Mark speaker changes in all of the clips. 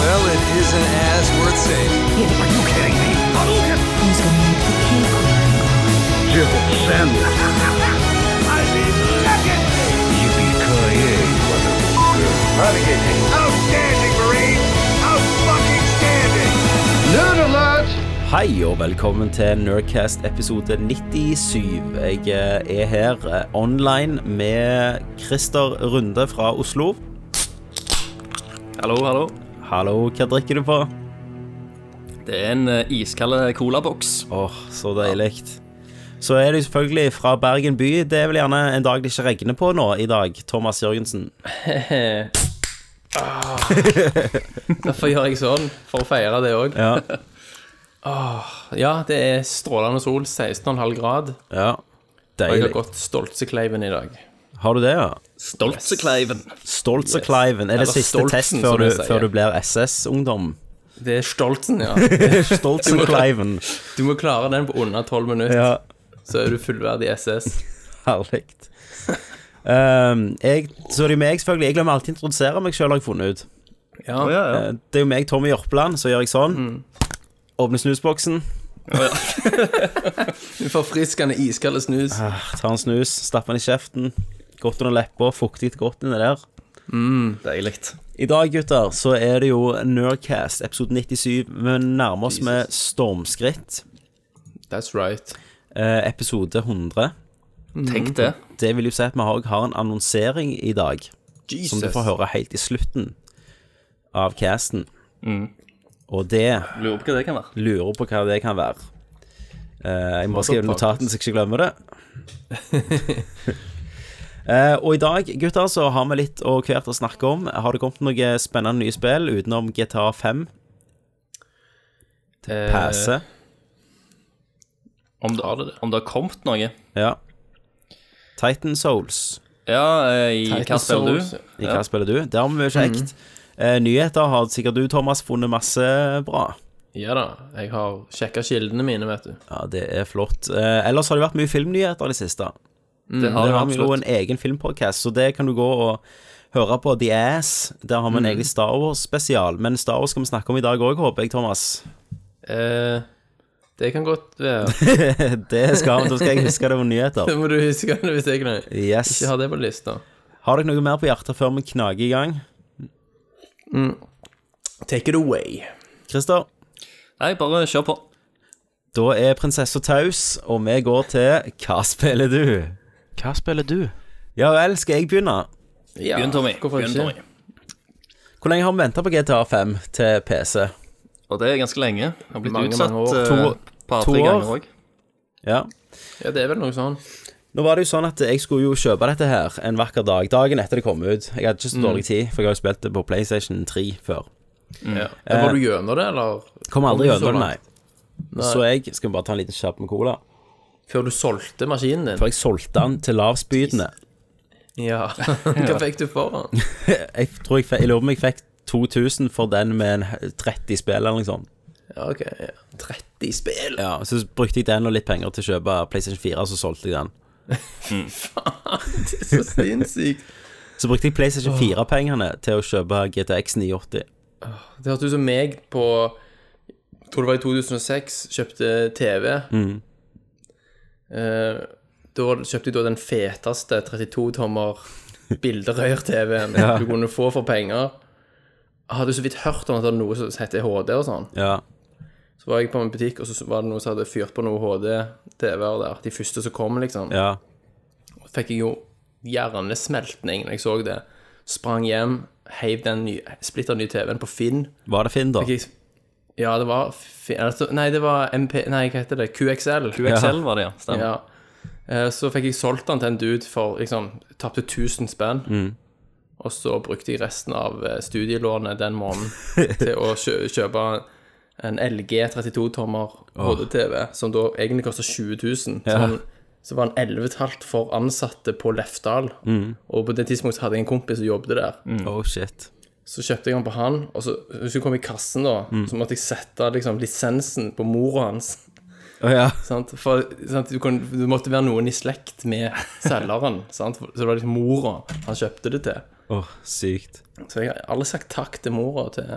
Speaker 1: is an ass worth saving.
Speaker 2: Are you kidding me?
Speaker 3: Who's gonna make the cake?
Speaker 2: Outstanding, Marine! Out fucking standing!
Speaker 4: Hei og velkommen til Nerdcast episode 97. Jeg eh, er her eh, online med Christer Runde fra Oslo.
Speaker 5: Hallo, hallo.
Speaker 4: Hallo, hva drikker du på?
Speaker 5: Det er en eh, iskald colaboks.
Speaker 4: Åh, så deilig. Så er du selvfølgelig fra Bergen by. Det er vel gjerne en dag det ikke regner på nå i dag, Thomas Jørgensen.
Speaker 6: Derfor gjør jeg sånn, for å feire det òg.
Speaker 4: Ja,
Speaker 6: Ja, det er strålende sol, 16,5 grad.
Speaker 4: ja.
Speaker 6: Og jeg har
Speaker 4: Deilig.
Speaker 6: gått Stoltsekleiven i dag.
Speaker 4: Har du det, ja?
Speaker 5: Stoltsekleiven.
Speaker 4: Stoltsekleiven. Er det
Speaker 6: Eller
Speaker 4: siste
Speaker 6: Stoltsen,
Speaker 4: test
Speaker 6: som
Speaker 4: før du,
Speaker 6: jeg sier.
Speaker 4: før du blir SS-ungdom?
Speaker 6: Det er Stoltsen, ja.
Speaker 4: Stoltsekleiven.
Speaker 6: Du må klare den på under 12 minutter,
Speaker 4: Ja.
Speaker 6: så er du fullverdig SS.
Speaker 4: Herlig. Ehm, jeg, så det er jo meg, selvfølgelig. Jeg glemmer alltid å introdusere meg sjøl, har jeg funnet ut.
Speaker 6: Ja, Mm.
Speaker 4: Eh, Det er jo meg, Tommy Jørpeland, så gjør jeg sånn. Åpner snusboksen,
Speaker 6: Du får friskende iskald snus.
Speaker 4: tar en snus, stapper den i kjeften. Godt under leppa, fuktig godt inni der.
Speaker 5: Deilig.
Speaker 4: I dag, gutter, så er det jo Nerdcast episode 97. Vi nærmer oss med stormskritt.
Speaker 6: That's right.
Speaker 4: eh, episode 100.
Speaker 5: Tenk det.
Speaker 4: Det vil jo si at vi har, har en annonsering i dag, som du får høre helt i slutten av casten.
Speaker 6: Mm.
Speaker 4: Og det
Speaker 5: Lurer på hva det kan være.
Speaker 4: Lurer på hva det kan være. Eh, jeg må skrive notatene så jeg ikke glemmer det. Eh, og i dag, gutter, så har vi litt å hvert å snakke om. Har det kommet noe spennende nye spill utenom GTA 5?
Speaker 6: Eh,
Speaker 4: Pæse?
Speaker 5: Om det, har det, om det har kommet noe.
Speaker 4: Ja. Titan Souls.
Speaker 5: Ja, eh, i hva
Speaker 6: Titan
Speaker 5: spiller
Speaker 6: Souls.
Speaker 5: du?
Speaker 4: I hva spiller du? Det har vi mye kjekt. Eh, nyheter har sikkert du, Thomas, funnet masse bra.
Speaker 6: Ja da. Jeg har sjekka kildene mine, vet du.
Speaker 4: Ja, det er flott. Eh, ellers har det vært mye filmnyheter i det siste.
Speaker 5: Det har
Speaker 4: Der
Speaker 5: du
Speaker 4: har vi jo
Speaker 5: absolutt.
Speaker 4: en egen filmpodcast, så det kan du gå og høre på The Ass. Der har vi en
Speaker 5: Mm.
Speaker 4: egen Star Wars-spesial, men Star Wars skal vi snakke om i dag òg, håper jeg, Thomas.
Speaker 6: Eh, det kan godt være.
Speaker 4: Det skal vi, Da skal jeg huske det var nyheter.
Speaker 6: Det må du huske hvis jeg kan- ikke
Speaker 4: Yes.
Speaker 6: har det på lista.
Speaker 4: Har dere noe mer på hjertet før vi knager i gang?
Speaker 6: Take it away.
Speaker 4: Christer,
Speaker 5: Nei, bare kjør på.
Speaker 4: da er prinsessa taus, og vi går til Hva spiller du?
Speaker 7: Hva spiller du?
Speaker 4: Ja vel, skal jeg begynne?
Speaker 6: Ja,
Speaker 5: Begynn, Tommy.
Speaker 6: Hvorfor
Speaker 5: Begynn,
Speaker 6: ikke?
Speaker 5: Tommy.
Speaker 4: Hvor lenge har vi venta på GTA5 til PC?
Speaker 5: Og det er ganske lenge. Det har blitt
Speaker 6: Mange,
Speaker 5: utsatt
Speaker 6: mange år.
Speaker 5: eh,
Speaker 4: To-
Speaker 5: et par
Speaker 4: to
Speaker 5: tre
Speaker 4: år.
Speaker 5: ganger òg.
Speaker 4: Ja.
Speaker 6: Ja, det er vel noe sånn.
Speaker 4: Nå var det jo sånn at jeg skulle jo kjøpe dette her en vakker dag, dagen etter det kom ut. Jeg hadde ikke så dårlig tid, for jeg har jo spilt det på PlayStation 3 før.
Speaker 5: Mm.
Speaker 6: Ja. Men
Speaker 5: Eh,
Speaker 6: Var du gjennom det, eller?
Speaker 4: Kom aldri
Speaker 6: Kom du så
Speaker 4: gjennom det,
Speaker 6: langt?
Speaker 4: nei. Så jeg skal vi bare ta en liten kjapp med cola.
Speaker 6: Før du solgte maskinen din?
Speaker 4: For jeg solgte den til lavspydende.
Speaker 6: Ja. Hva fikk du for den?
Speaker 4: Jeg tror jeg, fe- jeg lurer på om jeg fikk 2000 for den med en he- 30 spill eller noe sånt.
Speaker 6: Ja, ok. ja. 30 spill?
Speaker 4: Ja, så brukte jeg den og litt penger til å kjøpe PlayStation 4, så solgte jeg den.
Speaker 6: Det er så sinnssykt.
Speaker 4: Så brukte jeg PlayStation 4-pengene til å kjøpe GTX 980.
Speaker 6: Det hørtes ut som meg på jeg Tror det var i 2006. Kjøpte TV. Eh, da var- kjøpte jeg da den feteste 32-tommer bilderøyer-TV-en du kunne få for penger. Jeg hadde så vidt hørt om at det var noe som heter HD og sånn.
Speaker 4: Ja.
Speaker 6: Så var jeg på en butikk, og så var det noen som hadde fyrt på noe E HD-TV-er der. De første som kom, liksom.
Speaker 4: ja.
Speaker 6: fikk jeg jo hjernesmeltning når jeg så det. Sprang hjem, heiv den ny, splitter nye TV-en på Finn.
Speaker 4: Var det Finn, da?
Speaker 6: Fikk jeg, ja, det var Finn altså, Nei, det var MP... Nei, hva heter det? QXL.
Speaker 5: UXL var det, ja.
Speaker 6: Ja.
Speaker 5: Stemmer.
Speaker 6: Eh, Så fikk jeg solgt den til en dude for liksom Tapte 1000 spenn. Og så brukte jeg resten av eh, studielånet den måneden til å kjø kjøpe en LG 32-tommer HD-TV, som da egentlig kosta 20 000.
Speaker 4: Ja.
Speaker 6: Sånn, så var den 11,5 for ansatte på Lefdal. Og på det tidspunktet hadde jeg en kompis som jobbet der.
Speaker 4: Oh, shit.
Speaker 6: Så kjøpte jeg den på han, og så hvis jeg kom i kassen, da,
Speaker 5: Mm.
Speaker 6: så måtte jeg sette liksom, lisensen på mora hans.
Speaker 4: Å ja.
Speaker 6: Sant? For sant? Du, kunne- du måtte være noen i slekt med selgeren. sant? Så det var liksom mora han kjøpte det til.
Speaker 4: Åh, sykt.
Speaker 6: Så jeg har aldri sagt takk til mora til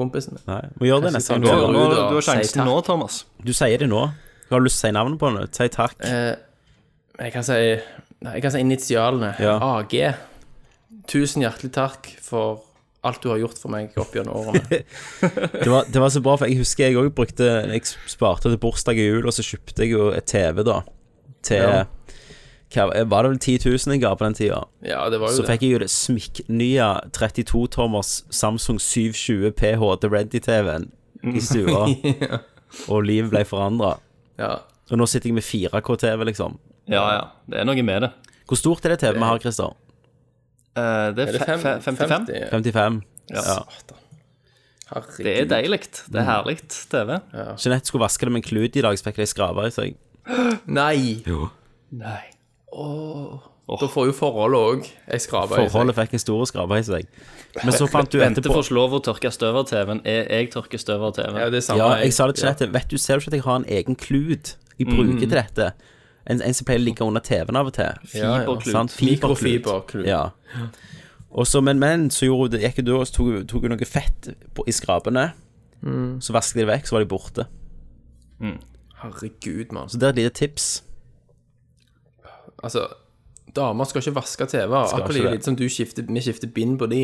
Speaker 6: kompisen min.
Speaker 4: Nei, må gjøre det neste gang.
Speaker 5: Du
Speaker 4: Du,
Speaker 5: har,
Speaker 4: hører
Speaker 5: nå,
Speaker 4: ut.
Speaker 5: du har
Speaker 6: Si
Speaker 5: sjansen
Speaker 6: takk.
Speaker 5: nå, Thomas.
Speaker 4: du sier det nå. Du har lyst til å si navnet på det. Si takk.
Speaker 6: Eh, jeg kan si nei, Jeg kan si initialene.
Speaker 4: Ja.
Speaker 6: AG. Tusen hjertelig takk for alt du har gjort for meg opp gjennom årene.
Speaker 4: Det var, det var så bra, for jeg husker jeg òg brukte Jeg sparte til bursdag og jul, og så kjøpte jeg jo et TV, da. Til
Speaker 6: Ja.
Speaker 4: hva, eh, Var det vel 10 000 jeg ga på den tida?
Speaker 6: Ja, det var jo
Speaker 4: Så
Speaker 6: det.
Speaker 4: fikk jeg jo det smikknye 32-tommers Samsung 720 PH til Ready-TV-en i stua. Og livet ble forandra.
Speaker 6: Ja.
Speaker 4: Og nå sitter jeg med 4K-TV, liksom.
Speaker 5: Ja, ja. Det er noe med det.
Speaker 4: Hvor stort er det TV vi har, Christer?
Speaker 5: Eh, det
Speaker 6: Er
Speaker 5: er
Speaker 6: det
Speaker 5: fe-
Speaker 6: fem-
Speaker 5: fe- 55.
Speaker 6: 50?
Speaker 4: 55?
Speaker 5: Ja.
Speaker 6: Satan. Herregud.
Speaker 5: Det er deilig. Det er herlig TV.
Speaker 4: Jeanette skulle vaske det med en klut i dag, så fikk de skrapa i seg.
Speaker 6: Nei!
Speaker 5: Nei.
Speaker 6: Da får jo forholdet òg ei skrape i seg.
Speaker 4: Forholdet fikk en stor skrape i seg. Men så fant du
Speaker 5: Vente
Speaker 4: etterpå
Speaker 5: får ikke lov å tørke støv av TV-en. Jeg, jeg tørker støv av TV-en.
Speaker 6: Ja, det er samme. Mm-hmm.
Speaker 4: Ja,
Speaker 6: jeg-
Speaker 4: jeg sa det til Jeanette. Vet du, ser du ikke at jeg har en egen klut jeg bruker til dette? En, en som pleier å ligge under TV-en av og til.
Speaker 6: Ja, ja.
Speaker 5: Fiberklut.
Speaker 4: Sant? Fiberklut.
Speaker 6: Mikrofiberklut.
Speaker 4: Ja. Og så, men, men så gjorde hun det, gikk hun da og så tok, hun- tok hun noe fett på, i skrapene.
Speaker 6: Mm.
Speaker 4: Så vasket de det vekk, så var de borte.
Speaker 6: Herregud, mann.
Speaker 4: Så det er et lite tips.
Speaker 6: Altså, damer skal ikke vaske TV-er. Akkurat
Speaker 4: ikke
Speaker 6: like
Speaker 4: det.
Speaker 6: litt som du skifter, vi skifter bind på de.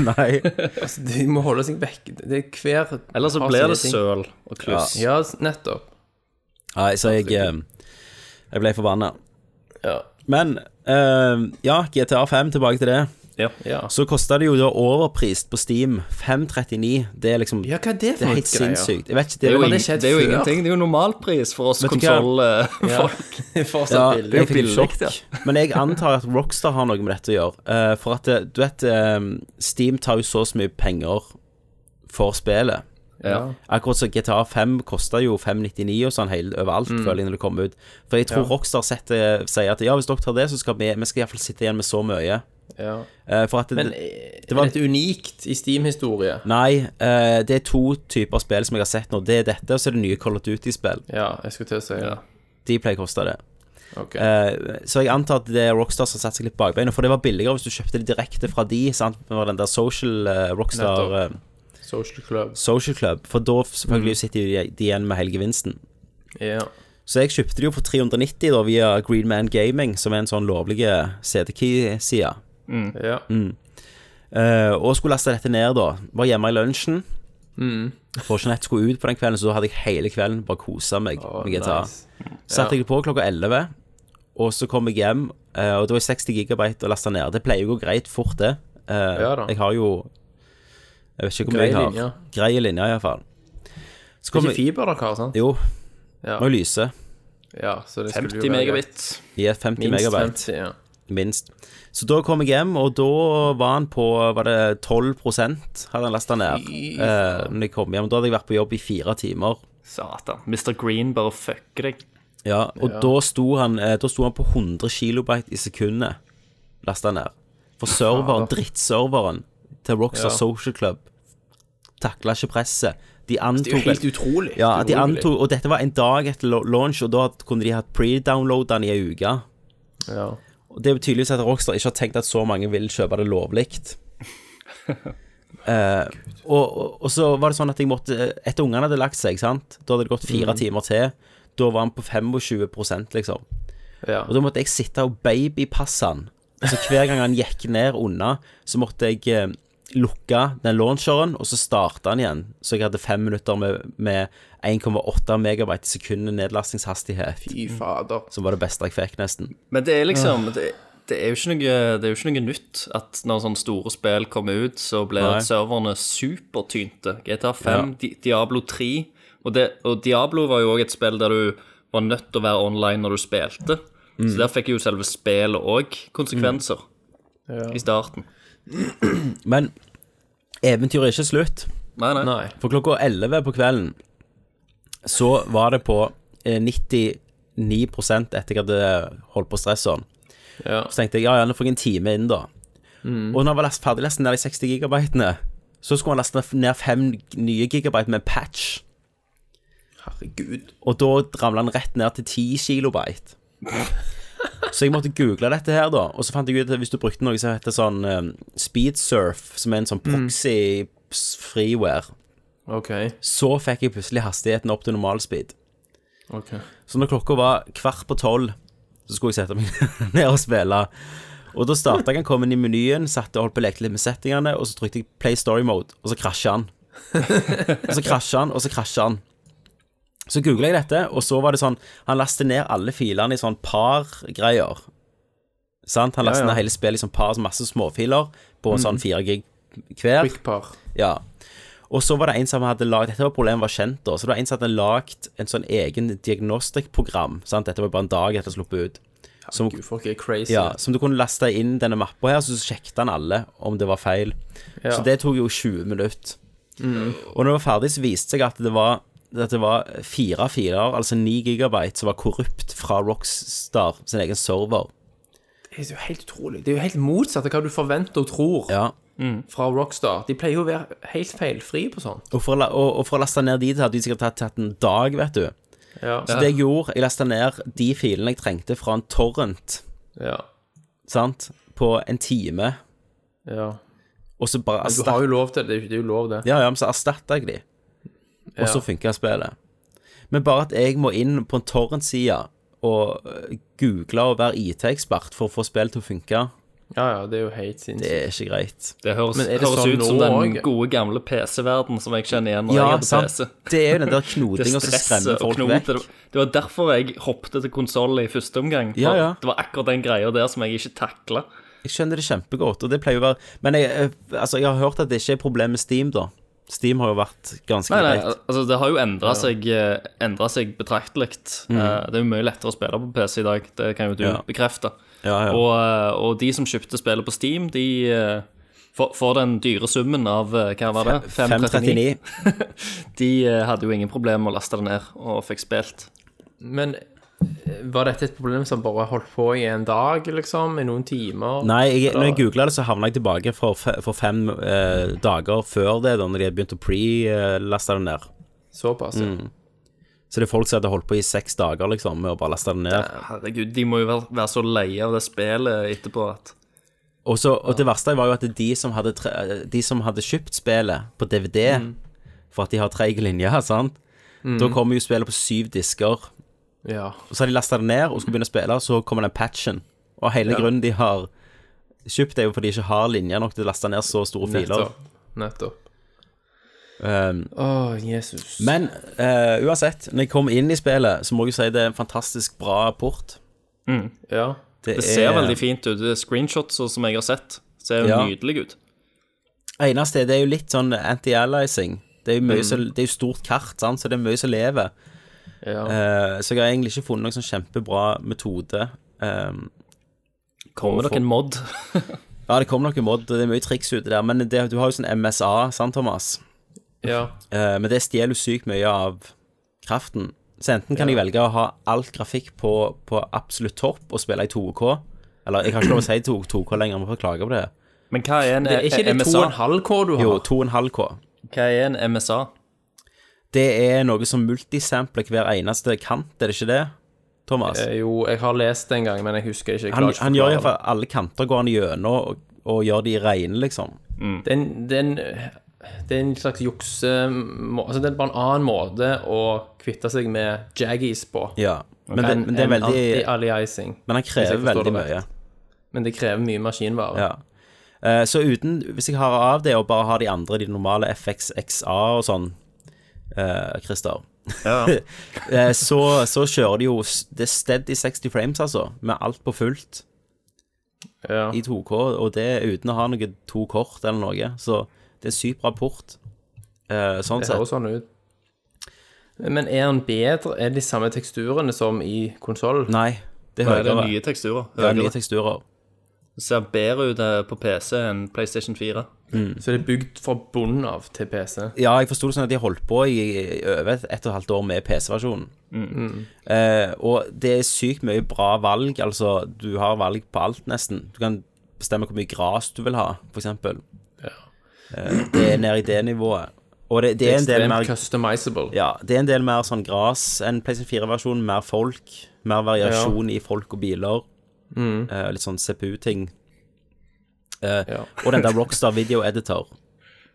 Speaker 4: Nei.
Speaker 6: Altså, de må holde seg vekk. Det er hver
Speaker 5: Ellers så
Speaker 6: har
Speaker 5: blir
Speaker 6: sine
Speaker 5: det
Speaker 6: ting.
Speaker 5: søl og kluss.
Speaker 6: Ja, nettopp.
Speaker 4: Nei, så jeg, eh, jeg ble forbanna.
Speaker 6: Ja.
Speaker 4: Men eh, ja, GTA 5, tilbake til det.
Speaker 5: Ja.
Speaker 6: Ja,
Speaker 4: Så kosta det jo da overprist på Steam. 539. Det er liksom
Speaker 6: ja hva er det
Speaker 4: Det er
Speaker 6: for noe
Speaker 4: helt
Speaker 6: greier?
Speaker 4: sinnssykt. Jeg vet ikke, det
Speaker 5: Det er, jo
Speaker 4: er
Speaker 6: det
Speaker 5: ing,
Speaker 6: skjedd
Speaker 5: det er jo
Speaker 6: før?
Speaker 5: ingenting. Det er jo normalpris for oss
Speaker 4: Vet du hva?
Speaker 5: konsollfolk.
Speaker 6: Fortsatt
Speaker 4: ja,
Speaker 6: billig.
Speaker 4: jeg fikk
Speaker 5: billig,
Speaker 4: sjokk.
Speaker 5: ja.
Speaker 4: Men jeg antar at Rockstar har noe med dette å gjøre. eh, for at eh, du vet, eh, Steam tar jo så og så mye penger for spillet.
Speaker 5: Ja.
Speaker 4: Akkurat som GTA 5 koster jo 599 og sånn hele, overalt, føler jeg, når det kommer ut. For jeg tror Rockstar setter, sier at ja, hvis dere tar det, så skal vi, vi skal iallfall sitte igjen med så mye.
Speaker 6: Ja.
Speaker 4: Eh, for at det,
Speaker 6: Men
Speaker 4: det var Mm.
Speaker 6: er dette unikt i Steam-historie?
Speaker 4: Nei, eh, det er to typer spill som jeg har sett nå. Det er dette, og så er det nye Call of Duty-spill.
Speaker 6: Ja, jeg skulle til å si det.
Speaker 4: De pleier å koste det.
Speaker 6: Ok.
Speaker 4: Eh, Så jeg antar at det er Rockstar som har satt seg litt bakbeina, for det var billigere hvis du kjøpte det direkte fra de, sant? Det var den der social eh, Rockstar
Speaker 6: Nettopp.
Speaker 4: eh,
Speaker 6: Social Club.
Speaker 4: Social Club, for da selvfølgelig sitter de de igjen med helgevinsten.
Speaker 6: Ja.
Speaker 4: Så jeg kjøpte det jo for 390 da, via Green Man Gaming, som er en sånn lovlig CD-key-side.
Speaker 6: ja.
Speaker 4: Eh, og skulle laste dette ned, da. Var hjemme i lunsjen.
Speaker 6: Mm.
Speaker 4: For Jeanette skulle ut på den kvelden, så da hadde jeg hele kvelden bare kosa meg med GTA.
Speaker 6: nice.
Speaker 4: Satte jeg på klokka 11, og så kom jeg hjem, eh, og det var 60 gigabyte å laste ned. Det pleier jo å gå greit fort, det. Eh,
Speaker 6: Ja da.
Speaker 4: jeg har jo Jeg vet ikke hvor mye
Speaker 6: Grei
Speaker 4: jeg har.
Speaker 6: linje.
Speaker 4: Greie linjer, iallfall. Så
Speaker 6: Det
Speaker 4: kom
Speaker 6: er ikke
Speaker 4: jeg
Speaker 6: fiber dere har, sant?
Speaker 4: Jo,
Speaker 6: Ja.
Speaker 4: må jo lyse.
Speaker 6: ja så det skulle jo
Speaker 5: 50
Speaker 6: være
Speaker 5: megabit.
Speaker 4: I et 50
Speaker 6: Minst
Speaker 4: megabyte.
Speaker 6: 50, ja.
Speaker 4: Minst. Så da kom jeg hjem, og da var han på Var det 12 hadde han lasta ned. Eh, når jeg kom hjem. Da hadde jeg vært på jobb i fire timer.
Speaker 5: Satan. Mr. Green bare fucker deg.
Speaker 4: Ja, og da sto han eh, Da sto han på 100 kilobyte i sekundet lasta ned. For serveren, drittserveren til Rockstar
Speaker 6: Ja.
Speaker 4: Social Club takla ikke presset. De
Speaker 6: Altså,
Speaker 4: antok
Speaker 6: Det er jo helt utrolig.
Speaker 4: ja, de
Speaker 6: Utrolig.
Speaker 4: antok, Og dette var en dag etter lo- launch, og da kunne de hatt pre-downloada den i ei uke.
Speaker 6: Ja.
Speaker 4: Og det er jo tydeligvis at Rockstar ikke har tenkt at så mange vil kjøpe det lovlig. Eh, og, og, og så var det sånn at jeg måtte Etter ungene hadde lagt seg, sant? da hadde det gått fire timer til. Da var han på 25 liksom.
Speaker 6: Ja.
Speaker 4: Og da måtte jeg sitte og babypasse han. Så hver gang han gikk ned unna, så måtte jeg eh, lukke den launcheren, og så starte han igjen. Så jeg hadde fem minutter med, med 1,8 megabyte i sekundet nedlastingshastighet.
Speaker 6: Fy fader.
Speaker 4: Som var det beste jeg fikk, nesten.
Speaker 5: Men det er liksom
Speaker 6: Ah.
Speaker 5: det, det, er jo ikke noe, det er jo ikke noe nytt at når sånne store spill kommer ut, så blir
Speaker 4: Nei.
Speaker 5: serverne supertynte. GTA 5,
Speaker 4: Ja.
Speaker 5: Di Diablo 3 og, det, og Diablo var jo òg et spill der du var nødt til å være online når du spilte.
Speaker 6: Mm.
Speaker 5: Så der fikk jo selve spillet òg konsekvenser
Speaker 6: Mm.
Speaker 5: i starten.
Speaker 4: Men eventyret er ikke slutt.
Speaker 5: Nei, nei.
Speaker 6: Nei.
Speaker 4: For klokka 11 på kvelden så var det på eh, 99 etter jeg hadde holdt på stressåren.
Speaker 6: Ja. Mm.
Speaker 4: Så tenkte jeg ja, ja, nå får jeg en time inn, da. Og når jeg var last, ferdig lest ned de 60 gigabytene, så skulle han laste ned fem nye gigabyte med en patch.
Speaker 6: Herregud.
Speaker 4: Og da ramla han rett ned til 10 kilobyte. Så jeg måtte google dette her, eh,
Speaker 6: Mm.
Speaker 4: da. Og så fant jeg ut at hvis du brukte noe som heter sånn um, speedsurf, som er en sånn proxy Ops freeware.
Speaker 6: OK.
Speaker 4: Så fikk jeg plutselig hastigheten opp til normalspeed.
Speaker 6: ok.
Speaker 4: Så når klokka var kvart på tolv, så skulle jeg sette meg ned og spille. Og da starta jeg, han kom inn i menyen, satt og holdt på å leke litt med settingene, og så trykte jeg play story mode, og så krasja han. og så krasja han, og så krasja han. Så googla jeg dette, og så var det sånn Han laster ned alle filene i sånn par-greier. Sant? Han laster
Speaker 6: Ja, Mm. ja.
Speaker 4: ned hele spillet i sånn par, så masse småfiler på sånn fire gig hver.
Speaker 6: Quickpar.
Speaker 4: Ja. Og så var det en som hadde lagd Dette var problemet var kjent da. Så det var en som hadde lagd en sånn egen diagnostikkprogram. Sant? Dette var bare en dag etter å sluppe ut. Som,
Speaker 6: Gud, folk er crazy.
Speaker 4: ja, som du kunne laste inn denne mappa her, så sjekket han alle om det var feil.
Speaker 6: Ja.
Speaker 4: Så det tok jo 20 minutter. Og når det var ferdig, så viste det seg at det var at det var fire filer, altså ni gigabyte, som var korrupt fra Rockstar sin egen server.
Speaker 6: Det er jo helt utrolig. Det er jo helt motsatt av hva du forventer og tror
Speaker 4: Ja.
Speaker 6: fra Rockstar. De pleier jo å være helt feilfrie på sånn. sånt.
Speaker 4: Og for, å la- og, og for å laste ned de, så hadde de sikkert tatt, tatt en dag, vet du.
Speaker 6: Ja.
Speaker 4: Så det jeg gjorde, jeg lasta ned de filene jeg trengte fra en torrent,
Speaker 6: ja.
Speaker 4: sant, på en time,
Speaker 6: ja.
Speaker 4: og så bare
Speaker 6: Du har
Speaker 4: erstatta
Speaker 6: jo lov til det. Det er jo- det er jo lov, det.
Speaker 4: Ja, ja, men så erstatta jeg de, og så funka spillet. Men bare at jeg må inn på en torrent-side og øh, google og være IT-ekspert for å få spill til å funke,
Speaker 6: Ja, ja, det er jo helt
Speaker 4: det
Speaker 6: sinnssykt.
Speaker 4: er ikke greit.
Speaker 5: Det høres,
Speaker 6: Men er det
Speaker 5: høres
Speaker 6: sånn
Speaker 5: ut som
Speaker 6: nå
Speaker 5: den
Speaker 6: også?
Speaker 5: gode gamle PC-verden som jeg kjenner igjen når
Speaker 4: Ja,
Speaker 5: jeg hadde
Speaker 4: sant.
Speaker 5: PC.
Speaker 4: Det er jo den der
Speaker 5: Det
Speaker 4: knotinga som
Speaker 5: stresset
Speaker 4: skremmer
Speaker 5: og
Speaker 4: folk
Speaker 5: knotet.
Speaker 4: vekk.
Speaker 5: Det, det var derfor jeg hoppet til konsoll i første omgang. for
Speaker 4: Ja, ja.
Speaker 5: Det var akkurat den greia der som jeg ikke takla.
Speaker 4: Jeg skjønner det kjempegodt, og det pleier jo å være Men jeg, øh, altså, jeg har hørt at det ikke er problem med Steam, da. Steam har jo vært ganske
Speaker 5: Nei, nei,
Speaker 4: greit.
Speaker 5: altså Det har jo endra seg, eh, endret seg betraktelig. Eh, Det er jo mye lettere å spille på PC i dag, det kan jo du
Speaker 4: Mhm. Ja.
Speaker 5: bekrefte.
Speaker 4: Ja, ja.
Speaker 5: Og, eh, og de som kjøpte spillet på Steam, de eh, får får den dyre summen av eh, hva var det?
Speaker 4: 539.
Speaker 5: De eh, hadde jo ingen problemer med å laste det ned og fikk spilt.
Speaker 6: Men eh, var dette et problem som bare holdt på i en dag, liksom? I noen timer?
Speaker 4: Nei, jeg, når jeg
Speaker 6: Eller-
Speaker 4: googla det, så havna jeg tilbake for, fe- for fem eh, dager før det, da når de hadde begynt å pre-laste det ned.
Speaker 6: Såpass, ja.
Speaker 4: Så det er folk som hadde holdt på i seks dager liksom med å bare laste det ned.
Speaker 5: Herregud, de må jo være, være så leie av det spillet etterpå at
Speaker 4: Og, så, og det verste var jo at de som hadde, tre, de som hadde kjøpt spillet på DVD, for at de har treig linje, sant Da kommer jo spillet på syv disker.
Speaker 6: ja.
Speaker 4: Og så har de lasta det ned og skulle begynne å spille, og så kommer den patchen. Og hele grunnen de har kjøpt, er jo fordi de ikke har linjer nok til å laste ned så store filer.
Speaker 6: Nettopp. Nettopp.
Speaker 4: Um,
Speaker 6: Å, Jesus.
Speaker 4: Men eh, uansett, når jeg kom inn i spillet, så må jeg jo si det er en fantastisk bra port.
Speaker 6: Ja.
Speaker 5: Det
Speaker 6: Eh,
Speaker 5: ser veldig fint ut. Det er Screenshots og som jeg har sett, ser jo
Speaker 4: Ja.
Speaker 5: nydelig ut. Mm.
Speaker 4: Eneste er det er jo litt sånn anti-allying. Det er jo mye som, det er jo stort kart, sant? så det er mye som lever.
Speaker 6: ja.
Speaker 4: Eh, så jeg har egentlig ikke funnet noen sånn kjempebra metode. Um,
Speaker 5: Kommer
Speaker 4: Og
Speaker 5: dere en mod?
Speaker 4: ja, det kommer noen mod, og det er mye triks ute der, men det, du har jo sånn MSA, sant, Thomas?
Speaker 6: ja.
Speaker 4: Eh, men det stjeler jo sykt mye av kraften. Så enten kan jeg velge å ha alt grafikk på, på absolutt topp og spille i 2K. Eller jeg har ikke lov å si 2- 2K lenger, jeg må beklage på det.
Speaker 5: Men hva er en
Speaker 4: eh,
Speaker 5: eh,
Speaker 6: Er ikke det
Speaker 5: MSA?
Speaker 6: 2,5K du har?
Speaker 4: Jo, 2,5K.
Speaker 5: Hva er en MSA?
Speaker 4: Det er noe som multisampler hver eneste kant, er det ikke det, Thomas?
Speaker 6: Eh, Jo, jeg har lest det en gang, men jeg husker ikke. Jeg
Speaker 4: Han,
Speaker 6: klarer ikke å
Speaker 4: han gjør
Speaker 6: forklare
Speaker 4: iallfall alle kanter går han gjennom og, og gjør de reine, liksom.
Speaker 6: det. Det er en- det er en- det er en slags jukse... må- Altså, det er bare en annen måte å kvitte seg med jaggies på.
Speaker 4: Ja. Men, det,
Speaker 6: enn-
Speaker 4: men det er
Speaker 6: enn
Speaker 4: veldig
Speaker 6: Anti-aliasing.
Speaker 4: Men han
Speaker 6: hvis jeg
Speaker 4: krever
Speaker 6: forstår
Speaker 4: veldig
Speaker 6: det
Speaker 4: mye.
Speaker 6: rett. Men det krever mye maskinvare.
Speaker 4: Ja. Eh, så uten Hvis jeg har av det og bare har de andre, de normale FXXA og sånn, eh, Christer eh, så, så kjører de jo s- Det er steady 60 frames, altså, med alt på fullt
Speaker 6: Ja.
Speaker 4: i 2K, og det er uten å ha noe to kort eller noe. Så det er en sykt bra port. Eh, sånn
Speaker 6: Det
Speaker 4: sett.
Speaker 6: høres sånn ut. Men er den bedre? Er det de samme teksturene som i konsoll?
Speaker 4: Nei, det
Speaker 5: Hva
Speaker 4: er
Speaker 5: er det
Speaker 4: høyere.
Speaker 5: nye teksturer?
Speaker 4: Det er
Speaker 5: Høyere.
Speaker 4: nye teksturer.
Speaker 5: Det ser bedre ut eh, på PC enn PlayStation 4.
Speaker 6: Så det er bygd fra bunnen av til PC.
Speaker 4: Ja, jeg forsto det sånn at de holdt på i i over et, et og et halvt år med PC-versjonen. Eh, og det er sykt mye bra valg. Altså, du har valg på alt, nesten. Du kan bestemme hvor mye gras du vil ha, f.eks. Eh, det er nede i det nivået. Og det, det, er en del
Speaker 6: Ekstremt
Speaker 4: mer
Speaker 6: customizable.
Speaker 4: ja, det er en del mer sånn gras enn PlayStation 4-versjonen. Mer folk. Mer variasjon i folk og biler. Eh, litt sånn CPU-ting. Eh,
Speaker 6: Ja.
Speaker 4: Og den der Rockstar Video Editor.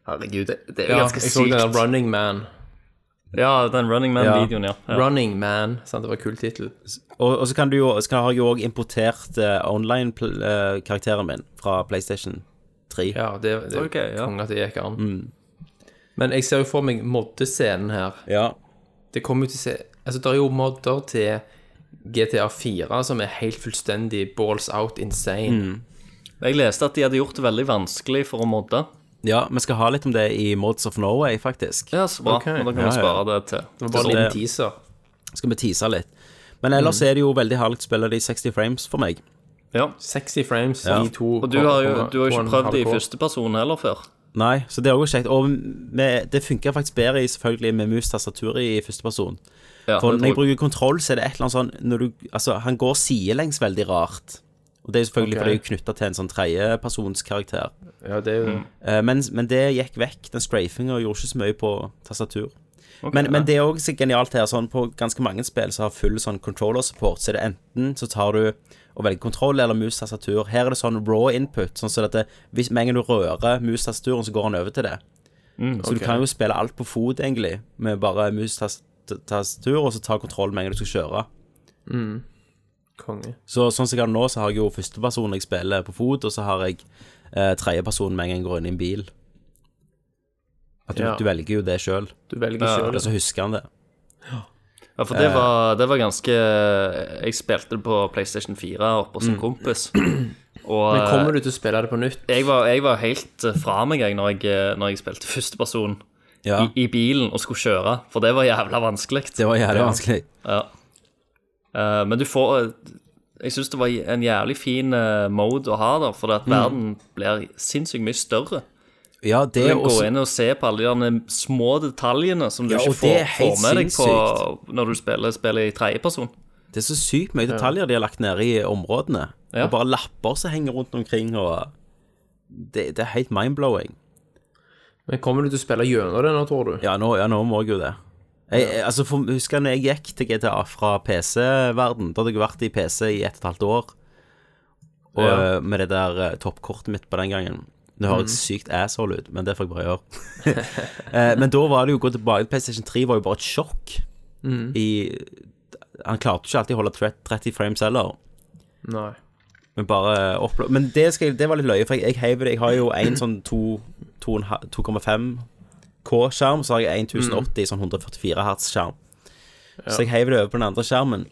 Speaker 5: Herregud, det, det er jo
Speaker 6: Ja,
Speaker 5: ganske
Speaker 6: jeg så den
Speaker 5: sykt.
Speaker 6: der Running Man.
Speaker 5: ja, den Running Man-videoen, ja. ja.
Speaker 6: Running Man, sant, det var en kul tittel.
Speaker 4: Og, og så kan du jo, så kan, har jeg jo òg importert eh, online-karakteren min fra PlayStation 3.
Speaker 6: Ja, det, det
Speaker 5: Ok, ja. Mm.
Speaker 6: konge at det gikk an. Men jeg ser jo for meg moddescenen her.
Speaker 4: Ja.
Speaker 6: Det kommer jo til å se Altså, det er jo modder til GTA 4 som er helt fullstendig balls out
Speaker 5: Mm.
Speaker 6: insane.
Speaker 5: Jeg leste at de hadde gjort det veldig vanskelig for å modde.
Speaker 4: ja, vi skal ha litt om det i Mods of Norway, faktisk.
Speaker 5: Ja, så bra.
Speaker 6: Ok.
Speaker 5: Men da kan
Speaker 4: Ja, ja.
Speaker 5: vi spare det til.
Speaker 6: Det var bare en
Speaker 4: Så det-
Speaker 6: liten teaser.
Speaker 4: Skal vi tease litt. Men ellers er det jo veldig herlig å spille de 60 frames for meg.
Speaker 5: Ja.
Speaker 6: 60 frames
Speaker 4: Ja.
Speaker 6: i to
Speaker 5: Og du har jo
Speaker 6: på-
Speaker 5: du har jo
Speaker 6: på en
Speaker 5: ikke prøvd det i
Speaker 6: halvkår.
Speaker 5: første person heller før.
Speaker 4: Nei, så det er òg kjekt. Og med, det funker faktisk bedre i, selvfølgelig med mus-tastatur i førsteperson.
Speaker 5: Ja,
Speaker 4: For
Speaker 5: det
Speaker 4: når jeg
Speaker 5: tror jeg.
Speaker 4: bruker kontroll, så er det et eller annet sånn når du, Altså, han går sidelengs veldig rart. Og det er jo selvfølgelig
Speaker 6: Ok.
Speaker 4: fordi jeg er knytta til en sånn tredjepersonskarakter.
Speaker 6: Ja, det er jo
Speaker 5: Mm.
Speaker 4: Eh, men, men det gikk vekk. Den strafinga gjorde ikke så mye på tastatur. men, men det er òg genialt her. Sånn, på ganske mange spill som har full sånn controller-support, så er det enten så tar du og velger kontroll eller mus-tastatur. Her er det sånn raw input. Sånn så at det, hvis med en gang du rører mus-tastaturen, så går han over til det. så du kan jo spille alt på fot, egentlig, med bare mus-tastatur, og så ta kontroll med en gang du skal kjøre.
Speaker 6: konge.
Speaker 4: Så sånn som jeg har det nå, så har jeg jo førsteperson jeg spiller på fot, og så har jeg eh, tredjeperson med en gang jeg går inn i en bil. At du,
Speaker 6: Ja.
Speaker 4: du velger jo det sjøl,
Speaker 6: Du velger
Speaker 5: Ja, altså,
Speaker 6: selv
Speaker 4: og så husker han det.
Speaker 5: Ja, for
Speaker 4: Eh.
Speaker 5: det var, det var ganske Jeg spilte det på PlayStation 4 oppe
Speaker 4: Mm.
Speaker 5: hos en kompis. Og eh,
Speaker 6: Men kommer du til å spille det på nytt?
Speaker 5: jeg var, jeg var helt eh, fra meg jeg, når jeg, eh, når jeg spilte førsteperson
Speaker 4: Ja,
Speaker 5: i, i bilen og skulle kjøre, for det var jævla vanskelig.
Speaker 4: det var jævlig vanskelig.
Speaker 5: Eh, men du får eh, Jeg syns det var en jævlig fin eh, mode å ha der, for
Speaker 4: Mm.
Speaker 5: at verden blir sinnssykt mye større.
Speaker 4: Ja, det
Speaker 5: Du
Speaker 4: er
Speaker 5: kan gå
Speaker 4: også
Speaker 5: inn og se på alle de derne små detaljene som du
Speaker 4: Ja, og
Speaker 5: ikke
Speaker 4: det
Speaker 5: får,
Speaker 4: er helt
Speaker 5: får med deg på når du spiller, spiller i tredjeperson.
Speaker 4: Det er så sykt mye detaljer de har lagt ned i områdene.
Speaker 5: Ja.
Speaker 4: Og bare lapper som henger rundt omkring, og Det, det er helt mind-blowing.
Speaker 6: Men kommer du til å spille gjennom det nå, tror du?
Speaker 4: Ja, nå, ja, nå må jeg jo det. Jeg, jeg, altså, for, husker når jeg gikk til GTA fra PC-verden. Da hadde jeg vært i PC i ett og et halvt år. Og
Speaker 6: Ja. Mhm.
Speaker 4: eh, med det der eh, toppkortet mitt på den gangen. Det høres sykt asshole ut, men det får jeg bare gjøre. Eh, men da var det jo å gå tilbake til PlayStation 3 var jo bare et sjokk.
Speaker 6: Mhm.
Speaker 4: I, han klarte jo ikke alltid å holde 30 frames heller.
Speaker 6: Nei.
Speaker 4: Men bare oppla... Men det, skal, jeg- det var litt løye, for jeg, jeg heiver det. Jeg har jo en sånn to- to og en halv- 2,5K-skjerm, så har jeg 1080 sånn 144 Hz-skjerm. Så jeg heiver det over på den andre skjermen.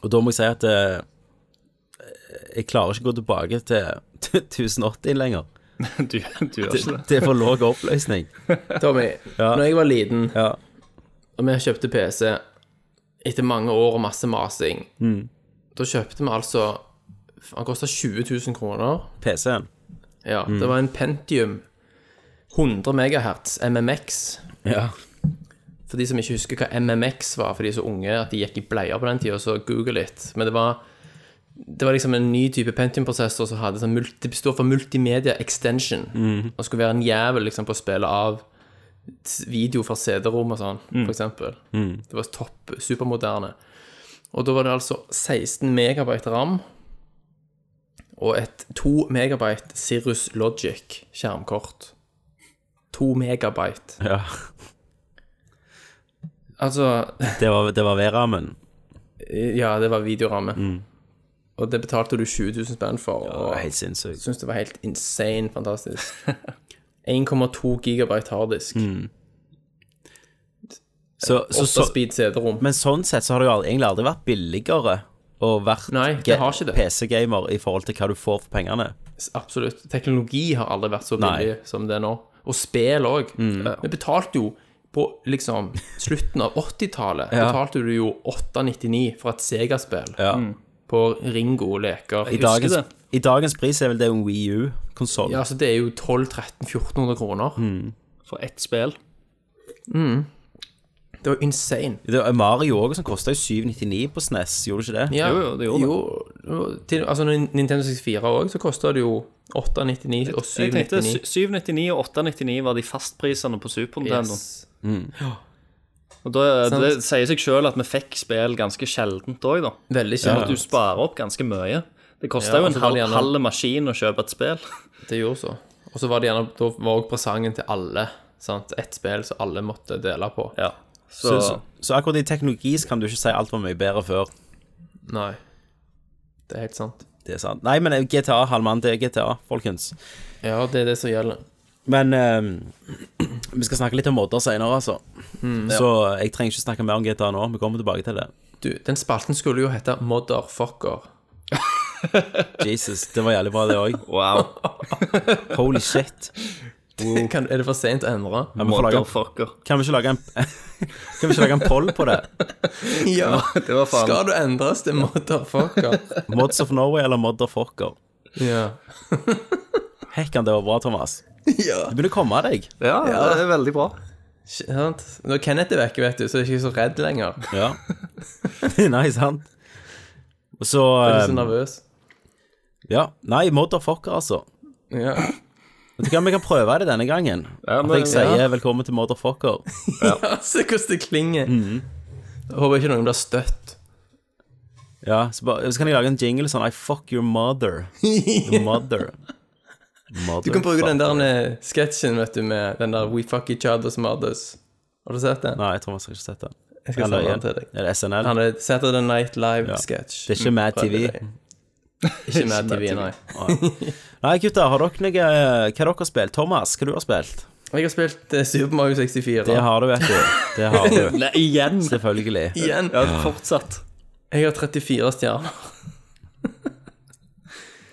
Speaker 4: Og da må jeg si at eh, jeg klarer ikke å gå tilbake til 1080 lenger.
Speaker 5: Du, du gjør ikke det.
Speaker 4: Det er for lav oppløsning.
Speaker 6: Tommy,
Speaker 4: Ja.
Speaker 6: når jeg var liten
Speaker 4: Ja.
Speaker 6: og vi kjøpte PC etter mange år og masse masing, da kjøpte vi altså Han kosta 20 000 kroner.
Speaker 4: PC-en.
Speaker 6: Ja, Det var en Pentium 100 MHz MMX.
Speaker 4: Ja.
Speaker 6: For de som ikke husker hva MMX var, for de er så unge at de gikk i bleier på den tida, så google litt. Men det var, det var liksom en ny type Pentium-prosessor som hadde sånn multi, det bestod for multimedia extension. Og skulle være en jævel liksom, på å spille av s- video fra CD-rom og sånn, for eksempel. Det var topp, supermoderne. Og da var det altså 16 megabyte RAM og et 2 megabyte Cirrus Logic skjermkort. 2 megabyte.
Speaker 4: ja.
Speaker 6: Altså,
Speaker 4: Det var, det var V-rammen.
Speaker 6: Ja, det var videoramme. Og det betalte du 20 000 spenn for.
Speaker 4: Det
Speaker 6: Og
Speaker 4: var
Speaker 6: jeg
Speaker 4: Mm. Helt sinnssykt.
Speaker 6: syns det var helt insane fantastisk. 1,2 gigabyte harddisk.
Speaker 4: Så, Mm. så, så,
Speaker 6: 8-speed CD-rom.
Speaker 4: Men sånn sett så har det jo aldri, egentlig aldri vært billigere å vært
Speaker 6: Nei, det
Speaker 4: ge-
Speaker 6: har ikke det.
Speaker 4: PC-gamer i forhold til hva du får for pengene.
Speaker 6: Absolutt. Teknologi har aldri vært så
Speaker 4: Nei. Mm.
Speaker 6: billig som det er nå. Og spill òg. Vi betalte jo på liksom slutten av 80-tallet
Speaker 4: Ja.
Speaker 6: betalte du jo 899 for et Sega-spill på Ringo leker.
Speaker 4: I dagens, I dagens pris er vel det en Wii U-konsoll.
Speaker 6: Ja, altså Det er jo 1200-1300-1400 kroner.
Speaker 5: Mm. For ett spill.
Speaker 6: Det var jo insane.
Speaker 4: Mario òg, som kosta 799 på SNES, gjorde det ikke det?
Speaker 6: Ja,
Speaker 5: Jo, jo, det gjorde det.
Speaker 6: jo, til, altså når Nintendo 64 òg, så koster det jo 899 og
Speaker 5: Jeg tenkte
Speaker 6: 799.
Speaker 5: 799 og 899 var de fastprisene på Super Nintendo.
Speaker 6: Yes.
Speaker 5: Og da, eh, det sier seg sjøl at vi fikk spill ganske sjeldent òg, da.
Speaker 6: Veldig
Speaker 5: Sånn at
Speaker 6: kjent.
Speaker 5: du sparer opp ganske mye. Det kosta
Speaker 6: Ja,
Speaker 5: jo
Speaker 6: og
Speaker 5: en
Speaker 6: så var det
Speaker 5: halv,
Speaker 6: gjerne-
Speaker 5: halv maskin å kjøpe et spill.
Speaker 6: Det gjorde så. Og så var det gjerne, da var også presangen til alle. sant? Ett spill som alle måtte dele på.
Speaker 5: Ja. Så,
Speaker 4: Så, så, så akkurat i teknologi så kan du ikke si alt var mye bedre før.
Speaker 6: Nei. Det er helt sant.
Speaker 4: Det er sant. Nei, men eh, GTA, halvmann, det er GTA, folkens.
Speaker 6: Ja, det er det som gjelder.
Speaker 4: Men eh, vi skal snakke litt om modder senere, altså.
Speaker 6: Mm,
Speaker 4: Så eh, jeg trenger ikke snakke mer om GTA nå. Vi kommer tilbake til det.
Speaker 6: Du, den spalten skulle jo hete Motherfucker.
Speaker 4: Jesus, det var jævlig bra, det òg.
Speaker 5: wow.
Speaker 4: Holy shit.
Speaker 6: Kan, er det for sent å endre?
Speaker 4: Ja, vi får lage,
Speaker 5: Motherfucker.
Speaker 4: kan vi ikke lage en Kan vi ikke lage en poll på det?
Speaker 6: Ja,
Speaker 5: Det var faen
Speaker 6: skal du endres til Motherfucker?
Speaker 4: Mods of Norway eller Motherfucker?
Speaker 6: ja.
Speaker 4: Hekkan, det var bra, Thomas.
Speaker 6: ja.
Speaker 4: Du begynner å komme deg.
Speaker 5: Ja, det er veldig bra.
Speaker 6: Sant? Når Kenneth er vekke, vet du, så er jeg ikke så redd lenger.
Speaker 4: Ja. Nei, sant? Og så
Speaker 6: Jeg er ikke så
Speaker 4: eh,
Speaker 6: nervøs.
Speaker 4: Ja. Nei, motherfucker, altså.
Speaker 6: Ja.
Speaker 4: Vet du hva, vi kan prøve det denne gangen.
Speaker 5: Ja,
Speaker 4: At
Speaker 5: men-
Speaker 4: jeg sier velkommen til motherfucker.
Speaker 6: ja, se hvordan det klinger.
Speaker 4: Mhm.
Speaker 6: Jeg håper ikke noen blir støtt.
Speaker 4: Ja, så, bare, så kan jeg lage en jingle sånn I fuck your mother. Your mother.
Speaker 6: Du kan bruke den der eh, sketsjen, vet du, med den der We fuck each other's mothers. Har du sett den?
Speaker 4: Nei, Thomas har ikke sett den.
Speaker 6: Jeg skal
Speaker 4: Eller,
Speaker 6: sende den til deg.
Speaker 4: Er det SNL?
Speaker 6: Han er Saturday Night
Speaker 4: Ja.
Speaker 6: Live-sketsj.
Speaker 4: Det er ikke Mad
Speaker 6: Prøv
Speaker 4: TV.
Speaker 6: det. Ikke Mad TV, nei.
Speaker 4: Nei, gutter, har dere noe eh, Hva har dere spilt? Thomas, hva du har spilt?
Speaker 6: Jeg har spilt eh, Super Mario 64.
Speaker 4: Det har du, vet du. Det har du.
Speaker 5: Nei, igjen!
Speaker 4: Selvfølgelig.
Speaker 6: Igjen.
Speaker 5: Ja, fortsatt.
Speaker 6: Jeg har 34 stjerner.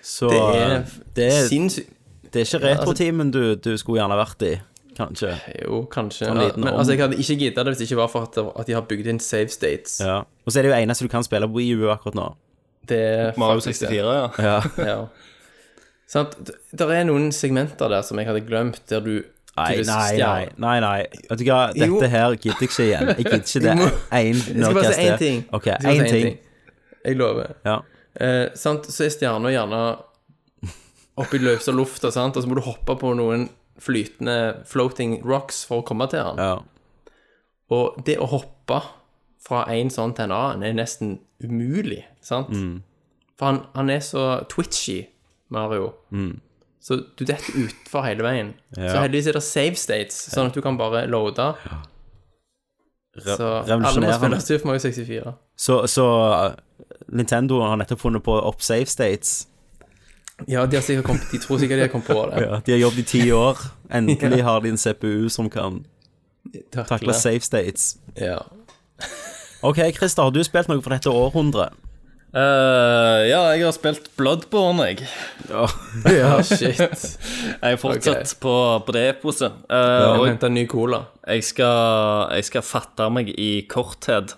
Speaker 4: Så
Speaker 6: Det er, altså-
Speaker 4: det er,
Speaker 6: sinnssykt.
Speaker 4: det er ikke retrotimen du, du skulle gjerne vært i, kanskje.
Speaker 6: Jo, kanskje.
Speaker 4: Sånn
Speaker 6: Ja,
Speaker 4: liten
Speaker 6: men
Speaker 4: om-
Speaker 6: altså, jeg hadde ikke gidda det hvis det ikke var for at, at de har bygd inn save states.
Speaker 4: Ja. Og så er det jo eneste du kan spille på EU akkurat nå.
Speaker 6: Det er
Speaker 5: Mario
Speaker 6: faktisk
Speaker 5: 64, ja.
Speaker 4: Ja.
Speaker 6: Det. Ja. Sånn Sant? Det er noen segmenter der som jeg hadde glemt, der du
Speaker 4: Nei,
Speaker 6: tydeligvis
Speaker 4: nei, nei.
Speaker 6: stjal-
Speaker 4: nei, nei. Vet du hva, dette
Speaker 6: Jo.
Speaker 4: her gidder jeg ikke igjen. Jeg gidder ikke det.
Speaker 6: Jeg må-
Speaker 4: Én
Speaker 6: Jeg skal bare si én ting.
Speaker 4: Ok,
Speaker 6: Jeg skal bare
Speaker 4: én
Speaker 6: si
Speaker 4: ting.
Speaker 6: Jeg lover.
Speaker 4: Ja.
Speaker 6: Eh, sant? Så er stjerna gjerne oppe i løse lufta, sant? og så må du hoppe på noen flytende floating rocks for å komme til den.
Speaker 4: ja.
Speaker 6: Og det å hoppe fra en sånn til en annen er nesten umulig, sant?
Speaker 4: Mm.
Speaker 6: For han, han er så twitchy, Mario. Så du detter utfor hele veien. Så
Speaker 4: Mm. Ja.
Speaker 6: heldigvis er det save states, sånn at du kan bare loade. Så alle må spille
Speaker 4: Revolusjonerende.
Speaker 6: Super Mario 64.
Speaker 4: Så, så uh, Nintendo har nettopp funnet på opp safe states.
Speaker 6: Ja, de, har sikkert kommet, de tror sikkert de har kommet på det.
Speaker 4: De har jobbet i ti år. Endelig har de en CPU som kan takle
Speaker 6: Takle.
Speaker 4: safe states.
Speaker 6: Ja.
Speaker 4: Ok, Christer, har du spilt noe for dette århundret?
Speaker 5: Eh, ja, jeg har spilt Bloodborne, jeg.
Speaker 6: Ja, shit.
Speaker 5: Jeg er fortsatt
Speaker 6: Ok.
Speaker 5: på, på det eposet. Eh,
Speaker 6: Jeg må
Speaker 5: og
Speaker 6: hente en ny cola.
Speaker 5: jeg skal, jeg skal fatte meg i korthet.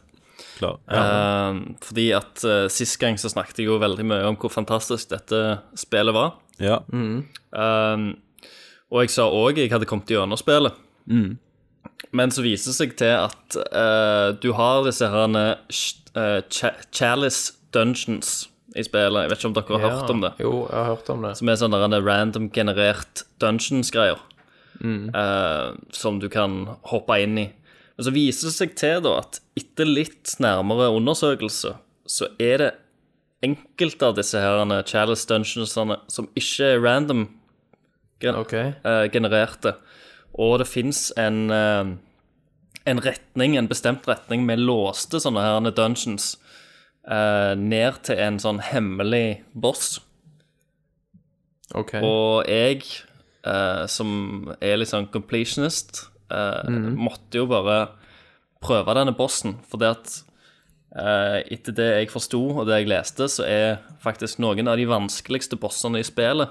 Speaker 4: Klar.
Speaker 5: Eh, fordi at eh, sist gang så snakket jeg jo veldig mye om hvor fantastisk dette spillet var.
Speaker 4: Ja.
Speaker 5: Eh, og jeg sa òg jeg hadde kommet gjennom spillet. Men så viser det seg til at eh, du har disse her uh, Chalice Dungeons i spillet. Jeg vet ikke om dere har hørt om det?
Speaker 6: Jo, jeg har hørt om det.
Speaker 5: Som er sånn der en random generert dungeons-greier. eh, som du kan hoppe inn i. Men så viser det seg til da at etter litt nærmere undersøkelse, så er det enkelte av disse herrene, Chalice Dungeonsene som ikke er random gen
Speaker 6: Ok.
Speaker 5: eh, genererte. Og det fins en, eh, en retning, en bestemt retning med låste sånne herrene dungeons eh, ned til en sånn hemmelig boss.
Speaker 6: ok.
Speaker 5: Og jeg, eh, som er litt sånn completionist, eh,
Speaker 6: Mhm.
Speaker 5: måtte jo bare prøve denne bossen. For det at eh, etter det jeg forsto, og det jeg leste, så er faktisk noen av de vanskeligste bossene i spillet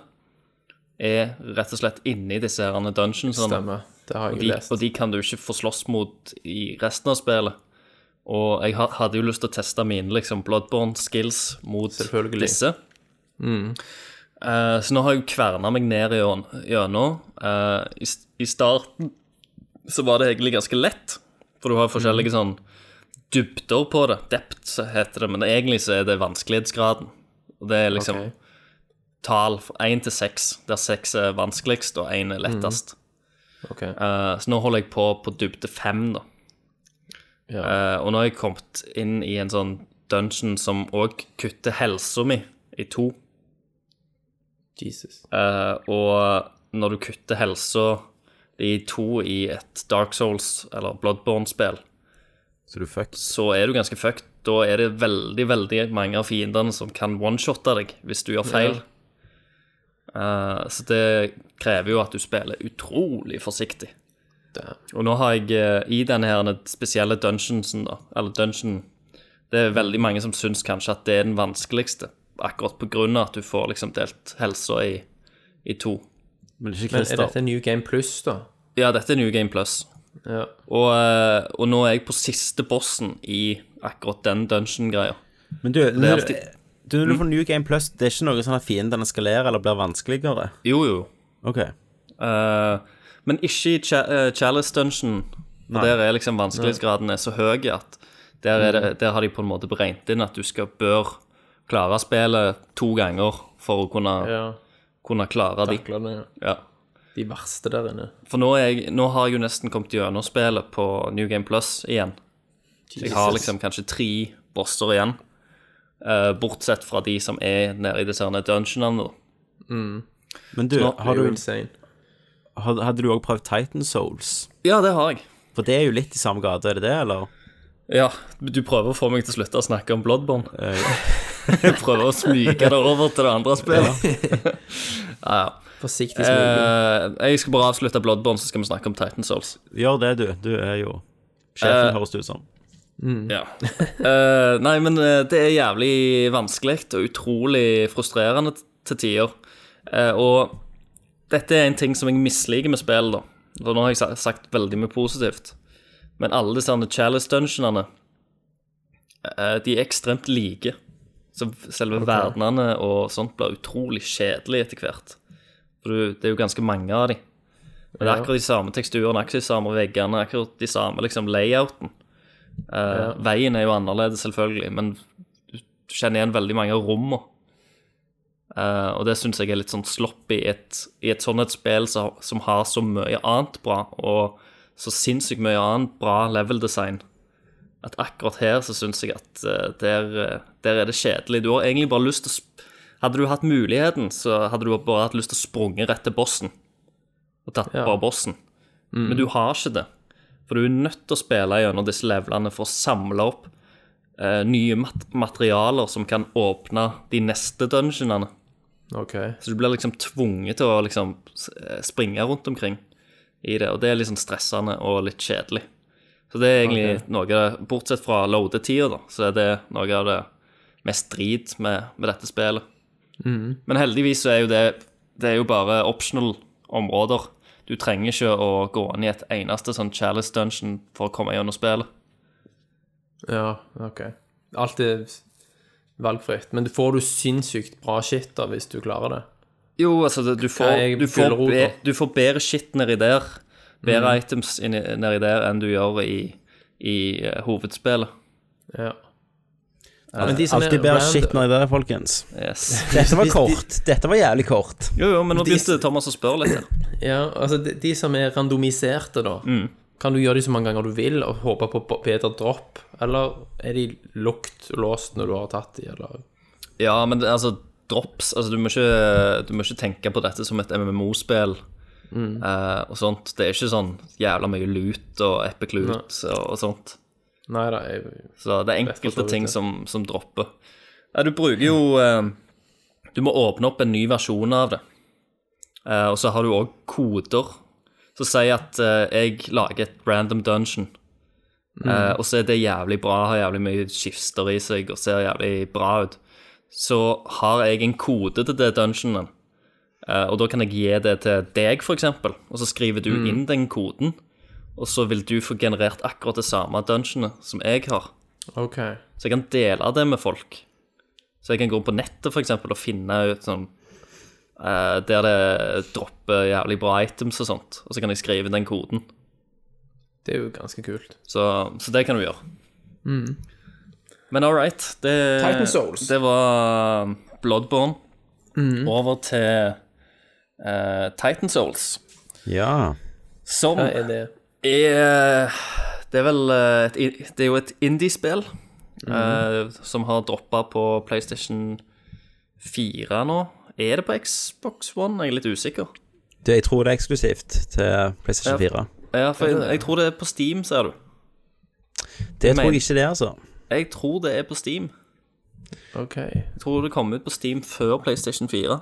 Speaker 5: er rett og slett inni disse herrene dungeonsene.
Speaker 6: Stemmer. Det har
Speaker 5: Og
Speaker 6: jeg
Speaker 5: de,
Speaker 6: lest.
Speaker 5: og de kan du ikke få slåss mot i resten av spillet. Og jeg ha- hadde jo lyst til å teste mine liksom, bloodborne skills mot
Speaker 6: Selvfølgelig. Mm.
Speaker 5: disse. Eh, så nå har jeg kverna meg ned i gjen- gjennom. Eh, i, s- I starten så var det egentlig ganske lett, for du har
Speaker 6: Mm.
Speaker 5: forskjellige sånn dybder på det. Depth heter det, men egentlig så er det vanskelighetsgraden. Og det er liksom
Speaker 6: Ok.
Speaker 5: tall fra 1 til 6, der 6 er vanskeligst og 1 er
Speaker 6: Mm.
Speaker 5: lettest.
Speaker 6: Ok.
Speaker 5: Eh, så nå holder jeg på på dybde fem, da.
Speaker 6: Ja.
Speaker 5: Eh, og nå har jeg kommet inn i en sånn dungeon som òg kutter helsa mi i to.
Speaker 6: Jesus.
Speaker 5: Eh, og når du kutter helsa i to i et Dark Souls eller Bloodborne-spill,
Speaker 4: Så du fucks.
Speaker 5: så er du ganske fucked. Da er det veldig veldig mange av fiendene som kan one-shotte deg hvis du gjør feil. Eh, så det krever jo at du spiller utrolig forsiktig. Og nå har jeg eh, i denne her spesielle dungeonsen, da, eller dungeon Det er veldig mange som syns kanskje at det er den vanskeligste, akkurat på grunn av at du får liksom delt helsa i, i to.
Speaker 4: Men det er ikke
Speaker 6: Men er
Speaker 4: Christer.
Speaker 6: dette New Game Plus, da?
Speaker 5: Ja, dette er New Game Plus.
Speaker 6: Ja.
Speaker 5: Og, eh, og nå er jeg på siste bossen i akkurat den dungeon-greia.
Speaker 4: Men du,
Speaker 5: Det er
Speaker 4: når,
Speaker 5: alltid-
Speaker 4: du, når du får New Game Plus, det er ikke noe sånn at fiendene eskalerer eller blir vanskeligere?
Speaker 5: Jo, jo.
Speaker 4: Ok.
Speaker 5: Eh, men ikke i cha eh, Chalice Dungeon. For
Speaker 4: Nei.
Speaker 5: der er liksom vanskelighetsgraden er så høy at der, er det, der har de på en måte beregnet inn at du skal bør klare spillet to ganger for å kunne,
Speaker 6: ja.
Speaker 5: kunne klare de.
Speaker 6: Takler det, ja.
Speaker 5: Ja.
Speaker 6: De verste der inne.
Speaker 5: For nå, er jeg, nå har jeg jo nesten kommet gjennom spillet på New Game Plus igjen. Jeg har liksom kanskje tre bosser igjen. eh, bortsett fra de som er nede i disse herne dungeonene. da.
Speaker 4: Men du,
Speaker 5: Nå-
Speaker 4: har
Speaker 6: Det er jo
Speaker 4: du,
Speaker 6: insane.
Speaker 4: had- hadde du òg prøvd Titan Souls?
Speaker 5: Ja, det har jeg.
Speaker 4: For det er jo litt i samme gate, er det det, eller?
Speaker 5: Ja, Du prøver å få meg til å slutte å snakke om Bloodborne. Jeg prøver å smyge det over til det andre spillet.
Speaker 6: Forsiktig smugling.
Speaker 5: Eh, jeg skal bare avslutte Bloodborne, så skal vi snakke om Titan Souls.
Speaker 4: Gjør det, du. Du er jo Sjefen,
Speaker 5: Eh.
Speaker 4: høres det ut som.
Speaker 5: Ja. Eh, nei, men eh, det er jævlig vanskelig og utrolig frustrerende t- til tider. Eh, og dette er en ting som jeg misliker med spill, da. For nå har jeg sa- sagt veldig mye positivt. Men alle disse andre chalice dungeonene, eh, de er ekstremt like. Så selve verdenene og sånt blir utrolig kjedelig etter hvert. For du, det er jo ganske mange av de. Men det er akkurat de samme teksturene, akkurat de samme veggene, akkurat de samme liksom layouten. Eh, Veien er jo annerledes, selvfølgelig, men du du kjenner igjen veldig mange av rommene. Eh, og det syns jeg er litt sånn sloppy i et, i et sånt et spill som, som har så mye annet bra, og så sinnssykt mye annet bra level design. At akkurat her så syns jeg at eh, der, eh, der er det kjedelig. Du har egentlig bare lyst til å sp Hadde du hatt muligheten, så hadde du bare hatt lyst til å sprunge rett til bossen. Og tatt bare bossen. Men du har ikke det. For du er nødt til å spille gjennom disse levelene for å samle opp eh, nye mat materialer som kan åpne de neste dungeonene.
Speaker 6: Ok.
Speaker 5: Så du blir liksom tvunget til å liksom s- eh, springe rundt omkring i det, og det er liksom stressende og litt kjedelig. Så det er egentlig noe, bortsett fra loadetida, da, så er det noe av det mest drit med, med dette spillet. Men heldigvis så er jo det Det er jo bare optional områder. Du trenger ikke å gå inn i et eneste sånn chalice dungeon for å komme gjennom spillet.
Speaker 6: Ja, ok. Alt er valgfritt. Men du får du sinnssykt bra shit da, hvis du klarer det.
Speaker 5: Jo, altså, det- du
Speaker 6: Hva er
Speaker 5: får, du får,
Speaker 6: gulrota?
Speaker 5: be, du får bedre shit nedi der. Bedre items inni- nedi der enn du gjør i, i eh, hovedspillet.
Speaker 6: Ja.
Speaker 4: Men de som
Speaker 6: Alltid
Speaker 4: eh, Alltid
Speaker 6: er
Speaker 4: bedre
Speaker 6: random-
Speaker 4: shit når det er, folkens.
Speaker 5: Yes.
Speaker 4: Dette var kort. Dette var jævlig kort.
Speaker 5: Jo, jo, men nå begynte Thomas å spørre litt. her.
Speaker 6: Ja, altså de, de som er randomiserte da Kan du gjøre de så mange ganger du vil Og håpe på b- bedre dropp Eller er de lukt og låst når du har tatt de Eller
Speaker 5: Ja, men det- altså, drops altså, du, må ikke, du må ikke tenke på dette som et MMO-spill. eh, og sånt. Det er ikke sånn jævla mye lut og epic loot og, og sånt.
Speaker 6: Nei da, jeg,
Speaker 5: Så det er
Speaker 6: for så
Speaker 5: enkelte
Speaker 6: vidt
Speaker 5: ting
Speaker 6: det.
Speaker 5: som, som dropper. Ja, du bruker jo eh, Du må åpne opp en ny versjon av det. Eh, og så har du òg koder som sier at eh, jeg lager et random dungeon. Eh, og så er det jævlig bra, har jævlig mye skifter i seg og ser jævlig bra ut. Så har jeg en kode til det dungeonen, eh, og da kan jeg gi det til deg, f.eks. Og så skriver du inn den koden, og så vil du få generert akkurat det samme dungeonet som jeg har.
Speaker 6: ok
Speaker 5: Så jeg kan dele det med folk. Så jeg kan gå på nettet for eksempel, og finne ut sånn eh, Der det dropper jævlig bra items og sånt. Og så kan jeg skrive den koden.
Speaker 6: Det er jo ganske kult
Speaker 5: Så, så det kan du gjøre.
Speaker 6: Mm.
Speaker 5: Men all right. Det,
Speaker 6: Titan Souls.
Speaker 5: det var um, Bloodborne.
Speaker 6: Mm.
Speaker 5: Over til eh, Titan Souls.
Speaker 4: Ja.
Speaker 5: Som
Speaker 6: Hva er det?
Speaker 5: er Eh, Det er vel eh, et, i- Det er jo et indie-spill eh, som har droppa på PlayStation 4 nå. Er det på Xbox One? Jeg er litt usikker.
Speaker 4: Det, jeg tror det er eksklusivt til PlayStation 4.
Speaker 5: Ja, for jeg, jeg tror det er på Steam, ser du.
Speaker 4: Det tror
Speaker 5: men-
Speaker 4: jeg ikke det, altså.
Speaker 5: Jeg tror det er på Steam.
Speaker 6: Ok.
Speaker 5: Jeg tror det kom ut på Steam før PlayStation 4. Jeg er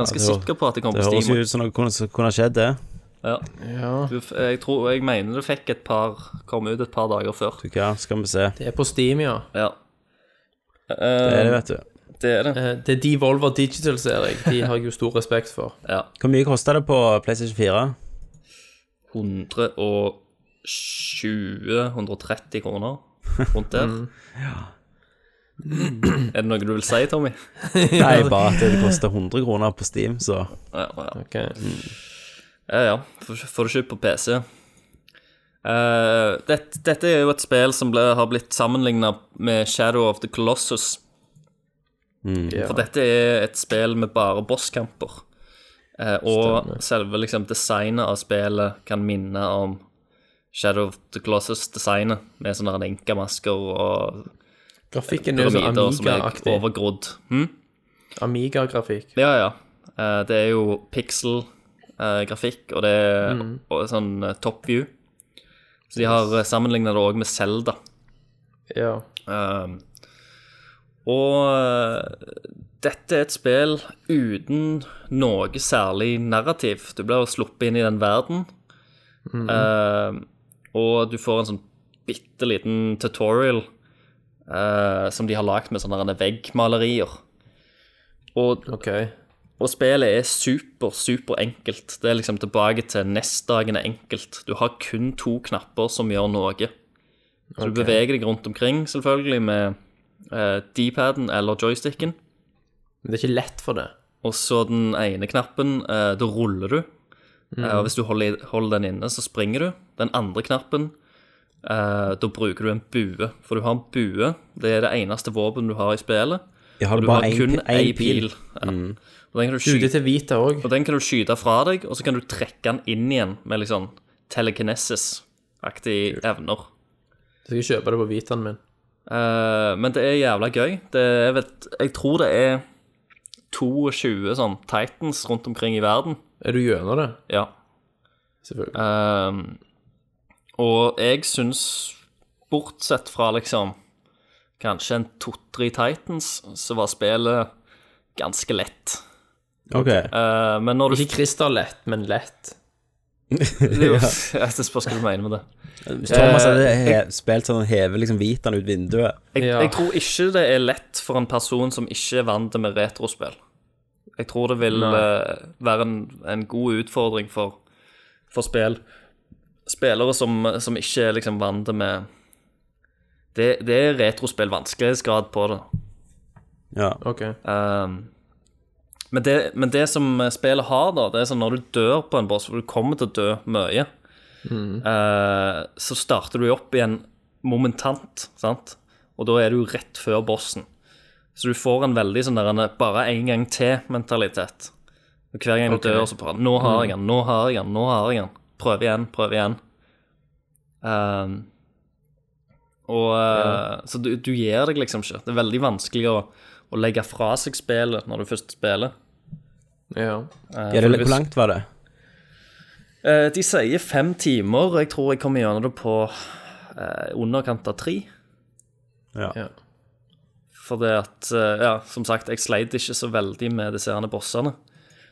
Speaker 5: ganske
Speaker 4: det hø-
Speaker 5: sikker på at det kom
Speaker 4: Det
Speaker 5: på
Speaker 4: høres jo
Speaker 5: Steam.
Speaker 4: ut som noe kunne, som kunne skjedd, det.
Speaker 5: Ja.
Speaker 6: Ja.
Speaker 5: Du, f- jeg tror, jeg mener du fikk et par Kom ut et par dager før.
Speaker 4: Du, hva skal vi se.
Speaker 6: Det er på Steam, ja.
Speaker 5: Ja.
Speaker 4: Det er det,
Speaker 5: Eh,
Speaker 4: vet du.
Speaker 5: det er det.
Speaker 6: Eh, Det er Devolver Digital, ser jeg. De har jeg jo stor respekt for.
Speaker 5: Ja.
Speaker 4: Hvor mye kosta det på PlayStation 4?
Speaker 5: 120-130 kroner rundt der. Er det noe du vil si, Tommy?
Speaker 4: Nei, bare at det kosta 100 kroner på Steam, så
Speaker 5: Ja, ja.
Speaker 6: Ok.
Speaker 5: Ja, ja. Får- Får du ikke på PC. Eh, dette, dette er jo et spill som ble, har blitt sammenligna med Shadow of the Colossus.
Speaker 6: Ja.
Speaker 5: For dette er et spill med bare bosskamper. Eh, og selve liksom, designet av spillet kan minne om Shadow of the Colossus-designet, med sånne enkamasker og
Speaker 6: Grafikken er jo sånn
Speaker 5: pyramider som er
Speaker 6: Amiga-aktig.
Speaker 5: overgrodd. Hm?
Speaker 6: Amiga-grafikk.
Speaker 5: Ja, ja. Eh, det er jo pixel-grafikk, og det er og sånn eh, top view. Så de har sammenligna det òg med Zelda.
Speaker 6: Ja.
Speaker 5: Um, og uh, dette er et spill uten noe særlig narrativ. Du blir jo sluppet inn i den verden. Um, og du får en sånn bitte liten tutorial uh, som de har lagd med sånne her veggmalerier. Og,
Speaker 6: Ok.
Speaker 5: og spillet er super, super enkelt. Det er liksom tilbake til nestdagene enkelt. Du har kun to knapper som gjør noe. Så du beveger deg rundt omkring, selvfølgelig, med eh, D-paden eller joysticken.
Speaker 6: Men det er ikke lett for det.
Speaker 5: Og så den ene knappen, eh, da ruller du.
Speaker 6: Mm.
Speaker 5: Eh, og hvis du holder, i- holder den inne, så springer du. Den andre knappen, eh, da bruker du en bue. For du har en bue. Det er det eneste våpenet du har i spillet.
Speaker 4: Jeg har
Speaker 5: Og du har
Speaker 4: bare én
Speaker 5: kun
Speaker 4: pil.
Speaker 5: én pil. Ja. Og den kan du
Speaker 6: Mm. Du, det
Speaker 5: skyte
Speaker 6: er til Vita òg.
Speaker 5: og den kan du skyte fra deg, og så kan du trekke den inn igjen med litt sånn telekinesis-aktige evner.
Speaker 6: Skal jeg kjøpe det på Vitaen min?
Speaker 5: Eh, men det er jævla gøy. Det er, jeg vet, jeg tror det er 22 sånn Titans rundt omkring i verden.
Speaker 6: Er du gjennom det?
Speaker 5: Ja.
Speaker 6: Selvfølgelig.
Speaker 5: Ehm, og jeg syns, bortsett fra liksom kanskje en to-tre Titans, så var spillet ganske lett.
Speaker 4: Ok.
Speaker 5: Eh, men når du
Speaker 6: Ikke krystallett, men lett.
Speaker 5: Det er jo- Jeg spørs hva du mener med det.
Speaker 4: Hvis
Speaker 5: Uh,
Speaker 4: Thomas hadde
Speaker 5: eh,
Speaker 4: he spilt sånn hever liksom Vitaen ut vinduet
Speaker 5: Jeg,
Speaker 6: Ja.
Speaker 5: jeg tror ikke det er lett for en person som ikke er vant med retrospill. Jeg tror det vil eh, være en, en god utfordring for, for spill. Spillere som, som ikke er liksom vant med det, det er retrospill, vanskelighetsgrad på det.
Speaker 4: Ja.
Speaker 6: Ok.
Speaker 5: Um, men, det, men det som spillet har, da, det er sånn når du dør på en boss, for du kommer til å dø mye, eh, så starter du jo opp igjen momentant, sant? Og da er du jo rett før bossen. Så du får en veldig sånn der en bare en gang til-mentalitet. Og Hver gang du dør, så bare Nå har jeg den, nå har jeg den, nå har jeg den. Prøv igjen, prøv igjen. Um, og eh, Så du, du gir deg liksom ikke. Det er veldig vanskelig å, å legge fra seg spillet når du først spiller.
Speaker 6: Ja.
Speaker 4: ja det, hvor langt var det?
Speaker 5: Eh, de sier fem timer, og jeg tror jeg kommer gjennom det på eh, underkant av tre.
Speaker 6: ja.
Speaker 5: Fordi at, eh, ja, som sagt, jeg sleit ikke så veldig med disse herne bossene.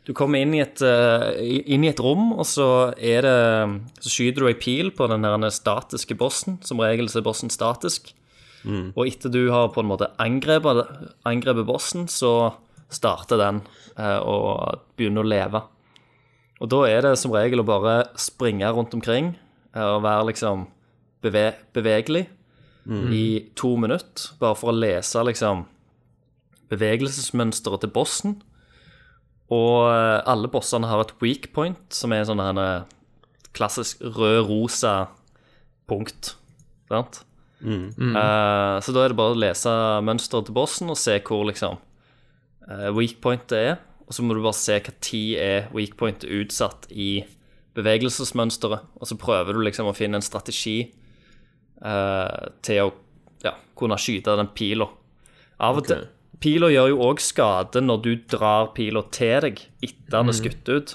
Speaker 5: Du kommer inn i, et, eh, i- inn i et rom, og så, er det, så skyter du ei pil på den herne statiske bossen. Som regel så er bossen statisk. Og etter du har på en måte angrepet, angrepet bossen, så starter den eh, og begynner å leve. Og da er det som regel å bare springe rundt omkring eh, og være liksom beve bevegelig i to minutter, bare for å lese liksom bevegelsesmønsteret til bossen. Og eh, alle bossene har et weak point, som er en sånn her eh, klassisk rød-rosa punkt. Sant? Eh, så da er det bare å lese mønsteret til bossen og se hvor liksom eh, weak pointet er. Og så må du bare se hva tid er weak pointet utsatt i bevegelsesmønsteret. Og så prøver du liksom å finne en strategi eh, til å ja, kunne skyte den pila. Av og til Pila gjør jo òg skade når du drar pila til deg etter den er skutt ut.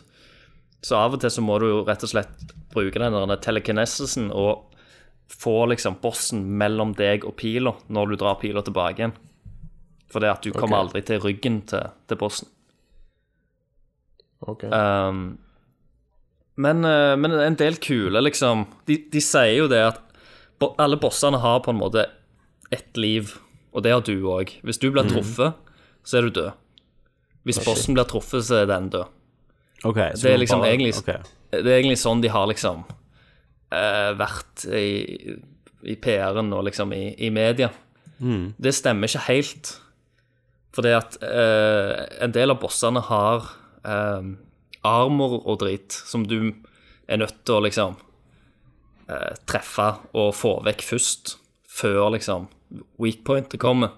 Speaker 5: Så av og til så må du jo rett og slett bruke den der telekinesisen og få liksom bossen mellom deg og pila når du drar pila tilbake igjen. For det at du kommer aldri til ryggen til, til bossen.
Speaker 6: Ok.
Speaker 5: Um, men, eh, men en del kule, liksom De, de sier jo det at bo alle bossene har på en måte ett liv, og det har du òg. Hvis du blir truffet, så er du død. Hvis bossen blir truffet, så er den død.
Speaker 4: Ok, så
Speaker 5: Det er
Speaker 4: du
Speaker 5: liksom
Speaker 4: bare-
Speaker 5: egentlig
Speaker 4: ok.
Speaker 5: Det er egentlig sånn de har liksom eh, vært i, i PR-en og liksom i, i media. Det stemmer ikke helt. Fordi at eh, en del av bossene har eh, armor og drit som du er nødt til å liksom eh, treffe og få vekk først, før liksom weak pointet kommer.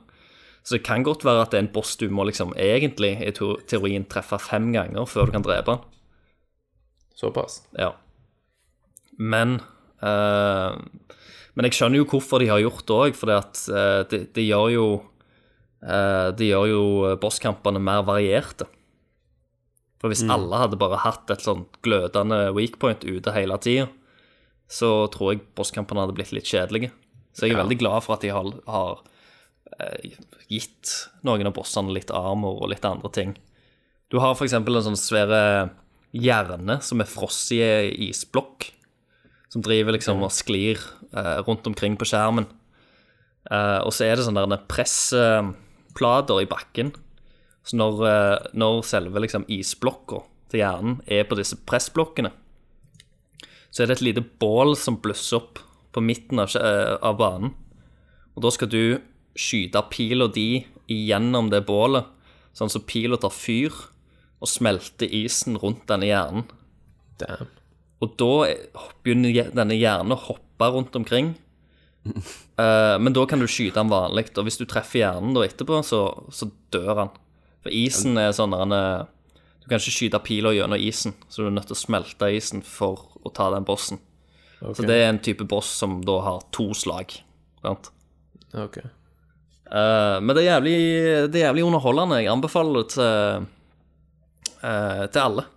Speaker 5: Så det kan godt være at det er en boss du må liksom egentlig i to- teorien treffe fem ganger før du kan drepe han.
Speaker 6: Såpass.
Speaker 5: Ja. Men eh, Men jeg skjønner jo hvorfor de har gjort det òg, for det, det gjør jo eh, Det gjør jo bosskampene mer varierte. For hvis alle hadde bare hatt et sånn glødende weakpoint ute hele tida, så tror jeg bosskampene hadde blitt litt kjedelige. Så jeg er veldig glad for at de har, har eh, gitt noen av bossene litt armor og litt andre ting. Du har for eksempel en sånn svære hjerne som er frosset i isblokk, som driver liksom og sklir eh, rundt omkring på skjermen. Eh, og så er det sånne der pressplater i bakken. Så når, eh, når selve liksom isblokka til hjernen er på disse pressblokkene, så er det et lite bål som blusser opp på midten av, skje- eh, av banen. Og da skal du skyte pila di igjennom det bålet, sånn så pila tar fyr og smelter isen rundt denne hjernen.
Speaker 6: Damn.
Speaker 5: Og da begynner hjer- denne hjernen å hoppe rundt omkring. Eh, men da kan du skyte den vanlig, og hvis du treffer hjernen da etterpå, så, så dør han. For isen er sånn der en eh, Du kan ikke skyte pila gjennom isen, så du er nødt til å smelte isen for å ta den bossen. Så det er en type boss som da har to slag. Sant?
Speaker 6: Ok.
Speaker 5: Eh, men det er, jævlig, det er jævlig underholdende. Jeg anbefaler det til, eh, til alle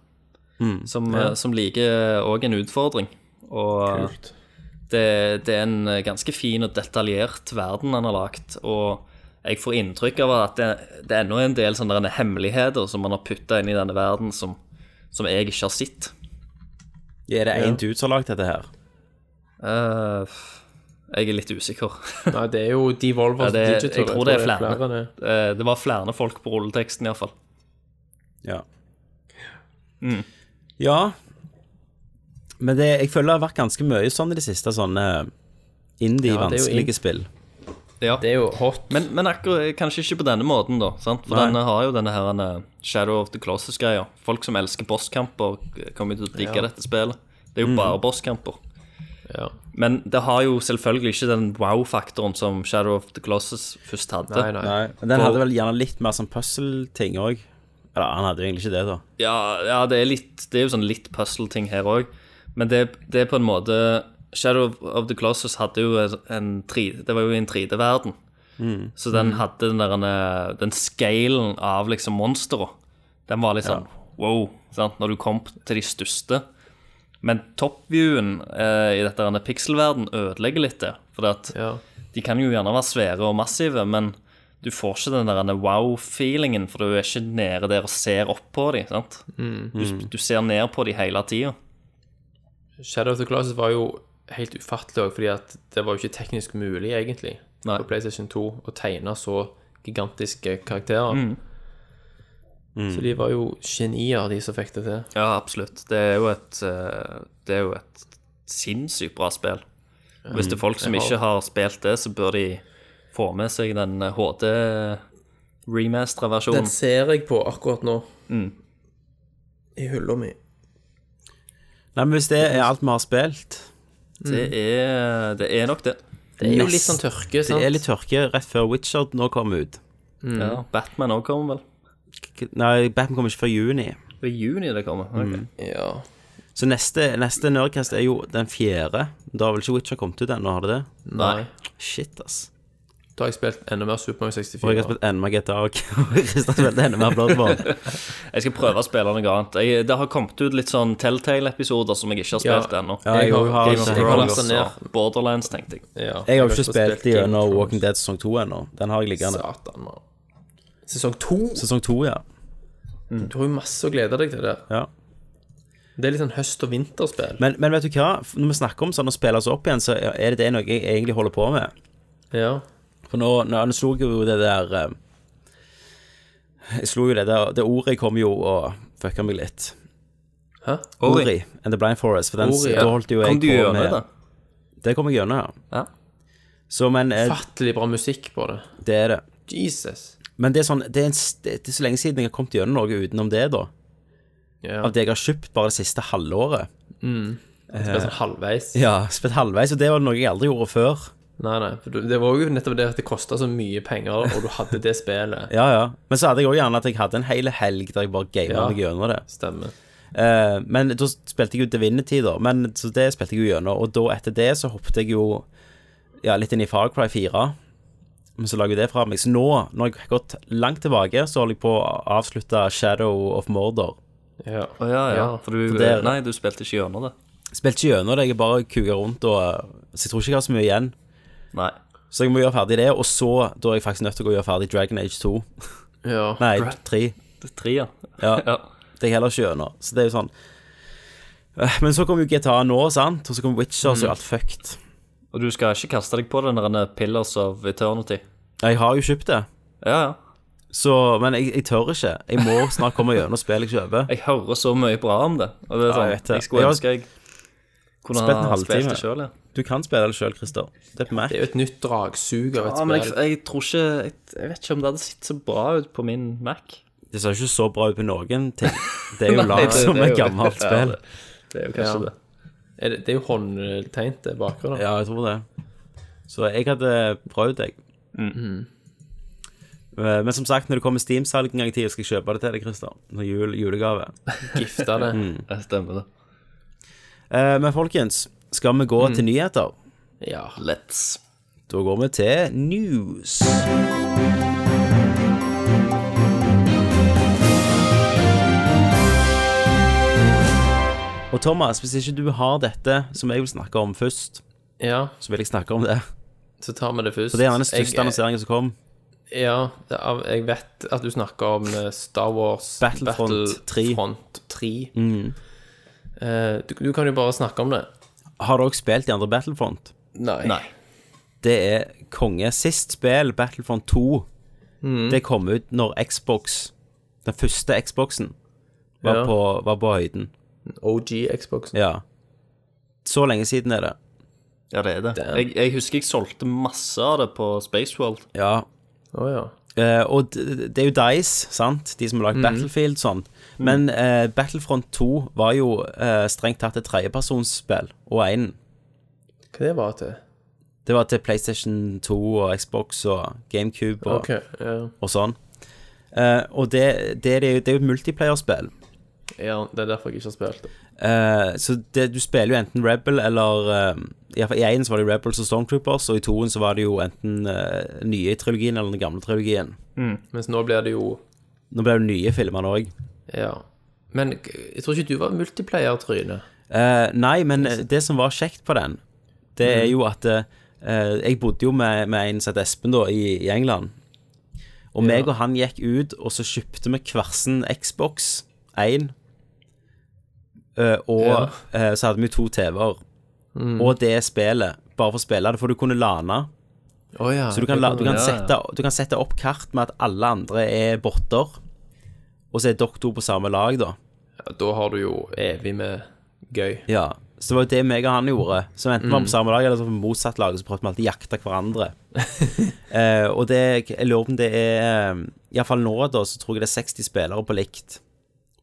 Speaker 6: Mm.
Speaker 5: som, eh, som liker òg en utfordring. Og
Speaker 6: Kult.
Speaker 5: det, det er en eh, ganske fin og detaljert verden han har lagt. Og jeg får inntrykk av at det, det er ennå en del sånne derne hemmeligheter som man har putta inn i denne verden, som, som jeg ikke har sett.
Speaker 4: Er det én dude som har lagd dette her?
Speaker 5: Eh, jeg er litt usikker.
Speaker 6: Nei, det er jo Devolver
Speaker 5: Ja, det- jeg
Speaker 6: Digital.
Speaker 5: tror det er flere.
Speaker 6: det.
Speaker 5: Eh, det var flere folk på rulleteksten, iallfall.
Speaker 4: Ja.
Speaker 6: Mm.
Speaker 4: Ja. Men det, jeg føler det har vært ganske mye sånn i det siste, sånne
Speaker 6: Ja, det er jo
Speaker 4: indie-vanskelige
Speaker 6: inn-
Speaker 4: spill.
Speaker 5: Ja.
Speaker 6: Det er jo hot.
Speaker 5: Men, men akkurat, kanskje ikke på denne måten, da. Sant? For
Speaker 4: Nei.
Speaker 5: denne har jo denne her eh, Shadow of the Closes-greia. Folk som elsker bosskamper, eh, kommer til å digge dette spillet. Det er
Speaker 6: Mm.
Speaker 5: jo bare bosskamper.
Speaker 6: Ja.
Speaker 5: Men det har jo selvfølgelig ikke den wow-faktoren som Shadow of the Closes først hadde.
Speaker 6: Nei, nei.
Speaker 4: Nei. Men den hadde vel gjerne litt mer sånn puzzle-ting òg. Eller han hadde jo egentlig ikke det, da.
Speaker 5: Ja, ja det, er litt, det er jo sånn litt puzzle-ting her òg, men det, det er på en måte Shadow of the Closes hadde jo en 3D, det var jo i en 3D-verden. Så den hadde den der eh, Den scalen av liksom monstera. Den var litt sånn wow, sant? når du kom til de største. Men toppviewen eh, i dette denne pixel-verden ødelegger litt det. For at
Speaker 6: Ja.
Speaker 5: de kan jo gjerne være svære og massive, men du får ikke den der wow-feelingen, for du er ikke nede der og ser opp på dem. sant? Du, du ser ned på dem hele tida.
Speaker 6: Shadow of the Classes var jo helt ufattelig òg, fordi at det var jo ikke teknisk mulig, egentlig,
Speaker 5: Nei.
Speaker 6: på PlayStation 2 å tegne så gigantiske karakterer.
Speaker 4: Mm.
Speaker 6: Så de var jo genier, de som fikk det til.
Speaker 5: Ja, absolutt. Det er jo et, eh, det er jo et sinnssykt bra spill. Og Hvis det er folk som ikke har spilt det, så bør de få med seg den eh, HD-remastera-versjonen.
Speaker 6: ser jeg på akkurat nå.
Speaker 4: Mm.
Speaker 6: I hylla mi.
Speaker 4: Nei, men hvis det er alt vi har spilt
Speaker 5: Det, er- eh, det er nok det.
Speaker 6: Det er jo
Speaker 4: Nest-
Speaker 6: litt sånn tørke,
Speaker 4: Det
Speaker 6: sant?
Speaker 4: er litt tørke rett før Witcher nå kommer ut.
Speaker 5: Ja, Batman òg kommer vel?
Speaker 4: K- Nei, Batman kommer ikke før juni.
Speaker 5: Det er juni det kommer. ok.
Speaker 6: Ja.
Speaker 4: Så neste, neste Nerdcast er jo den fjerde. Da har vel ikke Witcher kommet ut ennå, har det det?
Speaker 6: Nei.
Speaker 4: Shit, ass.
Speaker 6: Da har jeg spilt enda mer Super Mario 64.
Speaker 4: For jeg har spilt enda mer GTA og Kristian spilte enda mer Bloodborne.
Speaker 5: Jeg skal prøve å spille noe annet. Jeg, det har kommet ut litt sånn Telltale-episoder som jeg ikke har
Speaker 6: Ja.
Speaker 5: spilt ennå.
Speaker 4: Ja, jeg
Speaker 6: har-
Speaker 4: har
Speaker 6: jeg
Speaker 4: ikke-
Speaker 6: har-
Speaker 4: jeg
Speaker 6: jeg har
Speaker 4: har
Speaker 6: lastet ned.
Speaker 5: Borderlands, tenkte jeg.
Speaker 6: Ja,
Speaker 4: Jeg har jo ikke spilt
Speaker 6: Game of
Speaker 4: gjennom
Speaker 6: Thrones.
Speaker 4: Walking Dead sesong 2 ennå. Den har jeg liggende.
Speaker 6: Satan, mann. Sesong to?
Speaker 4: Sesong 2, ja. Mm.
Speaker 6: Du har jo masse å glede deg til der.
Speaker 4: ja.
Speaker 6: Det er litt sånn høst- og vinterspill.
Speaker 4: Men, men vet du hva? Når vi snakker om sånn å spille oss opp igjen, så er det det noe jeg egentlig holder på med.
Speaker 6: Ja.
Speaker 4: For nå, nå, nå slo jeg jo det der eh, Jeg slo jo det der Det ordet kom jo og fucka meg litt.
Speaker 6: Hæ?
Speaker 4: Ori and The Blind Forest. For den,
Speaker 6: Ori, ja.
Speaker 4: da holdt jo jeg
Speaker 5: Kom du
Speaker 4: på
Speaker 5: gjennom
Speaker 4: med
Speaker 5: det?
Speaker 4: Det kom jeg gjennom, ja.
Speaker 5: Ja.
Speaker 4: Så, men eh,
Speaker 6: Fattelig bra musikk på det.
Speaker 4: det er det.
Speaker 6: Jesus.
Speaker 4: Men det er sånn det er, en, s- det er så lenge siden jeg har kommet gjennom noe utenom det, da.
Speaker 6: Ja.
Speaker 4: Av det jeg har kjøpt bare det siste halvåret.
Speaker 6: Det er sånn halvveis.
Speaker 4: Ja, Spilt halvveis, og det var noe jeg aldri gjorde før.
Speaker 6: Nei, nei. for du- Det var jo nettopp det at det kosta så mye penger, og du hadde det spillet.
Speaker 4: Ja, ja. Men så hadde jeg òg gjerne at jeg hadde en hel helg der jeg bare gama
Speaker 6: Ja.
Speaker 4: meg gjennom det.
Speaker 6: Stemmer.
Speaker 4: Eh, men da spilte jeg jo Divinity, da. Men, så det spilte jeg jo gjennom. Og da etter det så hoppet jeg jo ja, litt inn i Far Cry 4. Men så la jeg jo det fra meg. Så nå, når jeg har gått langt tilbake, så holder jeg på å avslutte Shadow of Mordor.
Speaker 6: Ja.
Speaker 5: Å ja, ja.
Speaker 6: Ja,
Speaker 5: For du
Speaker 4: det er-
Speaker 5: Nei, du spilte ikke gjennom det.
Speaker 4: Spilte ikke gjennom det, jeg bare kuka rundt, og, eh, så jeg tror ikke jeg har så mye igjen.
Speaker 5: Nei.
Speaker 4: Så jeg må gjøre ferdig det, og så da er jeg faktisk nødt til å gå og gjøre ferdig Dragon Age 2.
Speaker 6: ja.
Speaker 4: Nei, 3.
Speaker 5: Det er tre, ja.
Speaker 4: Ja.
Speaker 5: ja.
Speaker 4: Det er heller ikke gjennom. Så det er jo sånn. Eh, Men så kom jo GTA nå, sant, og så kom Witcher,
Speaker 5: Mhm.
Speaker 4: så er alt fucked.
Speaker 5: Og du skal ikke kaste deg på den der Pillars of Eternity.
Speaker 4: Jeg har jo kjøpt det.
Speaker 5: Ja, ja.
Speaker 4: Så, men jeg, jeg tør ikke. Jeg må snart komme gjennom spillet jeg kjøper.
Speaker 5: Jeg hører så mye bra om det. Og det er
Speaker 4: Ja,
Speaker 5: sånn,
Speaker 4: jeg
Speaker 5: jeg,
Speaker 4: vet det.
Speaker 5: skulle
Speaker 4: Jeg har
Speaker 5: ønske jeg kunne
Speaker 4: spilt en
Speaker 5: ha spilt
Speaker 4: halvtime.
Speaker 5: det sjøl, ja.
Speaker 4: Du kan spille det sjøl, Christer. Det er på Mac.
Speaker 6: Det er jo et nytt dragsug av et
Speaker 5: Ja, men jeg,
Speaker 6: spill.
Speaker 5: jeg tror ikke jeg, jeg vet ikke om det hadde sett så bra ut på min Mac.
Speaker 4: Det ser ikke så bra ut på noen ting. Det er jo
Speaker 5: Nei,
Speaker 4: lagd
Speaker 5: det- det
Speaker 4: som
Speaker 5: er
Speaker 4: et
Speaker 5: jo-
Speaker 4: gammelt
Speaker 5: Ja,
Speaker 4: spill.
Speaker 5: det- Det er jo kanskje
Speaker 6: Ja.
Speaker 5: det.
Speaker 6: Er det, det er jo håndtegnet det bakgrunnen.
Speaker 4: Ja, jeg tror det. Så jeg hadde prøvd deg.
Speaker 5: Mhm.
Speaker 4: Eh, Men som sagt, når det kommer Steam-salg en gang i tida, skal jeg kjøpe det til deg, Christer. Når Jul, julegave.
Speaker 6: Gifta det.
Speaker 4: Mm.
Speaker 5: Det stemmer, det.
Speaker 4: Eh, Men folkens, skal vi gå
Speaker 5: Mhm.
Speaker 4: til nyheter?
Speaker 6: Ja.
Speaker 5: Let's.
Speaker 4: Da går vi til news. Og Thomas, hvis ikke du har dette som jeg vil snakke om først,
Speaker 6: ja.
Speaker 4: så vil jeg snakke om det.
Speaker 6: Så tar vi det først.
Speaker 4: For det er den største
Speaker 6: Jeg-
Speaker 4: annonseringen som kom.
Speaker 6: Ja, det er, jeg vet at du snakker om eh, Star Wars
Speaker 4: Battlefront Mm. 3.
Speaker 6: Battlefront 3. Eh, du, du kan jo bare snakke om det.
Speaker 4: Har du også spilt de andre Battlefront?
Speaker 6: Nei.
Speaker 5: Nei.
Speaker 4: Det er konge. Sist spill, Battlefront 2,
Speaker 6: Mm.
Speaker 4: det kom ut når Xbox, den første Xboxen, var,
Speaker 6: Ja.
Speaker 4: på, var på høyden.
Speaker 6: OG Xbox.
Speaker 4: Ja. Så lenge siden er det.
Speaker 5: Ja, det er det.
Speaker 6: Damn.
Speaker 5: Jeg, jeg husker jeg solgte masse av det på Spaceworld.
Speaker 4: Ja,
Speaker 6: Å ja.
Speaker 4: Eh, og d- d- det er jo Dice, sant? De som har lagd Battlefield sånn. Men eh, Battlefront 2 var jo eh, strengt tatt et tredjepersonsspill, og én.
Speaker 6: Hva det var til?
Speaker 4: Det var til PlayStation 2 og Xbox og GameCube og,
Speaker 6: Ok, ja.
Speaker 4: og sånn. Eh, og det, det, er jo, det er jo et multiplayerspill,
Speaker 6: ja. Det er derfor jeg ikke har spilt det.
Speaker 4: Eh, så det, du spiller jo enten Rebel eller eh, i hvert fall I én var det Rebels og Stormtroopers, og i toen så var det jo enten eh, nye i trilogien eller den gamle trilogien.
Speaker 6: Mens nå blir det jo
Speaker 4: Nå ble det nye filmer nå òg.
Speaker 6: Ja. Men k- jeg tror ikke du var multiplayer-tryne.
Speaker 4: Eh, nei, men det som var kjekt på den, det er jo at eh, eh, Jeg bodde jo med, med en som het Espen, da, i, i England. Og meg og han gikk ut, og så kjøpte vi hversin Xbox 1. eh, og
Speaker 6: Ja.
Speaker 4: eh, så hadde vi to TV-er. Og det spillet, bare for å spille det, for du kunne lane.
Speaker 6: Å ja.
Speaker 4: Så du kan, la, du, kan
Speaker 5: ja, ja.
Speaker 4: sette, du kan sette opp kart med at alle andre er botter, og så er dere to på samme lag, da.
Speaker 6: Da har du jo evig med gøy.
Speaker 4: Ja, så det var jo det meg og han gjorde. Så enten var vi på samme lag eller så på motsatt lag, så prøvde vi alltid å jakte hverandre. Eh, og det, jeg lurer på om det er eh, Iallfall nå, da, så tror jeg det er 60 spillere på likt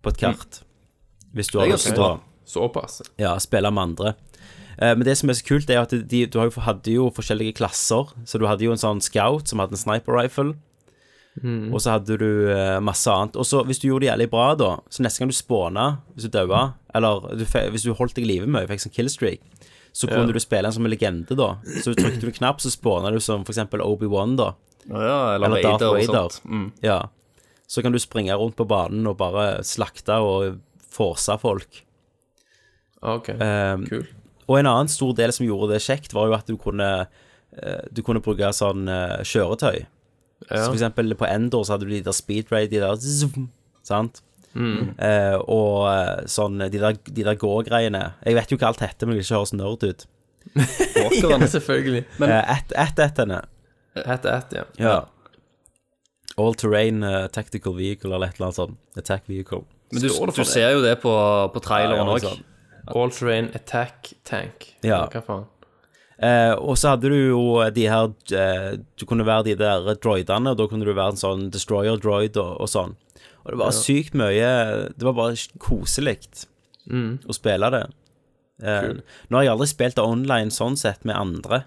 Speaker 4: på et kart. Hvis du har
Speaker 5: Det er
Speaker 4: lyst
Speaker 5: ganske
Speaker 4: til å
Speaker 5: bra.
Speaker 6: Såpass.
Speaker 4: ja, spille med andre. Eh, men det som er så kult, er at de, du har jo, hadde jo forskjellige klasser. Så du hadde jo en sånn scout som hadde en sniper rifle. Og så hadde du eh, masse annet. Og så hvis du gjorde det jævlig bra, da, så neste gang du spåna, hvis du daua, eller du, fe- hvis du holdt deg i live mye, fikk sånn killstreak, så kunne du spille den som en legende, da. Så trykte du en knapp, så spåna du som for eksempel Obi-Wan, da.
Speaker 5: Å ja, eller,
Speaker 4: Eller Darth
Speaker 5: Vader og
Speaker 4: Vader.
Speaker 5: sånt. Mm.
Speaker 4: Ja. Så kan du springe rundt på banen og bare slakte og forse folk.
Speaker 6: Ah, OK.
Speaker 4: Um,
Speaker 6: Kul.
Speaker 4: Og en annen stor del som gjorde det kjekt, var jo at du kunne, eh, du kunne bruke sånn eh, kjøretøy. Så for eksempel på Endor så hadde du de der speed raid, de der zoom, sant? Eh, og eh, sånn de der, de der gå-greiene. Jeg vet jo ikke alt dette, men jeg vil ikke høres nerd ut. Eh,
Speaker 6: Ja, selvfølgelig.
Speaker 4: Men... Ett-ettene.
Speaker 6: Ett ett, ja.
Speaker 4: Ja. All terrain eh, tactical vehicle eller et eller annet sånt. Attack vehicle.
Speaker 5: Men du,
Speaker 6: Står det for
Speaker 5: du
Speaker 6: det?
Speaker 5: ser jo det på, på traileren
Speaker 4: Ja, ja,
Speaker 5: òg.
Speaker 4: liksom.
Speaker 6: All terrain attack tank.
Speaker 4: Ja.
Speaker 6: Hva faen?
Speaker 4: Eh, og så hadde du jo de her eh, Du kunne være de der droidene, og da kunne du være en sånn destroyer droid og, og sånn. Og det var sykt mye Det var bare koselig å spille det. Eh, nå har jeg aldri spilt det online sånn sett med andre,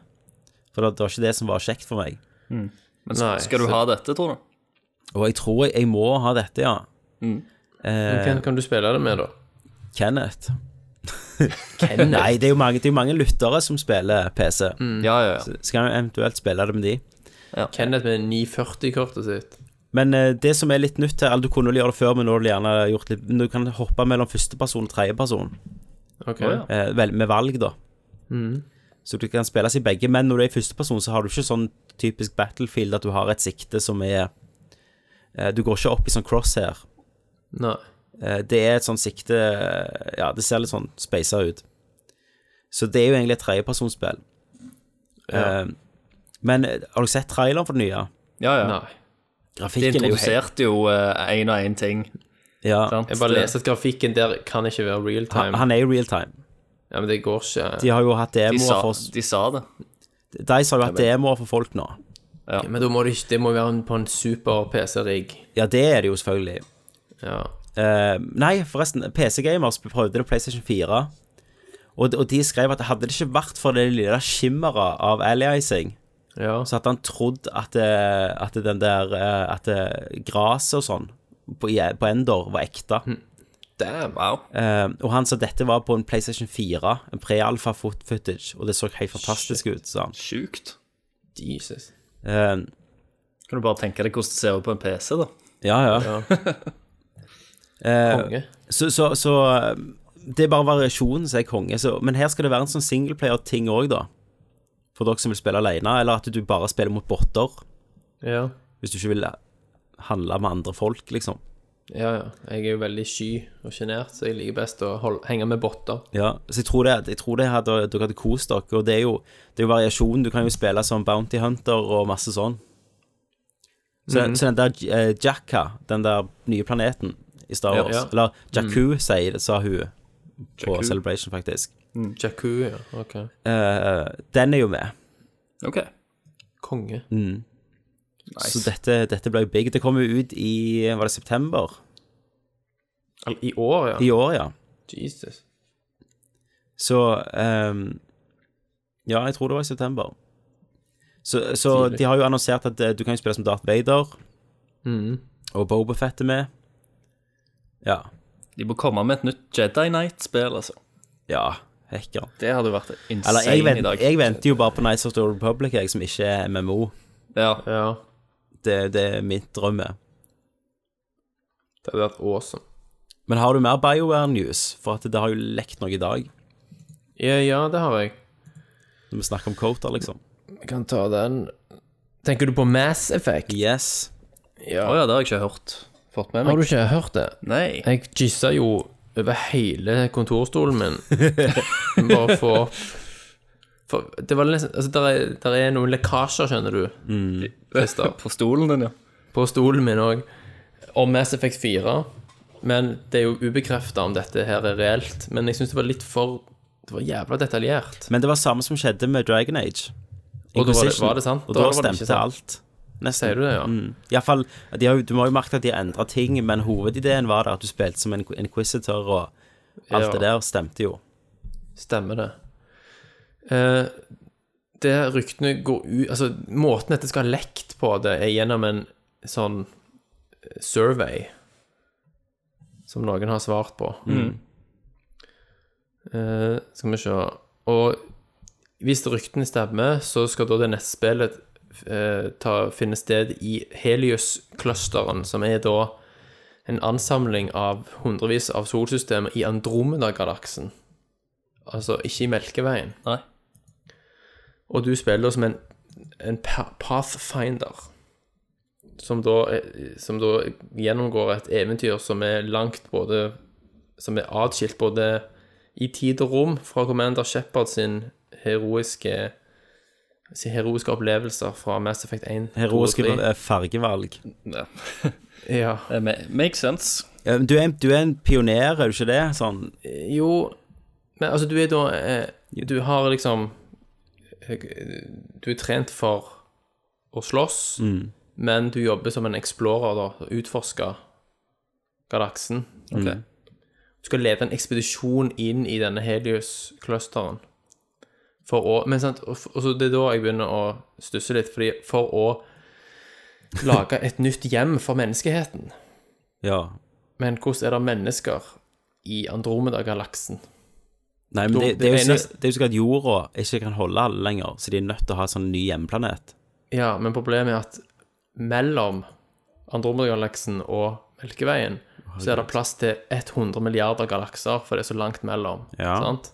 Speaker 4: for det, det var ikke det som var kjekt for meg.
Speaker 5: Men
Speaker 6: Nei,
Speaker 5: skal du
Speaker 6: så-
Speaker 5: ha dette, tror du?
Speaker 4: Og jeg tror jeg, jeg må ha dette, ja.
Speaker 6: Men Hvem kan du spille det med, da?
Speaker 4: Kenneth. Nei, det er jo mange, det er jo mange lyttere som spiller PC.
Speaker 5: Ja, ja, ja.
Speaker 4: Skal jeg eventuelt spille det med de?
Speaker 6: Kenneth med 940-kortet sitt.
Speaker 4: Men eh, det som er litt nytt her Eller du kunne vel gjøre det før, men nå har du gjerne gjort litt men Du kan hoppe mellom førsteperson og tredjeperson
Speaker 6: OK.
Speaker 5: Å,
Speaker 4: eh, vel, Med valg da Mm. Så du kan spilles i begge Men når du er i førsteperson så har du ikke sånn typisk battlefield At du har et sikte som er eh, Du går ikke opp i sånn crosshair
Speaker 6: Nei.
Speaker 4: Eh, Det er et sånn sikte eh, Ja, det ser litt sånn speisa ut. Så det er jo egentlig et tredjepersonsspill. Eh, Men eh, har du sett traileren for det nye?
Speaker 5: ja, ja.
Speaker 6: Nei.
Speaker 5: De
Speaker 4: Grafikken er jo helt
Speaker 5: introduserte jo én og én ting.
Speaker 4: ja.
Speaker 5: Sant?
Speaker 6: Jeg bare
Speaker 5: Det-
Speaker 6: leser at grafikken der kan ikke være real
Speaker 4: han,
Speaker 6: time.
Speaker 4: han er i real time.
Speaker 6: Ja, men det går ikke.
Speaker 4: De har jo hatt
Speaker 5: de,
Speaker 4: demoer
Speaker 5: sa,
Speaker 4: for
Speaker 5: de sa det.
Speaker 4: Dice har jo hatt demoer for folk nå.
Speaker 6: Men da må det ikke Det må være en- på en super PC-rigg.
Speaker 4: Ja, det er det jo selvfølgelig.
Speaker 6: Ja.
Speaker 4: Eh, nei, forresten, PC Gamers prøvde det på PlayStation 4. Og de, og de skrev at hadde det ikke vært for det lille skimmeret av aliasing,
Speaker 6: Ja.
Speaker 4: så hadde han trodd at, eh, at den der eh, At eh, graset og sånn på, i- på Endor var ekte.
Speaker 5: Hm.
Speaker 6: Damn.
Speaker 5: Wow.
Speaker 4: Eh, og han sa dette var på en PlayStation 4, en pre-alfa foot footage, og det så helt fantastisk ut, sa han.
Speaker 5: Sjukt.
Speaker 6: Jesus.
Speaker 4: Eh,
Speaker 5: Kan du bare tenke deg hvordan det ser ut på en PC, da?
Speaker 4: ja, ja.
Speaker 6: Konge.
Speaker 4: Så, så, så eh, det er bare variasjonen som er konge. Så, men her skal det være en sånn singleplayer-ting òg, da. For dere som vil spille alene, eller at du bare spiller mot botter.
Speaker 6: Ja.
Speaker 4: Hvis du ikke vil eh, handle med andre folk, liksom.
Speaker 6: Ja, ja. Jeg er jo veldig sky og sjenert, så jeg liker best å holde, henge med botter.
Speaker 4: Ja, så jeg tror det, jeg tror det hadde, dere hadde kost dere. Og det er, jo, det er jo variasjon. Du kan jo spille som Bounty Hunter og masse sånn. Så,
Speaker 6: Mhm.
Speaker 4: så den der eh, Jakka, den der nye planeten i Star
Speaker 6: Ja, Mhm.
Speaker 4: Wars
Speaker 6: ja.
Speaker 4: Eller Jakku, sier, sa hun på
Speaker 5: Jakku.
Speaker 4: Celebration, faktisk.
Speaker 6: Jaku, ja. OK.
Speaker 4: Eh, den er jo med.
Speaker 5: OK.
Speaker 6: Konge.
Speaker 4: Så
Speaker 5: Nice.
Speaker 4: dette, dette ble jo big. Det kom jo ut i var det september
Speaker 6: Al- I år, ja.
Speaker 4: i år, ja.
Speaker 6: Jesus.
Speaker 4: Så ehm, Ja, jeg tror det var i september. Så, så
Speaker 6: Tidlig.
Speaker 4: de har jo annonsert at eh, du kan jo spille som Darth Vader, og Bobafett er med. Ja.
Speaker 5: De må komme med et nytt Jedi Knight-spill, altså.
Speaker 4: Ja, hekker.
Speaker 5: Det hadde jo vært insane
Speaker 4: Eller jeg,
Speaker 5: i
Speaker 4: vent,
Speaker 5: dag.
Speaker 4: jeg venter jo bare på Nights of the Old Republic, jeg, som ikke er MMO.
Speaker 5: Ja.
Speaker 6: Ja.
Speaker 4: Det, det er min drøm. er.
Speaker 6: Det hadde vært awesome.
Speaker 4: Men har du mer BioWare-news? For at det har jo lekt noe i dag.
Speaker 6: Ja, ja, det har jeg.
Speaker 4: Når vi snakker om Cota, liksom.
Speaker 6: Jeg kan ta den. Tenker du på Mass Effect?
Speaker 4: Yes.
Speaker 5: Å ja, det har jeg ikke hørt. Fått med
Speaker 6: Har
Speaker 5: meg.
Speaker 6: du ikke hørt det?
Speaker 5: Nei.
Speaker 6: Jeg gissa jo over hele kontorstolen min. Bare for For det var nesten Altså, der er, der er noen lekkasjer, skjønner du.
Speaker 4: Mm.
Speaker 5: På stolen din, ja.
Speaker 6: på stolen min òg om Mass Effect 4. Men det er jo ubekrefta om dette her er reelt. Men jeg syns det var litt for Det var jævla detaljert.
Speaker 4: Men det var samme som skjedde med Dragon Age.
Speaker 6: Og da var det,
Speaker 4: Inquisition.
Speaker 6: var det sant?
Speaker 4: Og da,
Speaker 6: var det ikke
Speaker 4: stemte
Speaker 6: sant.
Speaker 4: alt. Nesten.
Speaker 6: Sier du det, ja?
Speaker 4: Mm. I alle fall, de har, jo- du må jo merke at de har endra ting, men hovedideen var det at du spilte som en inquisitor, og alt
Speaker 6: Ja.
Speaker 4: det der stemte jo.
Speaker 6: Stemmer det. Eh, det ryktene går ut Altså, måten dette skal ha lekt på, det er gjennom en sånn survey som noen har svart på. Eh, skal vi se Og hvis ryktene stemmer, så skal da det neste spillet eh, ta, finne sted i Helios-clusteren, som er da en ansamling av hundrevis av solsystemer i Andromeda-galaksen. Altså ikke i Melkeveien.
Speaker 5: Nei.
Speaker 6: Og du spiller da som en, en pa- pathfinder, som da, er- som da gjennomgår et eventyr som er langt både Som er atskilt både i tid og rom fra Commander Shepard sin heroiske sine heroiske opplevelser fra Mass Effect 1. 2 og
Speaker 4: Heroiske
Speaker 6: 3.
Speaker 4: eh, fargevalg.
Speaker 5: Ja.
Speaker 6: Ja.
Speaker 5: Det ma- Eh, makes sense.
Speaker 4: Eh, Du er, en- du er en pioner, er du ikke det? Sånn
Speaker 6: Jo, men altså du er da eh, Du har liksom eh, Du er trent for å slåss, men du jobber som en explorer, da. og Utforsker galaksen.
Speaker 5: Ok.
Speaker 6: Du skal lede en ekspedisjon inn i denne Helios-clusteren. For å Men sant, og, og så det er da jeg begynner å stusse litt, fordi for å lage et nytt hjem for menneskeheten.
Speaker 4: Ja.
Speaker 6: Men hvordan er det mennesker i Andromeda-galaksen?
Speaker 4: Nei, men det,
Speaker 6: Det
Speaker 4: det, er jo
Speaker 6: ene-
Speaker 4: sikkert- det er jo sikkert at jorda ikke kan holde alle lenger, så de er nødt til å ha en sånn ny hjemplanet.
Speaker 6: Ja, men problemet er at mellom Andromeda-galaksen og Melkeveien så er det plass til 100 milliarder galakser, for det er så langt mellom.
Speaker 4: Ja.
Speaker 6: Sant?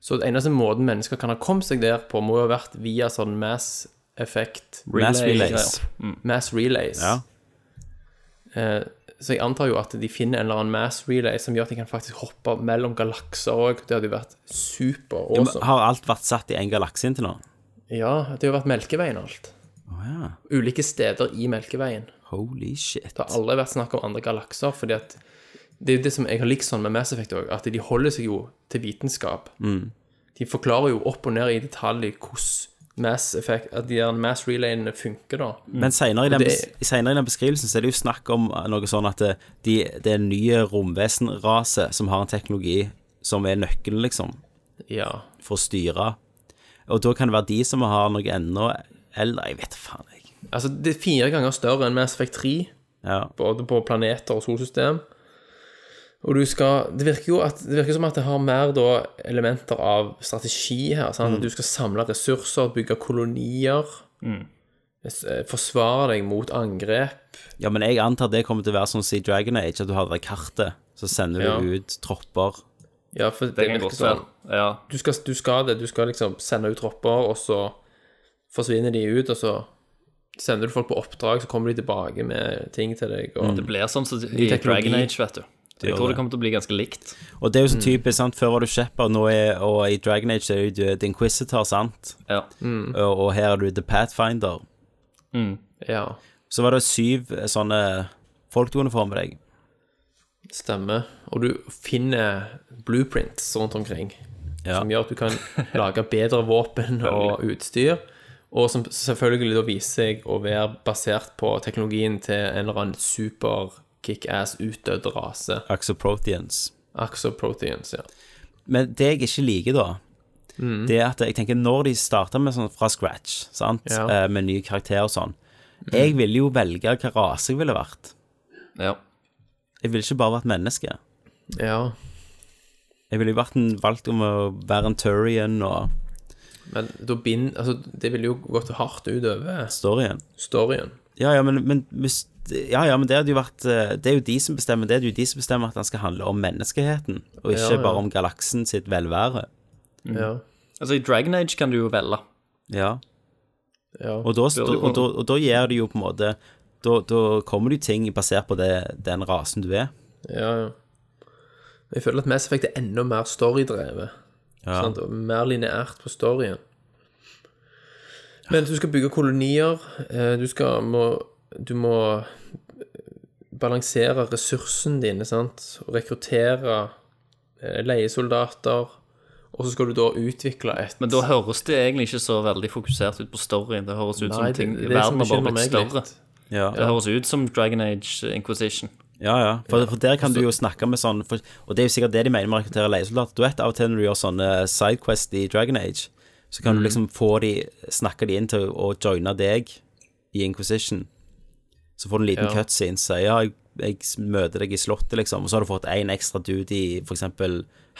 Speaker 6: Så den eneste måten mennesker kan ha kommet seg der på, må jo ha vært via sånn mass effect,
Speaker 4: Mass
Speaker 5: Relay-
Speaker 4: relays. Mm.
Speaker 6: mass relays.
Speaker 4: Ja.
Speaker 6: Eh, så jeg antar jo at de finner en eller annen mass relay som gjør at de kan faktisk hoppe mellom galakser òg. Det hadde jo vært super
Speaker 4: Ja, men
Speaker 6: awesome.
Speaker 4: Har alt vært satt i én galakse inntil nå?
Speaker 6: Ja, det har jo vært Melkeveien og alt.
Speaker 4: Å ja.
Speaker 6: Ulike steder i Melkeveien.
Speaker 4: Holy shit.
Speaker 6: Det har aldri vært snakk om andre galakser, fordi at det er jo det som jeg har likt sånn med Mass Effect òg, at de holder seg jo til vitenskap. De forklarer jo opp og ned i detalj hvordan Mass Effect, at de der Mass Relayene funker, da.
Speaker 4: Men senere i, den,
Speaker 6: Mm. Og det-
Speaker 4: bes- senere i den beskrivelsen så er det jo snakk om noe sånn at det, de, det er en ny eh, romvesenrase som har en teknologi som er nøkkelen, liksom,
Speaker 6: Ja.
Speaker 4: for å styre. Og da kan det være de som har noe ennå Eller jeg vet faen, jeg.
Speaker 6: Altså, det er fire ganger større enn Mass Effect 3,
Speaker 4: Ja.
Speaker 6: både på planeter og solsystem. Og du skal Det virker jo at, det virker som at det har mer da, elementer av strategi her. Sant? At du skal samle ressurser, bygge kolonier, s- eh, forsvare deg mot angrep.
Speaker 4: ja, men jeg antar det kommer til å være sånn som i Dragon Age, at du har det der kartet, så sender du
Speaker 6: Ja.
Speaker 4: ut tropper.
Speaker 6: Ja, for det,
Speaker 5: Det kan
Speaker 6: virker
Speaker 5: godt være.
Speaker 6: sånn.
Speaker 5: Ja.
Speaker 6: Du skal, du skal det. Du skal liksom sende ut tropper, og så forsvinner de ut, og så sender du folk på oppdrag, så kommer de tilbake med ting til deg. Og
Speaker 5: Det blir sånn som i
Speaker 6: teknologi.
Speaker 5: Dragon Age, vet du. Jeg
Speaker 4: gjør
Speaker 5: tror
Speaker 4: det.
Speaker 5: det kommer til å bli ganske likt.
Speaker 4: Og det er jo så
Speaker 6: Mm.
Speaker 4: typisk, sant. Før var du Shepard, nå er, og i Dragon Age så er du The Inquisitor, sant.
Speaker 5: Ja.
Speaker 6: Mm.
Speaker 4: Og, og her er du The Pathfinder.
Speaker 6: Ja,
Speaker 4: Så var det syv eh, sånne folk du kunne få med deg.
Speaker 6: stemmer. Og du finner blueprints rundt omkring
Speaker 4: Ja.
Speaker 6: som gjør at du kan lage bedre våpen og utstyr. Og som selvfølgelig da viser seg å være basert på teknologien til en eller annen super kickass utdødd rase.
Speaker 4: Axoproteans.
Speaker 6: Axoproteins, ja.
Speaker 4: Men det jeg ikke liker, da,
Speaker 6: Mm.
Speaker 4: det er at jeg tenker når de starter med sånn fra scratch, sant,
Speaker 6: Ja.
Speaker 4: Eh, med nye karakterer og sånn Jeg ville jo velge hva rase jeg ville vært.
Speaker 5: ja.
Speaker 4: Jeg ville ikke bare vært menneske.
Speaker 6: Ja.
Speaker 4: Jeg ville jo vært en, valgt om å være en Turian og
Speaker 6: Men da bind, altså, det ville jo gått hardt utover
Speaker 4: storyen.
Speaker 6: storyen.
Speaker 4: Ja, ja, men, men hvis ja, ja, men det hadde jo vært eh, Det er jo de som bestemmer det. Det er jo de som bestemmer at den skal handle om menneskeheten, og ikke
Speaker 6: Ja, ja.
Speaker 4: bare om galaksen sitt velvære.
Speaker 6: Ja.
Speaker 5: Altså, i Dragon Age kan du jo velge.
Speaker 4: Ja.
Speaker 6: ja.
Speaker 4: Og da, stå-
Speaker 5: du
Speaker 4: og, da, og da gjør det jo på en måte Da, da kommer det jo ting basert på det, den rasen du er.
Speaker 6: ja, ja. Jeg føler at Mass Effect er enda mer storydrevet. sant? Og Mer lineært på storyen. Men du skal bygge kolonier. eh, Du skal må, Du må eh, balansere ressursene dine, sant. Og rekruttere eh, leiesoldater. Og så skal du da utvikle et
Speaker 5: Men da høres det egentlig ikke så veldig fokusert ut på storyen. Det høres ut som
Speaker 6: Nei, det-
Speaker 5: ting
Speaker 6: det er det
Speaker 5: verden
Speaker 6: som
Speaker 5: har bare
Speaker 6: bekymrer
Speaker 5: blitt
Speaker 6: meg
Speaker 5: større.
Speaker 6: litt. Mm.
Speaker 4: Ja,
Speaker 5: Det høres ut som Dragon Age Inquisition.
Speaker 4: ja. ja. For, for der kan du jo snakke med sånn for, Og det er jo sikkert det de mener med å rekruttere leiesoldater. Du vet av og til når du gjør sånne sidequest i Dragon Age, så
Speaker 5: Mm.
Speaker 4: kan du liksom få de snakke de inn til å joine deg i Inquisition. Så får du en liten
Speaker 6: Ja.
Speaker 4: cutscene som sier ja, jeg, jeg møter deg i slottet, liksom. Og så har du fått én ekstra dude i f.eks.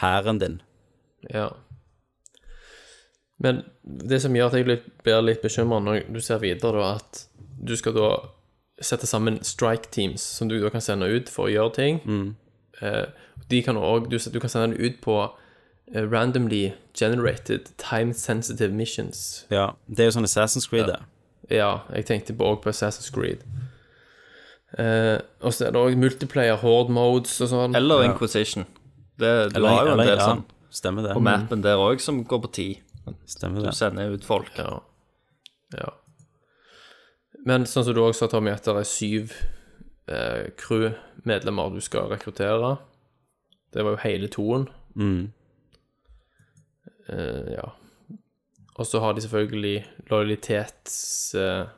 Speaker 4: hæren din.
Speaker 6: Ja. Men det som gjør at jeg litt- blir litt bekymra når du ser videre, da, at du skal da sette sammen strike teams som du da kan sende ut for å gjøre ting. Eh, de kan også, du, du kan sende dem ut på eh, randomly generated time sensitive missions.
Speaker 4: Ja, det er jo sånn Assassin's Creed, det.
Speaker 6: Ja, jeg tenkte på, også på Assassin's Creed. Eh, og så er det òg multiplayer, horde modes og sånn.
Speaker 5: Eller Inquisition. Det, du
Speaker 4: Eller-
Speaker 5: har jo en
Speaker 4: eller-
Speaker 5: del
Speaker 4: ja,
Speaker 5: sånn
Speaker 4: Stemmer
Speaker 6: Mm.
Speaker 4: det.
Speaker 5: på mappen der òg som går på tid.
Speaker 4: Stemmer
Speaker 5: Du
Speaker 4: det.
Speaker 5: sender ut folk.
Speaker 6: Ja. ja. Men sånn som du også sa, Tommy, at det er syv eh, crew-medlemmer du skal rekruttere. Det var jo hele toen.
Speaker 4: Mm.
Speaker 6: Eh, ja. Og så har de selvfølgelig lojalitetstilknytninger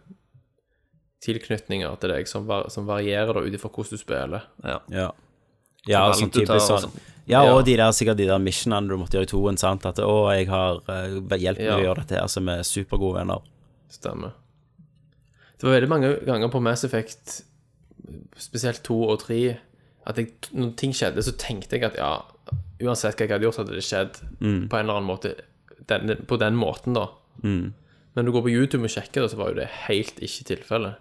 Speaker 6: tilknytninger til deg, som, var, som varierer da ut ifra hvordan du spiller.
Speaker 5: Ja.
Speaker 4: Ja. Ja,
Speaker 5: valg
Speaker 4: sånn
Speaker 5: du tar,
Speaker 4: typisk sånn.
Speaker 5: altså.
Speaker 4: Ja,
Speaker 6: Ja.
Speaker 4: og de der, sikkert de der missionene du måtte gjøre i toen, sant. At 'Å, jeg har eh, hjelp med
Speaker 6: Ja.
Speaker 4: å gjøre dette', altså, vi er supergode venner.
Speaker 6: Stemmer. Det var veldig mange ganger på Mass Effect, spesielt to og tre, at jeg, når ting skjedde, så tenkte jeg at ja, uansett hva jeg hadde gjort, hadde det skjedd
Speaker 4: Mm.
Speaker 6: på en eller annen måte. Den, på den måten, da.
Speaker 4: Mm.
Speaker 6: Men du går på YouTube og sjekker det, så var jo det helt ikke tilfellet.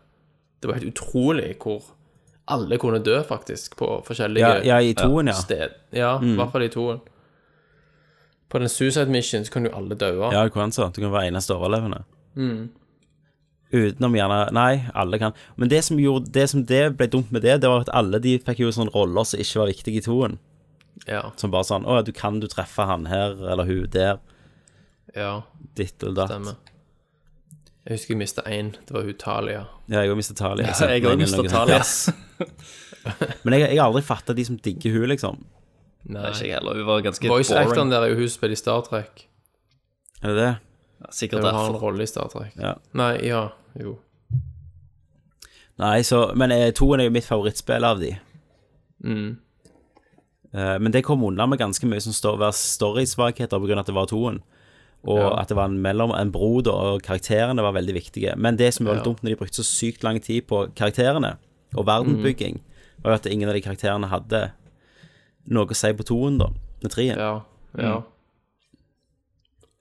Speaker 6: Det var helt utrolig hvor alle kunne dø, faktisk, på forskjellige
Speaker 4: Ja, ja, i toen, ja. Mm.
Speaker 6: sted. Ja, i hvert fall i toen. På den Suicide Mission så kan jo alle daue.
Speaker 4: Ja, Quanza. Du kan være eneste overlevende. Utenom gjerne Nei, alle kan. Men det som, gjorde, det som det ble dumt med det, det var at alle de fikk jo sånne roller som ikke var viktige i toen.
Speaker 6: Ja.
Speaker 4: Som bare sånn 'Å ja, du kan du treffe han her, eller hun der',
Speaker 6: ja.
Speaker 4: ditt og datt.
Speaker 6: Stemmer. Jeg husker jeg mista én. Det var Italia.
Speaker 4: Ja, jeg har mista Talia.
Speaker 5: Så jeg òg mister Talias.
Speaker 4: Men jeg jeg har aldri fatta de som digger hun, liksom.
Speaker 5: Det er ikke jeg heller. Hun var ganske
Speaker 6: Voice actoren
Speaker 5: boring.
Speaker 6: der er jo hun som spiller i Star Trek.
Speaker 4: Er det det?
Speaker 5: Sikkert
Speaker 6: Hun har en
Speaker 5: derfor.
Speaker 6: rolle i Star Trek.
Speaker 4: Ja.
Speaker 6: Nei, ja, jo.
Speaker 4: Nei, så Men eh, toen er jo mitt favorittspill av de.
Speaker 6: Mm.
Speaker 4: Eh, men det kom unna med ganske mye som står, var storysvakheter pga. at det var toen. Og at det var en, mellom, en bro, da, og karakterene var veldig viktige. Men det som var litt
Speaker 6: Ja.
Speaker 4: dumt når de brukte så sykt lang tid på karakterene og
Speaker 6: Mm.
Speaker 4: verdenbygging, var jo at ingen av de karakterene hadde noe å si på toen, da. Med treen.
Speaker 6: Ja. ja.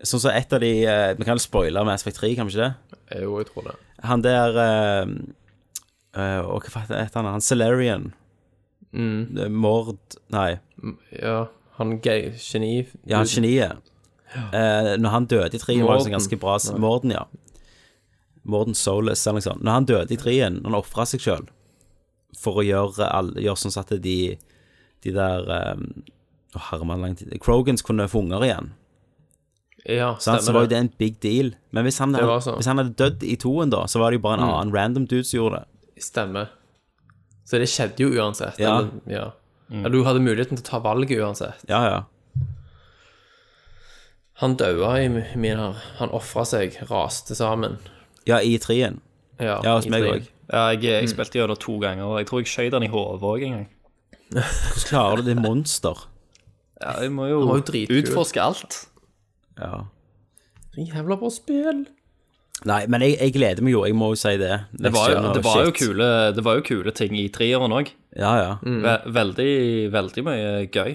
Speaker 4: Sånn som et av de eh, Vi kan jo spoile Mass Effect 3, kan vi ikke det?
Speaker 6: Jo, jeg tror det.
Speaker 4: Han der eh, eh, Og hva faen heter han? Han Celerian.
Speaker 6: Mm.
Speaker 4: Eh, Mord Nei,
Speaker 6: Ja. Han gay, geni...
Speaker 4: ja, han geniet. Eh, når han døde i trien, var det
Speaker 6: Morden.
Speaker 4: sånn ganske bra s- Morden, ja. Morden Solis eller noe sånt. Når han døde i trien, når han ofra seg sjøl for å gjøre, all, gjøre sånn at de, de der eh, Å, herremann, lang tid Krogans kunne få unger igjen.
Speaker 6: Ja,
Speaker 4: Sant? Så var
Speaker 6: stemmer
Speaker 4: jo
Speaker 6: det.
Speaker 4: det en big deal. Men hvis han,
Speaker 6: Det var sånn. Mm.
Speaker 4: hvis han hadde dødd i toen, da, så var det jo bare en annen random dude som gjorde det.
Speaker 6: Stemmer. Så det skjedde jo uansett.
Speaker 4: Ja.
Speaker 6: Eller, ja. Mm. Eller du hadde muligheten til å ta valget uansett.
Speaker 4: Ja, ja.
Speaker 6: Han daua i min her. Han ofra seg, raste sammen.
Speaker 4: Ja, i trien.
Speaker 6: Ja,
Speaker 4: Ja, hos
Speaker 6: i
Speaker 4: meg
Speaker 6: tre.
Speaker 4: òg.
Speaker 5: Ja, jeg, jeg spilte gjennom to ganger, og jeg tror jeg skjøt den i hodet òg en gang.
Speaker 4: Hvordan klarer du det monster?
Speaker 5: Ja, jeg må jo
Speaker 6: var jo dritkul.
Speaker 5: utforske alt.
Speaker 4: Ja.
Speaker 6: Jævla bra spill.
Speaker 4: Nei, men jeg, jeg gleder meg jo, jeg må jo si det.
Speaker 5: Det
Speaker 4: Next
Speaker 5: var, jo,
Speaker 4: Gen og
Speaker 5: det, var jo
Speaker 4: shit.
Speaker 5: kule, det var jo kule ting i treeren òg.
Speaker 4: Ja, ja.
Speaker 5: Mm. Veldig, veldig mye gøy,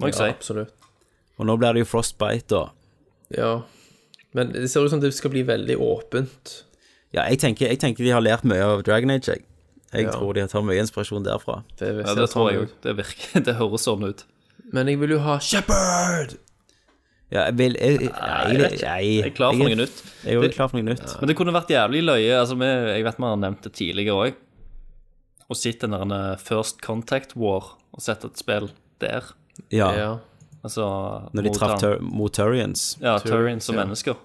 Speaker 5: må jeg
Speaker 6: Ja,
Speaker 5: si.
Speaker 6: absolutt.
Speaker 4: Og nå blir det jo Frostbite, da.
Speaker 6: Ja. Men det ser ut som det skal bli veldig åpent.
Speaker 4: Ja, jeg tenker, jeg tenker de har lært mye av Dragon Age, jeg. Jeg
Speaker 6: Ja.
Speaker 4: tror de tar mye inspirasjon derfra.
Speaker 6: Det,
Speaker 5: Ja, det tror jeg òg. Det virker, det høres sånn ut.
Speaker 6: Men jeg vil jo ha Shepherd!
Speaker 4: Ja, jeg vil jeg, jeg, jeg, jeg,
Speaker 5: Jeg er klar for noe nytt.
Speaker 4: Jeg er jo
Speaker 5: Det-
Speaker 4: klar for noe nytt.
Speaker 5: Men det kunne vært jævlig løye. altså vi, Jeg vet vi har nevnt det tidligere òg. Å sitte den der eh, First Contact War og sette et spill der.
Speaker 4: Ja.
Speaker 6: Ja.
Speaker 5: Altså
Speaker 4: Når de
Speaker 5: mot
Speaker 4: traff
Speaker 5: han-
Speaker 4: tur mot Turians.
Speaker 5: Ja, Turians som
Speaker 6: ja.
Speaker 5: mennesker.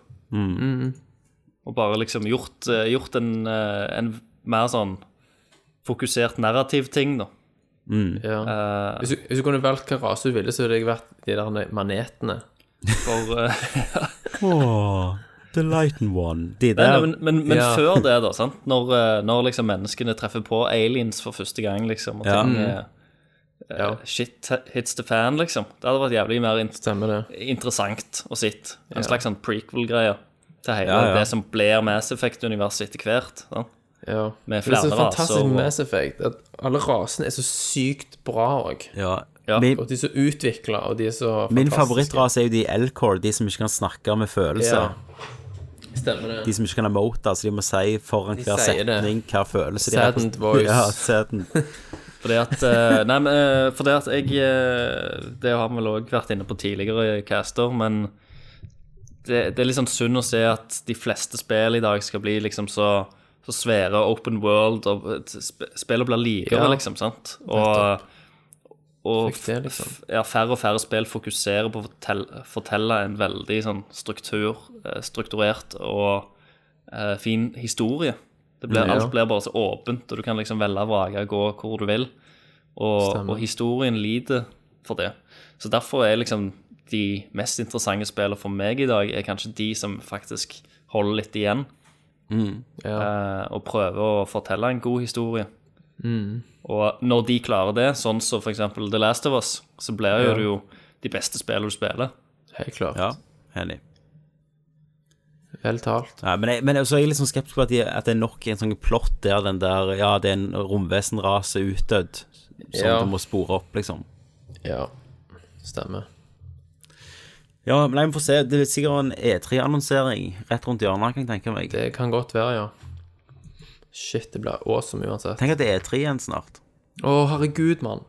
Speaker 5: Og bare liksom gjort, eh, gjort en, eh, en mer sånn fokusert narrativ ting, da.
Speaker 6: ja.
Speaker 5: Mm. Eh,
Speaker 6: hvis, du, hvis du kunne valgt hvilken rase du ville, så ville jeg vært de der manetene.
Speaker 5: For, eh,
Speaker 4: Åh, The Lighten One. De
Speaker 5: nei, nei,
Speaker 4: der.
Speaker 5: men men, men
Speaker 6: Ja.
Speaker 5: før det, da, sant? Når, eh, når liksom menneskene treffer på aliens for første gang, liksom, og
Speaker 4: Ja.
Speaker 5: ting eh,
Speaker 6: Ja,
Speaker 5: Shit hits the fan, liksom. Det hadde vært jævlig mer int
Speaker 6: stemmer det.
Speaker 5: interessant å sitte. En slags sånn prequel-greie til hele
Speaker 4: Ja, ja.
Speaker 5: det som blir Mass Effect-universet etter hvert. Sant?
Speaker 6: Ja.
Speaker 5: Med
Speaker 6: Men det er
Speaker 5: flere
Speaker 6: så fantastisk
Speaker 5: raser og-
Speaker 6: med Mass Effect at alle rasene er så sykt bra òg.
Speaker 4: Ja,
Speaker 5: Ja.
Speaker 4: Min,
Speaker 6: Og de som utvikler, og de som
Speaker 4: min favorittrase er jo de L-core, de som ikke kan snakke med følelser.
Speaker 6: Stemmer det.
Speaker 4: De som ikke kan emote, altså de må si foran hver
Speaker 6: sier det.
Speaker 4: setning hva følelse de
Speaker 6: Saddened voice.
Speaker 4: Ja, saddened.
Speaker 5: Fordi at eh, Nei, men eh, fordi at jeg eh, Det har vi vel òg vært inne på tidligere i caster, men det, det er litt sånn synd å se at de fleste spill i dag skal bli liksom så, så svære open world, og sp- spillet blir likere,
Speaker 6: Ja.
Speaker 5: liksom, sant? Og, og
Speaker 6: Fikk det, liksom.
Speaker 5: f- ja, færre og færre spill fokuserer på å fortelle, fortelle en veldig sånn struktur, eh, strukturert og eh, fin historie. Det blir,
Speaker 6: Mm, Ja.
Speaker 5: Alt blir bare så åpent, og du kan liksom velge og vrake, gå hvor du vil. Og,
Speaker 6: Stemmer.
Speaker 5: og historien lider for det. Så derfor er liksom de mest interessante spillene for meg i dag, er kanskje de som faktisk holder litt igjen,
Speaker 6: Mm, Ja.
Speaker 5: eh, og prøver å fortelle en god historie.
Speaker 6: Mm.
Speaker 5: Og når de klarer det, sånn som for eksempel The Last of Us, så blir jo det jo de beste spillene du spiller.
Speaker 6: Helt klart.
Speaker 4: Ja, enig.
Speaker 6: Vel talt.
Speaker 4: Nei, men, jeg, men jeg- så er jeg litt sånn skeptisk på at, de, at det er nok en sånn plott der den der Ja, det er en romvesenrase utdødd, som
Speaker 6: Ja.
Speaker 4: du må spore opp, liksom.
Speaker 6: Ja. Stemmer.
Speaker 4: Ja, men jeg må få se. Det er sikkert en E3-annonsering rett rundt hjørnet, kan jeg tenke meg.
Speaker 6: Det kan godt være, ja. Shit, det blir awesome uansett. Å,
Speaker 4: Tenk at det er E3 igjen snart.
Speaker 6: herregud, mann.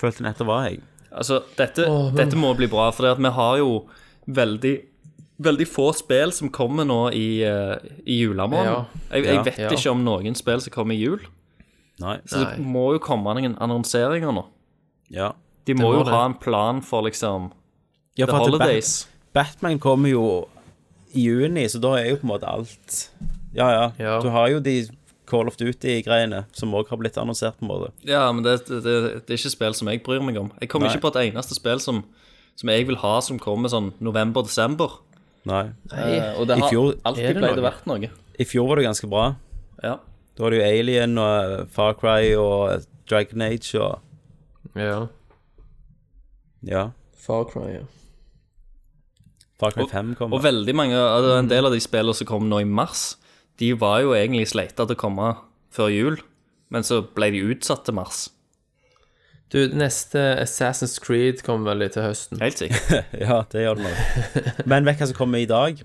Speaker 4: Følte nettopp var jeg.
Speaker 5: Altså, dette,
Speaker 6: Åh, men-
Speaker 5: dette må bli bra, for vi har jo veldig, veldig få spill som kommer nå i, eh, i julemåneden. jeg, jeg
Speaker 6: Ja.
Speaker 5: vet
Speaker 6: Ja.
Speaker 5: ikke om noen spill som kommer i jul,
Speaker 4: Nei.
Speaker 5: så det må jo komme noen annonseringer nå.
Speaker 4: Ja.
Speaker 5: De må,
Speaker 6: må
Speaker 5: jo
Speaker 6: det.
Speaker 5: ha en plan for liksom
Speaker 4: ja
Speaker 5: The
Speaker 4: for at det-
Speaker 5: Holidays.
Speaker 4: Batman kommer jo i juni, så da er jo på en måte alt Ja, ja.
Speaker 6: Ja.
Speaker 4: Du har jo de Call of Duty-greiene, som òg har blitt annonsert, på en måte.
Speaker 5: Ja, men det, det, det er ikke spill som jeg bryr meg om. Jeg kommer
Speaker 4: Nei.
Speaker 5: ikke på et eneste spill som, som jeg vil ha som kommer sånn november-desember.
Speaker 4: Nei.
Speaker 5: Eh, og det
Speaker 4: I
Speaker 5: har
Speaker 4: fjor-
Speaker 6: er
Speaker 5: alltid
Speaker 6: det
Speaker 5: pleid å
Speaker 6: noe?
Speaker 5: vært noe.
Speaker 4: I fjor var det ganske bra.
Speaker 5: Ja.
Speaker 4: Da var det jo Alien og eh, Far Cry og eh, Dragon Age og
Speaker 6: Ja.
Speaker 4: Ja.
Speaker 6: Far Cry, ja.
Speaker 4: Far Cry 5 kommer.
Speaker 5: Og veldig mange, altså
Speaker 6: Mm.
Speaker 5: en del av de spillene som kom nå i mars, de var jo egentlig sleita til å komme før jul, men så ble de utsatt til mars.
Speaker 6: Du, neste Assassin's Creed kommer vel litt til høsten.
Speaker 5: Helt sikkert.
Speaker 4: ja, det gjør det nok. Men vet du hva som kommer i dag?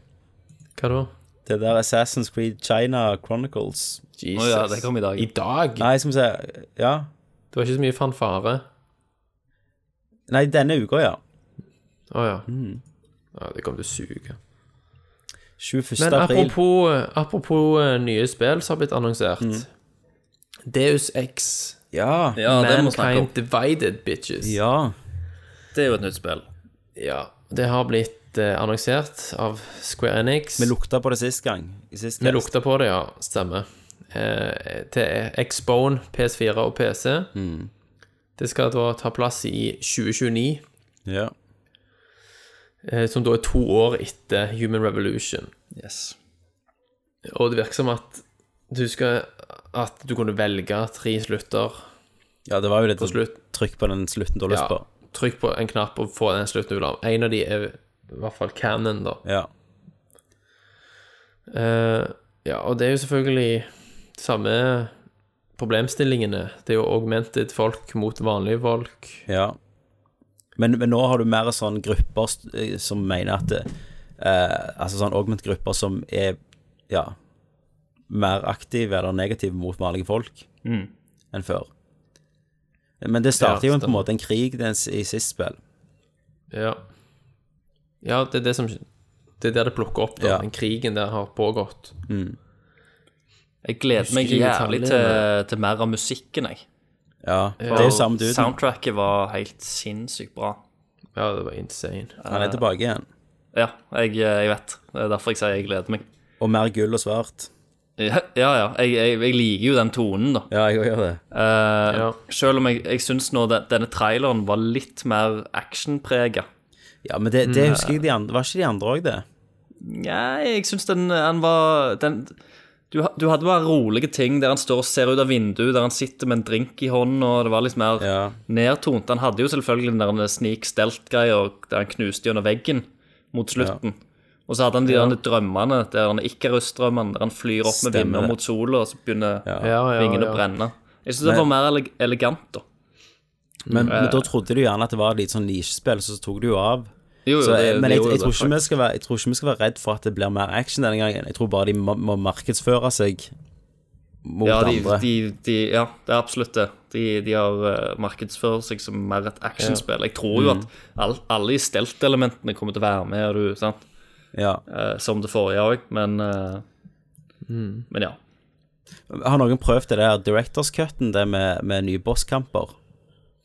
Speaker 6: Hva da?
Speaker 4: Det der Assassin's Creed China Chronicles.
Speaker 6: Jesus.
Speaker 5: Å ja, det kom i dag.
Speaker 6: I dag?
Speaker 4: Nei, skal vi se Ja.
Speaker 6: Det var ikke så mye fanfare.
Speaker 4: Nei, denne uka, ja.
Speaker 6: Å ja. ja. Det kommer til å suge.
Speaker 4: 21.
Speaker 6: Men
Speaker 4: april.
Speaker 6: apropos, apropos eh, nye spill som har blitt annonsert. Deus X.
Speaker 4: Ja.
Speaker 5: Ja, det må vi snakke om.
Speaker 6: Mankind Divided Bitches.
Speaker 4: Ja.
Speaker 5: Det er jo et nytt spill.
Speaker 6: Ja, Det har blitt eh, annonsert av Square Enix.
Speaker 4: Vi lukta på det sist gang. I sist
Speaker 6: Vi
Speaker 4: cast.
Speaker 6: lukta på det, ja. Stemmer. Eh, til Xbone, PS4 og PC. Det skal da ta plass i 2029,
Speaker 4: Ja.
Speaker 6: eh, som da er to år etter Human Revolution.
Speaker 5: Yes.
Speaker 6: Og det virker som at du skal At du kunne velge tre slutter.
Speaker 4: ja, det var jo litt
Speaker 6: slutt.
Speaker 4: trykk på den slutten du har lyst
Speaker 6: Ja,
Speaker 4: på.
Speaker 6: trykk på en knapp og få den slutten du vil ha. En av de er i hvert fall Cannon, da.
Speaker 4: Ja.
Speaker 6: Eh, ja, og det er jo selvfølgelig samme problemstillingene. Det er jo augmented folk mot vanlige folk.
Speaker 4: Ja. Men, men nå har du mer sånn grupper st- eh, som mener at det, eh, Altså sånn augment-grupper som er ja, mer aktive eller negative mot vanlige folk enn før. Men det starter
Speaker 6: Ja,
Speaker 4: jo en, på en
Speaker 6: stemmer.
Speaker 4: måte en krig den, s- i sist spill.
Speaker 6: Ja. ja, det er det som Det er der det plukker opp, da.
Speaker 4: Ja.
Speaker 6: Den krigen der har pågått.
Speaker 5: Jeg gleder meg
Speaker 6: Husker ikke
Speaker 5: jævlig til,
Speaker 6: detaljene.
Speaker 5: til mer av musikken, jeg.
Speaker 4: Ja. Det er jo samme duden.
Speaker 5: Soundtracket var helt sinnssykt bra.
Speaker 6: Ja, det var insane.
Speaker 4: Han er tilbake igjen.
Speaker 5: Ja, jeg, eh, jeg vet. Det er derfor jeg sier jeg gleder meg.
Speaker 4: Og mer gull og svart.
Speaker 5: Ja, ja. ja. Jeg, jeg, jeg liker jo den tonen, da.
Speaker 4: Ja, jeg òg gjør det.
Speaker 5: Eh,
Speaker 6: Ja.
Speaker 5: Selv om jeg, jeg syns nå den, denne traileren var litt mer actionprega.
Speaker 4: Ja, Men det, det husker jeg de andre Var ikke de andre òg det?
Speaker 5: Nei, jeg syns den, den var den, du, ha- du hadde bare rolige ting der han står og ser ut av vinduet, der han sitter med en drink i hånden, og det var litt mer
Speaker 4: Ja.
Speaker 5: nedtont. Han hadde jo selvfølgelig den der snik-stelt-greia der han knuste gjennom veggen mot slutten. Og så hadde han de der drømmene, der han Ikarus-drømmene, der han flyr opp med
Speaker 4: Stemmer det.
Speaker 5: vinger mot sola, og så begynner
Speaker 6: Ja, ja,
Speaker 5: vingene
Speaker 6: ja.
Speaker 5: å brenne. Jeg syns det var mer ele elegant, da.
Speaker 4: Men, men da trodde du gjerne at det var et lite sånn nisjespill, så tok du jo av.
Speaker 5: Jo, jo,
Speaker 4: Så, eh,
Speaker 5: det,
Speaker 4: men
Speaker 5: det
Speaker 4: jeg,
Speaker 5: gjorde
Speaker 4: jeg,
Speaker 5: det,
Speaker 4: tror ikke vi skal være, jeg tror ikke vi skal være redd for at det blir mer action denne gangen. Jeg tror bare de må, må markedsføre seg mot
Speaker 5: ja, de,
Speaker 4: andre.
Speaker 5: de, de, ja, det er absolutt det. De, de har eh, markedsført seg som mer et actionspill. Jeg tror
Speaker 6: Mm.
Speaker 5: jo at all, alle de stelt-elementene kommer til å være med, og du, sant?
Speaker 4: ja.
Speaker 5: Eh, som det forrige òg, men eh,
Speaker 6: Mm.
Speaker 5: Men ja.
Speaker 4: Har noen prøvd det der Directors Cutten, det med, med nye bosskamper?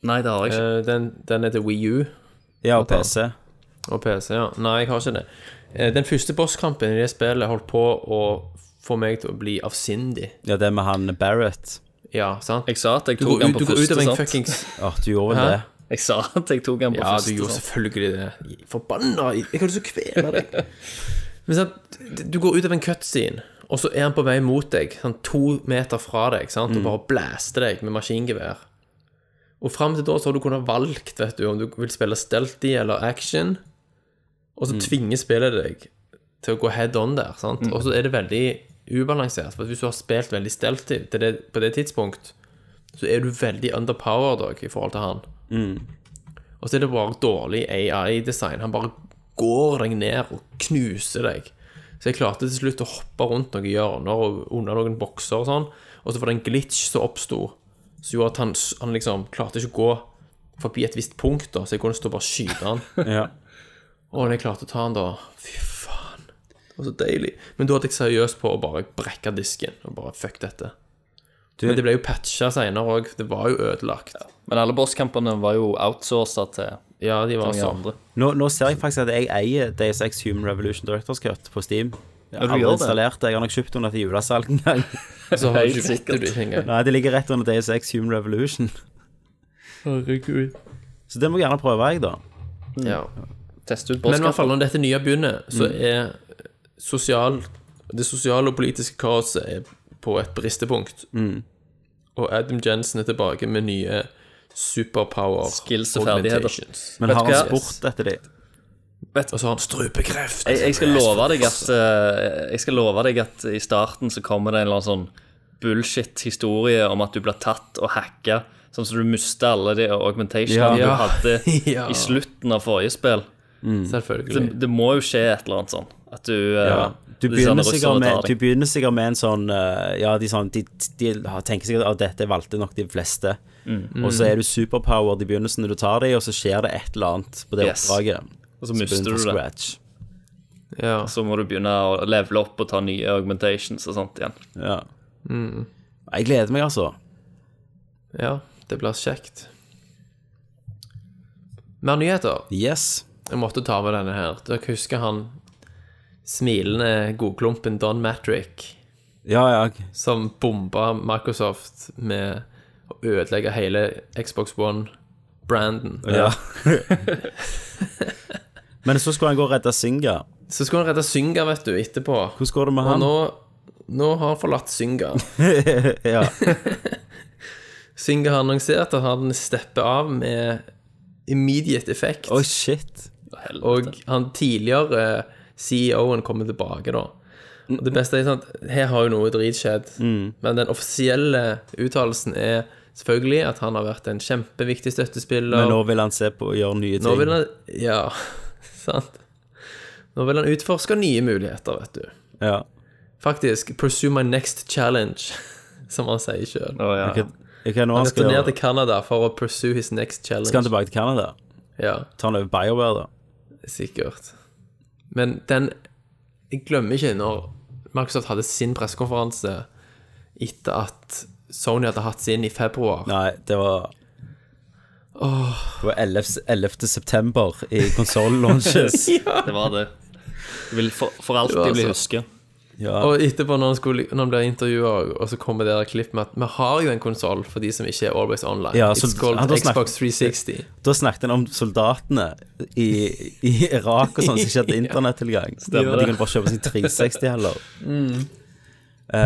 Speaker 5: Nei, det har jeg ikke.
Speaker 6: Eh, den, den er til Wii U
Speaker 4: Ja, og PC.
Speaker 6: og PC, ja. Nei, jeg har ikke det. Eh, den første bosskampen i det spillet holdt på å få meg til å bli avsindig.
Speaker 4: Ja, det med han Barrett.
Speaker 6: Ja, sant?
Speaker 5: Jeg sa at jeg
Speaker 6: Du går,
Speaker 5: tok den
Speaker 6: ut,
Speaker 5: på
Speaker 6: du går ut
Speaker 5: første,
Speaker 6: av en
Speaker 5: sant?
Speaker 6: fuckings
Speaker 4: Å, du gjorde vel
Speaker 6: Hæ?
Speaker 4: det?
Speaker 5: Jeg sa at jeg tok den på
Speaker 6: Ja, du
Speaker 5: første.
Speaker 6: gjorde
Speaker 5: sant?
Speaker 6: selvfølgelig det. sånn. Forbanna! Jeg hadde så kvela deg. Men sant, du går ut av en cutscene, og så er han på vei mot deg, sånn to meter fra deg, sant, og bare blaster deg med maskingevær. Og fram til da så har du kunnet valgt, vet du, om du vil spille stealthy eller action, og så tvinger spillet deg til å gå head on der, sant. Og så er det veldig ubalansert, for hvis du har spilt veldig stealthy til det, på det tidspunkt, så er du veldig underpowered også, i forhold til han. Og så er det bare dårlig AI-design. Han bare går deg ned og knuser deg. Så jeg klarte til slutt å hoppe rundt noen hjørner og under noen bokser og sånn. Og så var det en glitch som oppsto, som gjorde at han, han liksom klarte ikke å gå forbi et visst punkt, da, så jeg kunne stå og bare skyte han.
Speaker 4: Ja.
Speaker 6: Og når jeg klarte å ta han, da Fy faen. Det var så deilig. Men da hadde jeg seriøst på å bare brekke disken og bare fuck dette.
Speaker 4: Du-
Speaker 6: Men det ble jo patcha seinere òg. Det var jo ødelagt.
Speaker 5: Men alle bosskampene var jo outsourca til
Speaker 6: Ja, de var
Speaker 5: mange
Speaker 6: sånn.
Speaker 5: andre.
Speaker 4: Nå, nå ser jeg faktisk at jeg eier Days X Human Revolution Directors Cut på Steam. Jeg har
Speaker 5: du
Speaker 4: aldri
Speaker 5: gjør det?
Speaker 4: installert det. Jeg har nok kjøpt under til julesalg en gang.
Speaker 6: Så har
Speaker 5: Helt
Speaker 6: du ikke
Speaker 5: sikkert.
Speaker 6: fått det ikke engang.
Speaker 4: Nei, det ligger rett under Days X Human Revolution.
Speaker 6: Herregud.
Speaker 4: Så det må jeg gjerne prøve, jeg, da.
Speaker 6: Ja.
Speaker 5: Mm. Teste ut
Speaker 6: Men i hvert fall
Speaker 5: bosskampen.
Speaker 6: når dette nye begynner, så
Speaker 5: Mm.
Speaker 6: er sosial, det sosiale og politiske kaoset er på et bristepunkt.
Speaker 5: Mm.
Speaker 6: Og Adam Jensen er tilbake med nye superpower
Speaker 5: Skills og ferdigheter.
Speaker 6: augmentations.
Speaker 4: Men
Speaker 5: Vet
Speaker 4: har
Speaker 5: du hva?
Speaker 4: han spurt etter de?
Speaker 6: Og så har han strupekreft.
Speaker 5: Jeg, jeg, skal love deg at, eh, jeg skal love deg at i starten så kommer det en eller annen sånn bullshit-historie om at du blir tatt og hacka, sånn som du mister alle de augmentationene du
Speaker 6: Ja.
Speaker 5: hadde
Speaker 6: Ja.
Speaker 5: i slutten av forrige spill. Det,
Speaker 6: Selvfølgelig.
Speaker 5: det må jo skje et eller annet sånn. At du eh,
Speaker 4: Ja. Du
Speaker 5: disse andre
Speaker 4: begynner, sikkert
Speaker 5: russerne
Speaker 4: med,
Speaker 5: tar
Speaker 4: du
Speaker 5: deg.
Speaker 4: begynner sikkert med en sånn eh, Ja, de, sånn, de, de har- tenker sikkert at dette valgte nok de fleste.
Speaker 5: Mm.
Speaker 4: Og så er du superpowered i begynnelsen når du tar de, og så skjer det et eller annet på det
Speaker 5: Yes.
Speaker 4: oppdraget.
Speaker 5: Og så mister
Speaker 4: begynner
Speaker 5: du
Speaker 4: fra
Speaker 5: det.
Speaker 4: scratch.
Speaker 6: Ja.
Speaker 5: Så må du begynne å levele opp og ta nye augmentations og sånt igjen.
Speaker 4: Ja.
Speaker 6: Mm.
Speaker 4: Jeg gleder meg, altså.
Speaker 6: ja, det blir kjekt. Mer nyheter.
Speaker 4: Yes.
Speaker 6: Jeg måtte ta med denne her. Dere husker han smilende godklumpen Don Matrick?
Speaker 4: Ja, ja.
Speaker 6: som bomba Microsoft med å ødelegge hele Xbox One-branden.
Speaker 4: ja. Men så skulle han gå og redde Singa.
Speaker 6: Så skulle han redde Synga, vet du, etterpå.
Speaker 4: Hvordan går det med
Speaker 6: Og
Speaker 4: han?
Speaker 6: nå, nå har han forlatt Synga.
Speaker 4: ja.
Speaker 6: Synga har annonsert at han stepper av med immediate effect.
Speaker 4: Oi, shit.
Speaker 6: og han tidligere CEO-en kommer tilbake, da.
Speaker 4: Mm.
Speaker 6: Og det beste er sånn at her har jo noe drit skjedd. Men den offisielle uttalelsen er selvfølgelig at han har vært en kjempeviktig støttespiller.
Speaker 4: Men nå vil han se på og gjøre nye ting.
Speaker 6: Nå vil han Ja, sant. Nå vil han utforske nye muligheter, vet du.
Speaker 4: ja.
Speaker 6: Faktisk. Pursue my next challenge, som han sier sjøl.
Speaker 5: Å, ja.
Speaker 4: Hva- hva er det nå
Speaker 6: Han
Speaker 4: han skal
Speaker 6: returnerer
Speaker 4: gjøre?
Speaker 6: til Canada for å pursue his next challenge.
Speaker 4: Skal han tilbake til Canada?
Speaker 6: Ja,
Speaker 4: Tar han over BioWare, da?
Speaker 6: sikkert. Men den Jeg glemmer ikke når Microsoft hadde sin pressekonferanse etter at Sony hadde hatt sin i februar.
Speaker 4: Nei, det var Det var 11. s- 11. september i konsoll-launches.
Speaker 5: Det var det. Du vil for, for alltid
Speaker 6: var
Speaker 5: bli
Speaker 6: så-
Speaker 5: husket.
Speaker 6: Og etterpå, når han, skulle, når han ble intervjua, og så kommer det der klipp med at vi har jo en konsoll for de som ikke er Always Online.
Speaker 4: Ja, så-
Speaker 6: It's called
Speaker 4: han har snakket-
Speaker 6: Xbox 360.
Speaker 4: da snakket han om soldatene i, i Irak og sånn som ikke hadde internettilgang. Så de
Speaker 5: Stemmer det.
Speaker 4: kunne bare kjøpe sin 360 heller. Mm. Eh,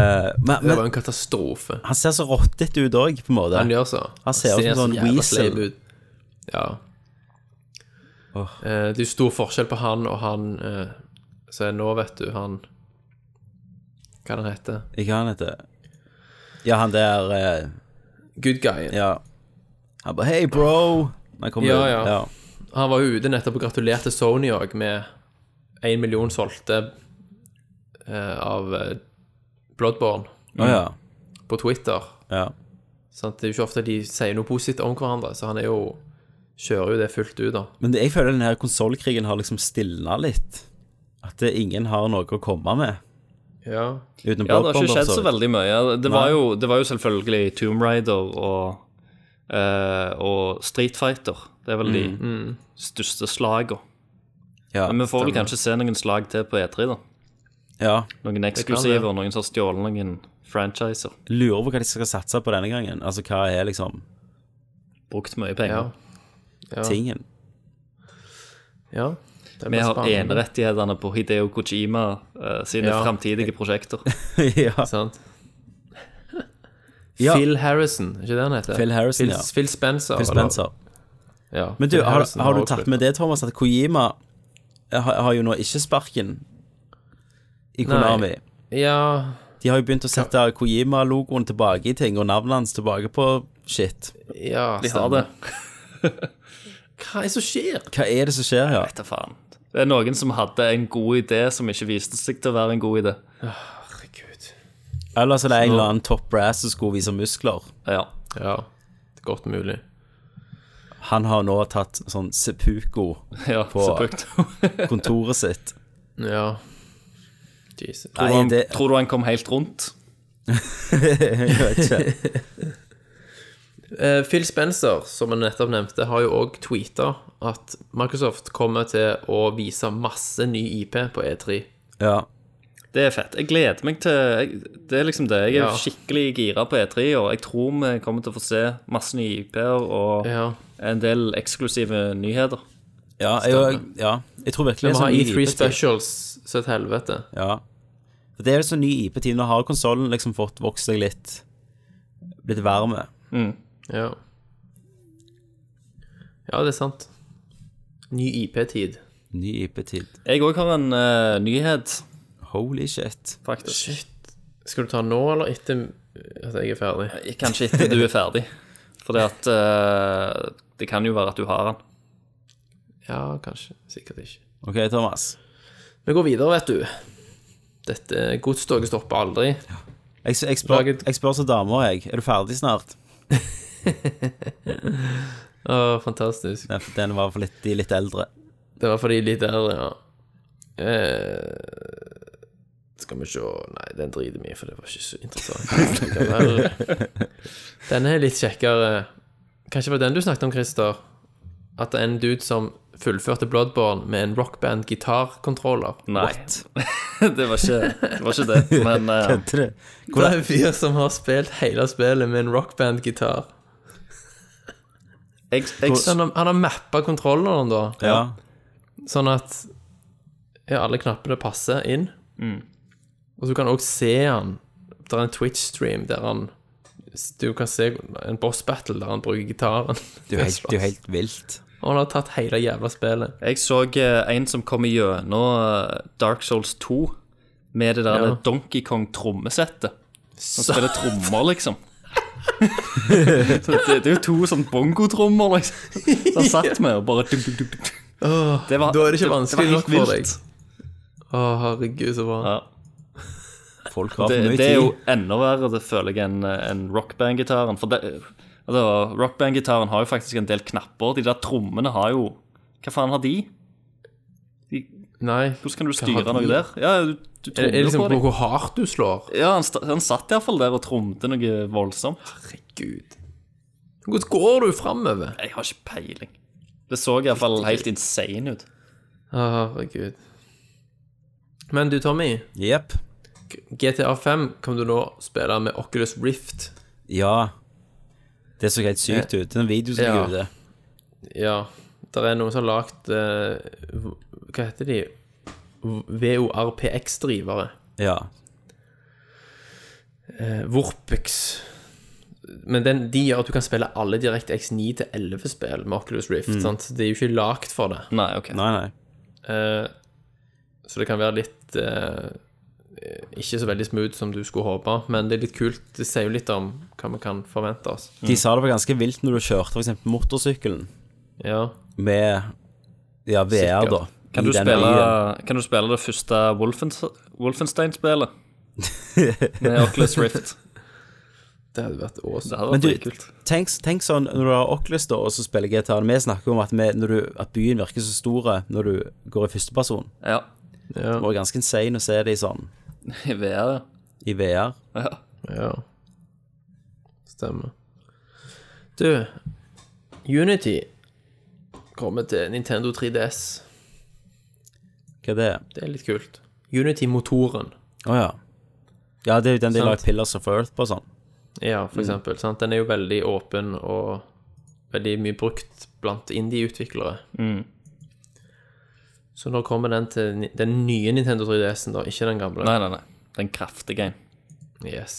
Speaker 4: men,
Speaker 6: Det var
Speaker 4: men
Speaker 6: en katastrofe.
Speaker 4: han ser så rottete ut òg, på en måte.
Speaker 6: Han gjør så.
Speaker 4: Han ser ut som en sånn
Speaker 6: jævla
Speaker 4: weasel.
Speaker 6: sleip ut. Ja.
Speaker 4: Åh.
Speaker 6: Eh, det er jo stor forskjell på han og han eh, som er nå, vet du, han Hva er det han heter?
Speaker 4: Ikke han heter Ja, han der eh,
Speaker 6: Good guyen.
Speaker 4: Ja. Han bare 'Hey, bro'. Når han kommer
Speaker 6: Ja,
Speaker 4: ut.
Speaker 6: ja. Han var jo ute nettopp og gratulerte Sony òg med én million solgte eh, av eh, Bloodborne
Speaker 4: Å, ja.
Speaker 6: på Twitter.
Speaker 4: ja.
Speaker 6: Sant? Det er jo ikke ofte de sier noe positivt om hverandre, så han er jo kjører jo det fullt ut, da.
Speaker 4: Men det, jeg føler denne konsollkrigen har liksom stilna litt. At det, ingen har noe å komme med.
Speaker 6: Ja.
Speaker 5: Ja,
Speaker 4: Utenom
Speaker 5: det har
Speaker 4: Bloodborne,
Speaker 5: ikke skjedd
Speaker 4: for
Speaker 5: så
Speaker 4: vidt.
Speaker 5: veldig mye. Det var jo, det var jo selvfølgelig Tomb Raider og, eh, og Street Fighter. Det er vel de største slagene.
Speaker 4: Ja,
Speaker 5: Men vi får vel kanskje se noen slag til på E3, da.
Speaker 4: ja.
Speaker 5: Noen eksklusiver, noen som har stjålet noen franchiser.
Speaker 4: Lurer på hva de skal satse på denne gangen. Altså hva er liksom
Speaker 5: Brukt mye penger.
Speaker 6: Ja. Ja.
Speaker 4: tingen?
Speaker 6: ja. Det blir
Speaker 5: Vi har
Speaker 6: spennende.
Speaker 5: enerettighetene på Hideo Kojima eh, sine
Speaker 6: Ja.
Speaker 5: framtidige prosjekter.
Speaker 4: ja.
Speaker 6: Sant?
Speaker 4: Ja.
Speaker 6: Phil Harrison, er ikke det han heter?
Speaker 4: Phil Harrison,
Speaker 6: Phil,
Speaker 4: ja.
Speaker 6: Phil Spencer.
Speaker 4: Phil Spencer.
Speaker 6: Eller, ja.
Speaker 4: Men du,
Speaker 6: Phil
Speaker 4: har,
Speaker 6: Harrison
Speaker 4: har du
Speaker 6: også
Speaker 4: tatt med det, Thomas, at Kojima eh, har, har jo nå ikke sparken i Konami?
Speaker 6: Ja,
Speaker 4: De har jo begynt å sette Kojima-logoen tilbake i ting, og navnet hans tilbake på shit.
Speaker 6: ja
Speaker 5: De har det.
Speaker 6: Hva er det som skjer?
Speaker 4: Hva er det som skjer her?
Speaker 5: Vet da faen. Det er noen som hadde en god idé som ikke viste seg til å være en god idé.
Speaker 6: Herregud.
Speaker 4: Ellers er det en eller annen top brass som skulle vise muskler.
Speaker 5: Ja.
Speaker 6: Ja, det er godt mulig.
Speaker 4: Han har nå tatt sånn sepuko
Speaker 5: ja
Speaker 4: På-
Speaker 5: så brukt.
Speaker 4: kontoret sitt.
Speaker 6: Ja. Jesus.
Speaker 4: Nei,
Speaker 5: Tror du han-
Speaker 4: det
Speaker 5: Tror du han kom helt rundt?
Speaker 4: Jeg vet ikke.
Speaker 6: Eh, Phil Spencer, som jeg nettopp nevnte, har jo òg tweeta at Microsoft kommer til å vise masse ny IP på E E3.
Speaker 4: Ja.
Speaker 5: Det er fett. Jeg gleder meg til jeg- Det er liksom det. Jeg er
Speaker 6: Ja.
Speaker 5: skikkelig gira på E3, og jeg tror vi kommer til å få se masse nye IP-er og
Speaker 6: Ja.
Speaker 5: en del eksklusive nyheter.
Speaker 4: Ja, jeg, ja. jeg tror virkelig
Speaker 5: E
Speaker 4: sånn
Speaker 6: Vi har
Speaker 4: ny
Speaker 6: E3
Speaker 4: IP-tid.
Speaker 6: sånn E Specials så et helvete.
Speaker 4: Ja. For det er jo sånn ny IP-tid. Nå har konsollen liksom fått vokst seg litt Blitt varme.
Speaker 6: Ja. Ja, det er sant. Ny IP-tid.
Speaker 4: Ny IP-tid.
Speaker 5: Jeg òg har en eh, nyhet,
Speaker 4: Holy shit.
Speaker 5: faktisk.
Speaker 6: Shit. Skal du ta nå eller etter at jeg er ferdig?
Speaker 5: Kanskje etter du er ferdig. For at eh, det kan jo være at du har den.
Speaker 6: Ja, kanskje. Sikkert ikke.
Speaker 4: OK, Thomas.
Speaker 6: Vi går videre, vet du. Dette godstoget stopper aldri.
Speaker 4: Jeg, jeg, spør,
Speaker 6: Laget-
Speaker 4: jeg spør som damer, jeg. Er du ferdig snart?
Speaker 6: Å, fantastisk.
Speaker 4: Nei, for Den var for litt, de litt eldre.
Speaker 6: Det var fordi litt der, ja. Eh, skal vi se Nei, den driter vi i, for det var ikke så interessant. Likevel. Denne er litt kjekkere. Kanskje det var den du snakket om, Christer? At det er en dude som fullførte Bloodborne med en rockband-gitarkontroller.
Speaker 5: Nei. det, var ikke, det var ikke det. Men eh,
Speaker 4: Kødder du?
Speaker 6: Det er en fyr som har spilt hele spillet med en rockband-gitar.
Speaker 5: jeg, jeg,
Speaker 6: Så Han har, han har mappa kontrolleren, da.
Speaker 4: Ja.
Speaker 6: Sånn at ja, alle knappene passer inn.
Speaker 5: Mm.
Speaker 6: Og så kan du òg se han Det er en Twitch-stream der han Du kan se en boss battle der han bruker gitaren.
Speaker 4: Du er helt, du er helt vilt.
Speaker 6: Og han har tatt hele jævla spillet.
Speaker 5: jeg så eh, en som kom gjennom eh, Dark Souls 2 med det der
Speaker 6: Ja.
Speaker 5: Donkey Kong-trommesettet. Han spiller trommer, liksom. Så det, det er jo to sånn bongotrommer, liksom. Så han satt med og bare duk, duk, duk, duk. Det var,
Speaker 6: da er det ikke
Speaker 5: var
Speaker 6: vanskelig
Speaker 5: helt
Speaker 6: nok for
Speaker 5: vilt.
Speaker 6: Å, herregud, så bra.
Speaker 5: Ja.
Speaker 4: Folk har
Speaker 5: Det,
Speaker 4: for mye
Speaker 5: det er jo
Speaker 4: tid.
Speaker 5: enda verre, det føler jeg, enn en rockband-gitaren. For det, altså, rockband-gitaren har jo faktisk en del knapper. De der trommene har jo Hva faen har de? de
Speaker 6: Nei.
Speaker 5: hvordan kan du
Speaker 6: Hva
Speaker 5: styre
Speaker 6: har de?
Speaker 5: noe der? Ja, du, du
Speaker 6: Er det, er
Speaker 5: trommer
Speaker 6: det liksom
Speaker 5: på dem.
Speaker 6: hvor hardt du slår?
Speaker 5: Ja, han, sta- han satt iallfall der og tromte noe voldsomt.
Speaker 6: Herregud. Hvordan går du framover?
Speaker 5: Jeg har ikke peiling. Det så iallfall helt insane ut.
Speaker 6: Herregud. Men du, Tommy.
Speaker 4: Jepp.
Speaker 6: GTA 5 kan du nå spille med Oculus Rift.
Speaker 4: Ja. Det så helt sykt ut. Den videoen som
Speaker 6: Ja.
Speaker 4: ligger ute.
Speaker 6: Ja. Der er noen som har lagd Hva heter de? VORPX-drivere.
Speaker 4: Ja.
Speaker 6: Eh, Vorpix. Men den, de gjør at du kan spille alle direkte X9 til 11-spill med Oculus Rift. Sant? Det er jo ikke lagd for det.
Speaker 5: Nei, ok.
Speaker 4: Nei, nei.
Speaker 6: Eh, så det kan være litt eh, eh, ikke så veldig smooth som du skulle håpe, men det er litt kult. Det sier jo litt om hva vi kan forvente oss.
Speaker 4: De sa det var ganske vilt når du kjørte f.eks. motorsykkelen
Speaker 6: Ja.
Speaker 4: med ja, VR, da.
Speaker 5: Kan
Speaker 4: i
Speaker 5: du,
Speaker 4: den
Speaker 5: spille,
Speaker 4: byen.
Speaker 5: kan du spille det første Wolfens- Wolfenstein-spillet? Med Oculus Rift.
Speaker 6: Det hadde vært
Speaker 5: Det
Speaker 6: awesome.
Speaker 5: hadde
Speaker 4: Men
Speaker 5: vært
Speaker 4: du,
Speaker 5: dritkult.
Speaker 4: tenk, tenk sånn når du har Oculus da, og så spiller GTA Vi snakker om at, vi, når du, at byen virker så stor når du går i førsteperson.
Speaker 5: Ja.
Speaker 6: Ja.
Speaker 4: Det var ganske insane å se de sånn
Speaker 5: I VR, ja.
Speaker 4: i VR.
Speaker 5: ja.
Speaker 6: Ja. Stemmer. Du, Unity kommer til Nintendo 3DS.
Speaker 4: Hva er det?
Speaker 6: Det er litt kult. Unity-motoren,
Speaker 4: Å ja. Ja, det er jo den de la
Speaker 6: Sant.
Speaker 4: i Pillars of Earth på og sånn.
Speaker 6: ja, for eksempel. Sant? Den er jo veldig åpen og veldig mye brukt blant indie-utviklere. Så nå kommer den til ni- den nye Nintendo 3DS-en, da, ikke den gamle.
Speaker 5: Nei, nei, nei. Den kraftige en.
Speaker 6: Yes.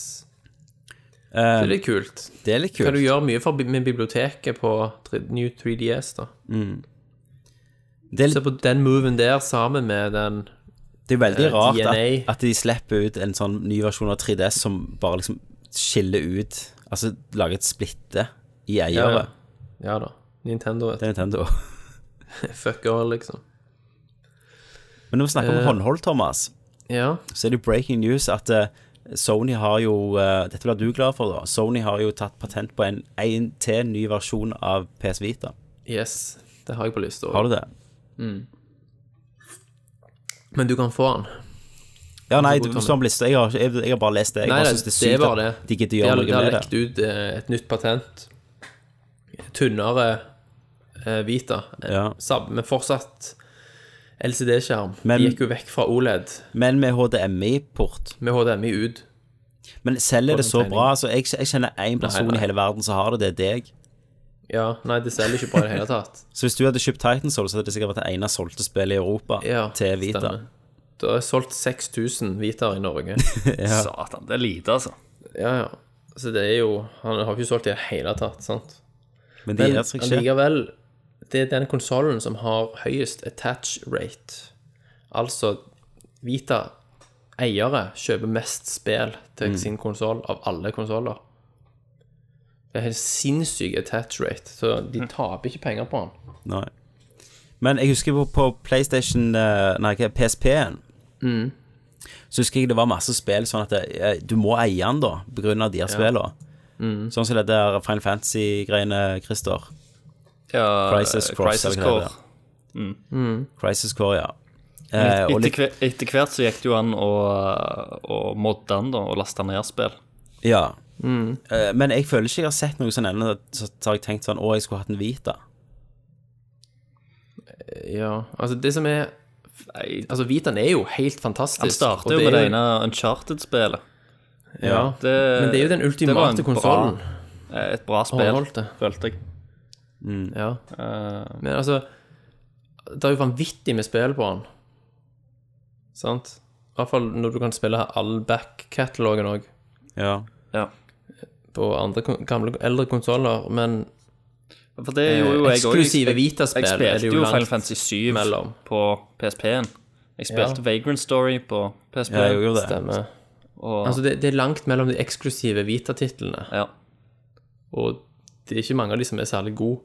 Speaker 4: Eh,
Speaker 6: Det er litt kult.
Speaker 4: det er litt
Speaker 6: Kan
Speaker 4: kult.
Speaker 6: du gjøre mye for, bi- med biblioteket på 3, New 3DS, da?
Speaker 4: Mm. Det er,
Speaker 6: Se på den moven der sammen med den
Speaker 4: det er veldig
Speaker 6: eh,
Speaker 4: rart at,
Speaker 6: DNA.
Speaker 4: at de slipper ut en sånn ny versjon av 3DS som bare liksom skiller ut Altså lager et splitte i eiere.
Speaker 6: Ja da. Nintendo vet
Speaker 4: Det er Nintendo.
Speaker 6: du. Fuck all, liksom.
Speaker 4: Men når vi snakker
Speaker 6: Eh.
Speaker 4: om håndhold, Thomas,
Speaker 6: Ja.
Speaker 4: så er det breaking news at eh, Sony har jo eh, Dette blir du glad for, da. Sony har jo tatt patent på en, en til ny versjon av PS Vita.
Speaker 6: Yes. Det har jeg på lista.
Speaker 4: Har du det?
Speaker 6: Men du kan få den.
Speaker 4: Ja, nei,
Speaker 6: god,
Speaker 4: du
Speaker 6: Tommy.
Speaker 4: står på lista. Jeg har, ikke- jeg, jeg har bare lest det. Jeg
Speaker 6: Nei,
Speaker 4: bare
Speaker 6: nei,
Speaker 4: synes det er
Speaker 6: det er
Speaker 4: sykt
Speaker 6: bare
Speaker 4: at
Speaker 6: det.
Speaker 4: de gidder
Speaker 6: De har,
Speaker 4: gjøre
Speaker 6: de
Speaker 4: noe
Speaker 6: har
Speaker 4: med
Speaker 6: lekt
Speaker 4: det.
Speaker 6: ut eh, et nytt patent. Tynnere eh, Vita.
Speaker 4: Ja.
Speaker 6: Sab, men fortsatt LCD-skjerm.
Speaker 4: Men-
Speaker 6: De gikk jo vekk fra OLED
Speaker 4: Men med HDMI-port.
Speaker 6: med HDMI ut.
Speaker 4: Men selger det så
Speaker 6: tegning.
Speaker 4: bra? Altså, jeg, jeg kjenner én person
Speaker 6: nei.
Speaker 4: i hele verden som har det, det er deg.
Speaker 6: Ja, nei, det selger ikke bra i det hele tatt.
Speaker 4: Så hvis du hadde kjøpt Titan Soul, så hadde det sikkert vært det ene solgte spillet i Europa
Speaker 6: Ja,
Speaker 4: til Vita.
Speaker 6: stemmer. Det er solgt 6000 Vitaer i Norge.
Speaker 5: Satan, det er lite, altså.
Speaker 6: Ja, ja. Så det er jo Han har ikke solgt i det hele tatt, sant?
Speaker 4: Men det
Speaker 6: Men
Speaker 4: gir seg ikke.
Speaker 6: allikevel, det er den konsollen som har høyest attach rate. Altså Vita-eiere kjøper mest spill
Speaker 5: Mm.
Speaker 6: til sin konsoll av alle konsoller. Det er helt sinnssyk attach rate, så
Speaker 5: Mm.
Speaker 6: de taper ikke penger på den.
Speaker 4: Nei. Men jeg husker på, på PlayStation eh, Nei, hva, PSP-en.
Speaker 6: Mm.
Speaker 4: Så husker jeg det var masse spill sånn at det, eh, du må eie den, da, på grunn av de her spillene.
Speaker 6: Mm.
Speaker 4: Sånn som det der Final Fantasy-greiene, Christer.
Speaker 5: Ja,
Speaker 4: Crisis
Speaker 5: eh,
Speaker 4: Cross,
Speaker 5: Crisis
Speaker 4: eller hva
Speaker 5: Core.
Speaker 4: det Crisis Core, ja. Eh, og
Speaker 5: Etter,
Speaker 4: litt,
Speaker 5: hver- etter hvert så gikk det jo an å, å modde den da, og laste ned spill.
Speaker 4: ja. Eh, men jeg føler ikke jeg har sett noe sånn ennå, så har jeg tenkt sånn Å, jeg skulle hatt en Vita.
Speaker 6: Ja, altså det som er
Speaker 5: Nei,
Speaker 6: Altså, Vitaen er jo helt fantastisk.
Speaker 5: han
Speaker 6: og
Speaker 5: starter jo med
Speaker 6: er
Speaker 5: det ene Uncharted-spelet.
Speaker 6: Ja,
Speaker 5: Det-
Speaker 6: men det er jo
Speaker 5: det
Speaker 6: den
Speaker 5: var en
Speaker 6: ultimate
Speaker 5: bra-
Speaker 6: konsollen.
Speaker 5: eh, Et bra spill,
Speaker 6: Håndholdte.
Speaker 5: følte jeg.
Speaker 6: Ja.
Speaker 5: Eh,
Speaker 6: Men altså Det er jo vanvittig med spill på den. Sant? I hvert fall når du kan spille all back-katalogen òg.
Speaker 4: Ja.
Speaker 5: ja.
Speaker 6: På andre kon- gamle, eldre konsoller, men
Speaker 5: For det gjorde jo
Speaker 6: Eh,
Speaker 5: jeg også.
Speaker 6: eksklusive
Speaker 5: Jeg-
Speaker 6: Vita-spill
Speaker 5: Jeg
Speaker 6: er det
Speaker 5: spilte
Speaker 6: jo
Speaker 5: jo
Speaker 6: langt
Speaker 5: Final Fantasy 7
Speaker 6: mellom.
Speaker 5: på PSP-en. Jeg spilte
Speaker 6: Ja.
Speaker 5: Vagrant Story på PSP.
Speaker 4: Jeg gjorde det.
Speaker 6: stemmer.
Speaker 5: Og,
Speaker 6: Altså, det, det er langt mellom de eksklusive Vita-titlene,
Speaker 5: ja.
Speaker 6: og det er ikke mange av de som er særlig gode.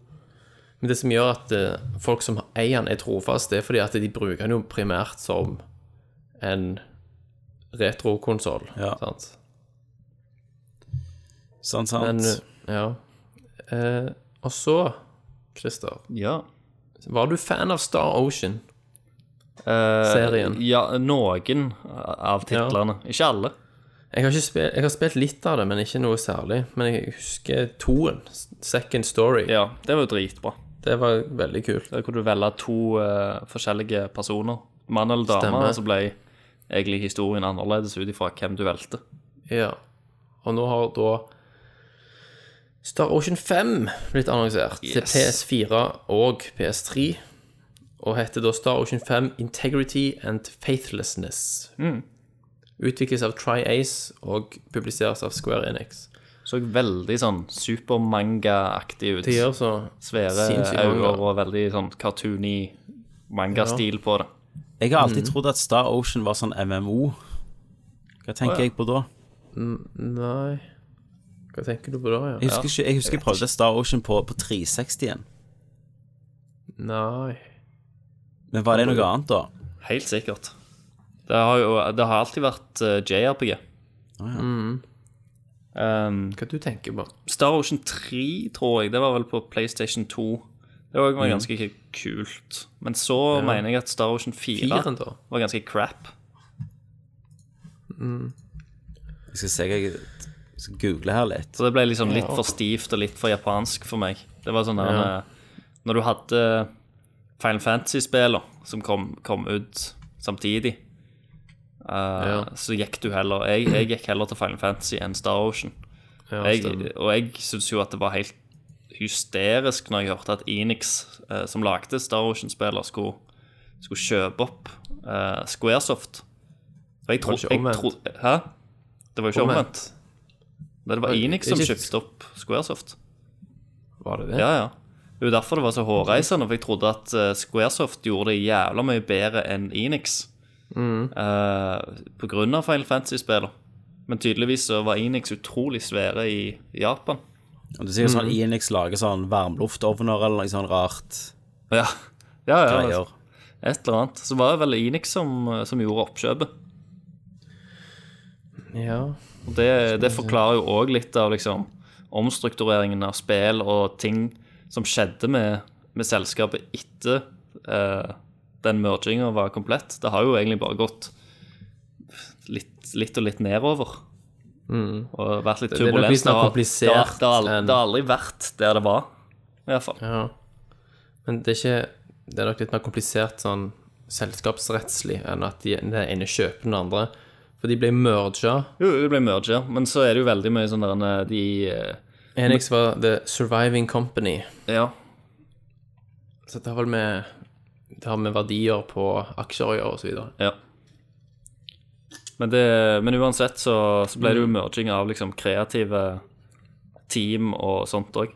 Speaker 6: Men det som gjør at eh, folk som eier den, er trofaste, det er fordi at de bruker den jo primært som en retrokonsoll.
Speaker 4: Ja.
Speaker 6: sant?
Speaker 4: Sant, Sånn, sant.
Speaker 6: Men, ja. Eh, og så, Christer,
Speaker 5: ja.
Speaker 6: var du fan av Star Ocean?
Speaker 5: Eh,
Speaker 6: Serien.
Speaker 5: Ja, noen av titlene. Ikke alle.
Speaker 6: Jeg har, ikke spilt, jeg har spilt litt av det, men ikke noe særlig. Men jeg husker toen, Second Story.
Speaker 5: Ja, det var jo dritbra.
Speaker 6: Det var veldig kult.
Speaker 5: Der kunne du velge to eh, forskjellige personer. Mann eller dame.
Speaker 6: Stemmer.
Speaker 5: Og så ble egentlig historien annerledes ut ifra hvem du valgte.
Speaker 6: Ja. Og nå har da Star Ocean 5 blitt annonsert til
Speaker 5: Yes.
Speaker 6: PS4 og PS3. Og heter da Star Ocean 5 Integrity and Faithlessness. Utvikles av Tri-Ace og publiseres av Square Enix.
Speaker 5: Så veldig sånn supermanga-aktig ut.
Speaker 6: Det gjør så
Speaker 5: Svære
Speaker 6: sinnssykt
Speaker 5: øyne
Speaker 6: mange.
Speaker 5: og veldig sånn cartoony manga-stil på det.
Speaker 4: mm. Jeg har alltid trodd at Star Ocean var sånn MMO. Hva tenker jeg på da?
Speaker 6: Nei Hva tenker du på da, ja?
Speaker 4: Jeg husker, ikke, jeg husker jeg prøvde Star Ocean på, på 360 igjen.
Speaker 6: Nei
Speaker 4: Men var det noe annet, da?
Speaker 5: Helt sikkert. Det har jo det har alltid vært eh, JRPG. Mm. Um,
Speaker 6: Hva du tenker på?
Speaker 5: Star Ocean 3, tror jeg, det var vel på PlayStation 2. Det var var ganske ikke kult. Men så mener jeg at Star Ocean 4
Speaker 6: Firen, da?
Speaker 5: var ganske crap.
Speaker 4: Jeg skal se hva jeg jeg skal google her litt.
Speaker 5: Så det ble liksom litt for stivt og litt for japansk for meg. Det var sånn der eh, Når du hadde Final Fantasy-spiller som kom, kom ut samtidig, eh, så gikk du heller jeg, jeg gikk heller til Final Fantasy enn Star Ocean.
Speaker 6: Ja, stemmer.
Speaker 5: jeg, og jeg syns jo at det var helt hysterisk når jeg hørte at Enix, eh, som lagde Star Ocean-spiller, skulle, skulle kjøpe opp eh, Squaresoft. Og jeg trodde
Speaker 6: ikke omvendt?
Speaker 5: Hæ? Det var jo ikke
Speaker 6: Omvendt.
Speaker 5: omvendt. Det var
Speaker 6: Men,
Speaker 5: Enix som
Speaker 6: ikke-
Speaker 5: kjøpte opp Squaresoft.
Speaker 6: Var det det?
Speaker 5: Ja, ja. Det er jo derfor det var så hårreisende, for jeg trodde at eh, Squaresoft gjorde det jævla mye bedre enn Enix.
Speaker 6: Mm.
Speaker 5: Eh, på grunn av Final Fantasy-spiller. Men tydeligvis så var Enix utrolig svære i Japan.
Speaker 4: Og Det er sikkert sånn Enix lager sånn varmluftovner eller noe sånn rart
Speaker 5: Ja, ja, ja
Speaker 4: greier.
Speaker 5: et eller annet. Så var det vel Enix som, som gjorde oppkjøpet.
Speaker 6: ja.
Speaker 5: Og det, det forklarer jo òg litt av liksom, omstruktureringen av spill og ting som skjedde med, med selskapet etter eh, den merginga var komplett. Det har jo egentlig bare gått litt, litt og litt nedover. Og vært litt
Speaker 6: Mm. det er nok
Speaker 5: turbulens.
Speaker 6: litt
Speaker 5: har- det,
Speaker 6: mer
Speaker 5: har,
Speaker 6: komplisert
Speaker 5: det, har,
Speaker 6: enn-
Speaker 5: det har aldri vært der det var, i hvert fall.
Speaker 6: Ja. Men det er ikke Det er nok litt mer komplisert sånn selskapsrettslig enn at de, den ene kjøper den andre. For de ble merga.
Speaker 5: Jo, det ble merger, men så er det jo veldig mye sånn der eh, de eh,
Speaker 6: Enix var the surviving company.
Speaker 5: Ja.
Speaker 6: Så det har vel med Det har med verdier på aksjer å gjøre, og så videre.
Speaker 5: Ja. Men, det, men uansett så, så ble det
Speaker 6: Mm.
Speaker 5: jo merging av liksom kreative team og sånt òg.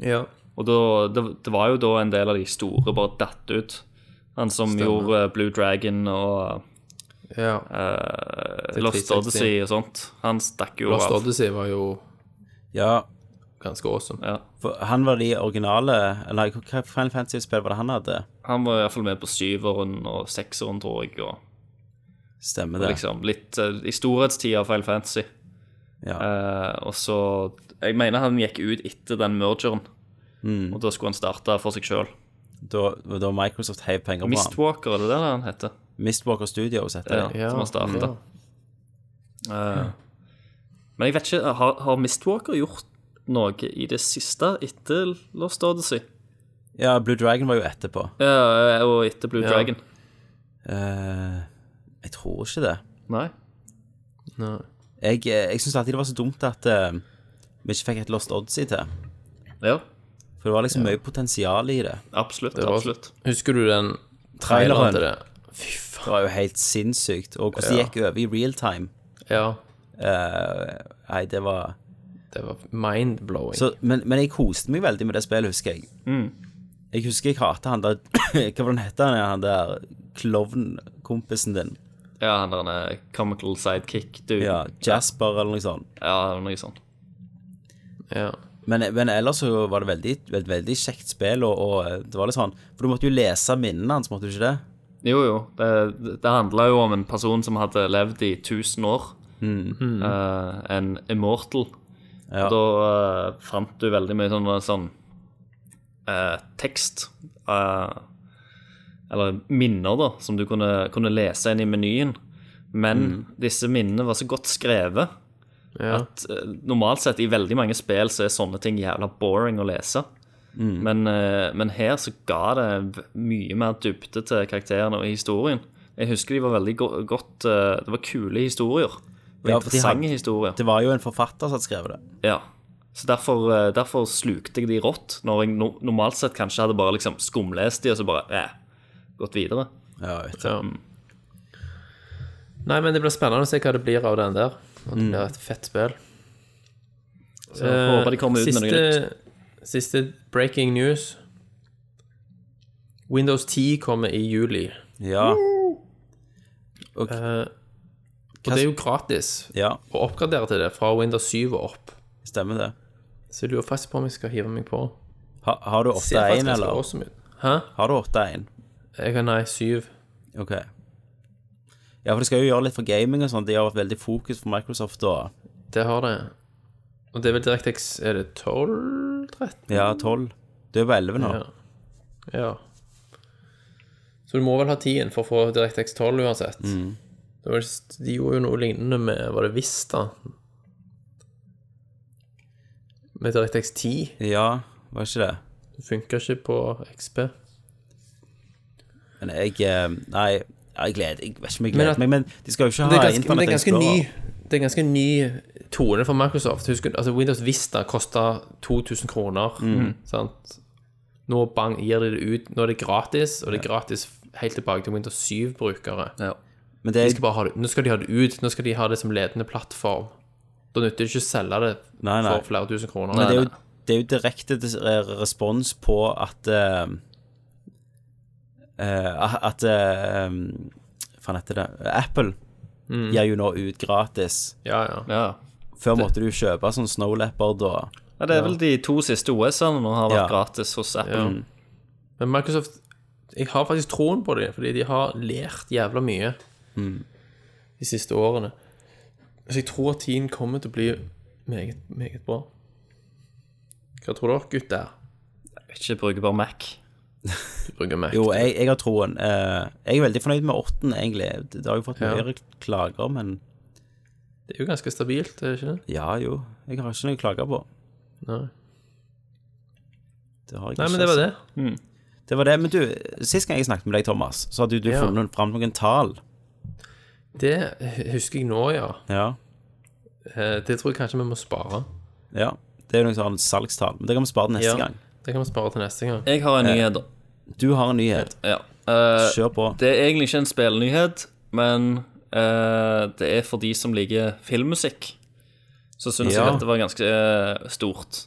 Speaker 6: Ja.
Speaker 5: Og da, det, det var jo da en del av de store bare datt ut. Han som gjorde eh, Blue Dragon og
Speaker 6: ja.
Speaker 5: eh,
Speaker 6: Til
Speaker 5: Lost
Speaker 6: 360.
Speaker 5: Odyssey og sånt. Han stakk jo
Speaker 6: Lost
Speaker 5: av.
Speaker 6: Odyssey var jo
Speaker 4: Ja,
Speaker 6: ganske awesome.
Speaker 5: Ja.
Speaker 4: for han var de originale Eller hva Final Fantasy-spill var det han hadde?
Speaker 5: Han var iallfall med på syveren og sekseren, tror jeg. Og,
Speaker 4: Stemmer
Speaker 5: og
Speaker 4: det.
Speaker 5: liksom litt eh, i storhetstida av Final Fantasy.
Speaker 4: Ja.
Speaker 5: Eh, og så Jeg mener han gikk ut etter den mergeren.
Speaker 6: Mm.
Speaker 5: Og da skulle han starte for seg sjøl.
Speaker 4: Da, da Microsoft heiv penger på han.
Speaker 5: Mistwalker, er det det han heter?
Speaker 4: Mistwalker Studios heter
Speaker 5: Ja,
Speaker 4: det.
Speaker 5: Som han starta.
Speaker 6: ja.
Speaker 5: Men jeg vet ikke, har, har Mistwalker gjort noe i det siste etter Lost Odyssey?
Speaker 4: Ja, Blue Dragon var jo etterpå.
Speaker 5: Ja, og etter Blue Dragon?
Speaker 4: Eh, jeg tror ikke det.
Speaker 5: Nei?
Speaker 6: Nei.
Speaker 4: Jeg, eh, jeg syns alltid det var så dumt at eh, vi ikke fikk et Lost Odyssey til.
Speaker 5: Ja,
Speaker 4: For det var liksom mye potensial i det.
Speaker 5: absolutt.
Speaker 6: var-
Speaker 5: absolutt.
Speaker 6: Husker du den
Speaker 4: Traileren.
Speaker 6: traileren til det? Fy
Speaker 4: Det
Speaker 6: faen.
Speaker 4: var jo helt sinnssykt. Og hvordan det gikk over i real time
Speaker 6: Ja.
Speaker 4: eh, Nei, det var
Speaker 6: Det var mind-blowing.
Speaker 4: så, men, men jeg koste meg veldig med det spillet, husker jeg. Jeg husker jeg hatet han der Hva var det han het, han, han der klovnkompisen din?
Speaker 5: Ja, han der er comical sidekick, du.
Speaker 4: Ja, Jasper eller noe sånt.
Speaker 5: ja, noe sånt.
Speaker 6: Ja.
Speaker 4: Men, men ellers så var det veldig, veldig, veldig kjekt spill, og, og det var litt sånn For du måtte jo lese minnene hans, måtte du ikke det?
Speaker 5: Jo, jo. Det, det handla jo om en person som hadde levd i 1000 år. Eh, en immortal.
Speaker 4: Ja.
Speaker 5: Og Da eh, fant du veldig mye sånn, sånn eh, tekst eh, Eller minner, da, som du kunne, kunne lese inn i menyen. Men
Speaker 4: Mm.
Speaker 5: disse minnene var så godt skrevet at eh, normalt sett i veldig mange spill så er sånne ting jævla boring å lese.
Speaker 4: Mm.
Speaker 5: Men, eh, men her så ga det v- mye mer dybde til karakterene og historien. Jeg husker de var veldig go godt eh, Det var kule historier. Og
Speaker 4: Ja, for de hadde-
Speaker 5: interessante historier.
Speaker 4: Det var jo en forfatter som hadde skrevet det.
Speaker 5: Ja. Så derfor, eh, derfor slukte jeg de rått, når jeg no normalt sett kanskje hadde bare liksom skumlest de og så bare eh, gått videre.
Speaker 4: Ja, vet du.
Speaker 6: ja. mm. Nei, men det blir spennende å se hva det blir av den der. At det blir et fett spill.
Speaker 5: Så Mm. jeg
Speaker 6: Eh,
Speaker 5: håper de kommer ut med noe nytt.
Speaker 6: Siste breaking news. Windows 10 kommer i juli.
Speaker 4: Ja. Og
Speaker 6: Eh, Og det er jo gratis
Speaker 4: Ja,
Speaker 6: å oppgradere til det fra Windows 7 og opp.
Speaker 4: stemmer det.
Speaker 6: Så jeg lurer faktisk på om jeg skal hive meg på.
Speaker 4: Ha, har du
Speaker 6: Ser faktisk
Speaker 4: 8-1,
Speaker 6: ganske
Speaker 4: eller?
Speaker 6: awesome ut. Hæ?
Speaker 4: Har du 8-1?
Speaker 6: Jeg har nei, 7.
Speaker 4: Ok. Ja, for de skal jo gjøre litt for gaming og sånn. De har vært veldig fokus for Microsoft og
Speaker 6: Det har det. Og det er vel DirectX Er det 12? 13?
Speaker 4: Ja, 12. Du er på 11 nå.
Speaker 6: Ja. ja. Så du må vel ha 10 for å få DirectX 12 uansett. Det var, de gjorde jo noe lignende med Var det Vista? Med DirectX 10.
Speaker 4: Ja, var ikke det?
Speaker 6: Det funka ikke på XP.
Speaker 4: Men jeg eh, Nei, ja, jeg gleder Jeg vet ikke om jeg
Speaker 6: Men
Speaker 4: gleder
Speaker 6: at-
Speaker 4: meg, men de skal jo ikke
Speaker 6: Det er
Speaker 4: ha
Speaker 6: ganske, men det
Speaker 4: Internett
Speaker 6: er ganske ny
Speaker 4: Explorer.
Speaker 6: Det er ganske ny tone for Microsoft. Husk, altså Windows Vista kosta 2000 kroner.
Speaker 4: Mm.
Speaker 6: Mm. Sant? Nå bang, gir de det ut. Nå er det gratis, og det er gratis helt tilbake til Windows 7-brukere.
Speaker 5: Ja.
Speaker 4: Men det
Speaker 6: De
Speaker 4: er,
Speaker 6: skal bare ha det. Nå skal de ha det ut. Nå skal de ha det som ledende plattform. Da nytter det ikke å selge det
Speaker 4: Nei, nei.
Speaker 6: for flere tusen kroner.
Speaker 4: men det, er jo, det er jo direkte dis- eh, respons på at eh, eh, At eh, Hva faen heter det? Apple
Speaker 6: Mm.
Speaker 4: gir jo nå ut gratis.
Speaker 6: Ja, ja.
Speaker 5: ja.
Speaker 4: Før måtte du kjøpe sånn Snow Leopard og
Speaker 5: Ja, det er vel de to siste OS-ene nå har vært
Speaker 4: Ja.
Speaker 5: gratis hos Apple.
Speaker 6: Ja. Men Microsoft Jeg har faktisk troen på dem, fordi de har lært jævla mye
Speaker 4: Mm.
Speaker 6: de siste årene. Så jeg tror tiden kommer til å bli meget, meget bra. Hva tror dere, gutter?
Speaker 5: Ikke brukbar Mac.
Speaker 6: Du bruker Mac.
Speaker 4: Jo, jeg, jeg har troen. Eh, jeg er veldig fornøyd med åtten, egentlig. Det har jo fått
Speaker 6: Ja.
Speaker 4: mye klager, men
Speaker 6: Det er jo ganske stabilt, er det ikke det?
Speaker 4: ja jo. Jeg har ikke noe å klage på.
Speaker 6: Nei,
Speaker 4: Det har jeg
Speaker 6: Nei
Speaker 4: ikke,
Speaker 6: men det var
Speaker 4: altså.
Speaker 6: det.
Speaker 4: det var det. Men du, sist gang jeg snakket med deg, Thomas, så hadde jo du
Speaker 6: Ja.
Speaker 4: funnet fram noen tall.
Speaker 6: Det husker jeg nå, ja.
Speaker 4: Ja.
Speaker 6: Eh, Det tror jeg kanskje vi må spare.
Speaker 4: ja. Det er jo noen sånn salgstall, men det kan vi spare til neste
Speaker 6: Ja.
Speaker 4: gang.
Speaker 6: Det kan vi spare til neste gang.
Speaker 5: Jeg har en nyhet, da.
Speaker 4: Du har en nyhet.
Speaker 5: Ja. Eh,
Speaker 4: Eh. Kjør på.
Speaker 5: det er egentlig ikke en spillnyhet, men eh, det er for de som liker filmmusikk. Så syns
Speaker 4: Ja.
Speaker 5: jeg dette var ganske eh, stort.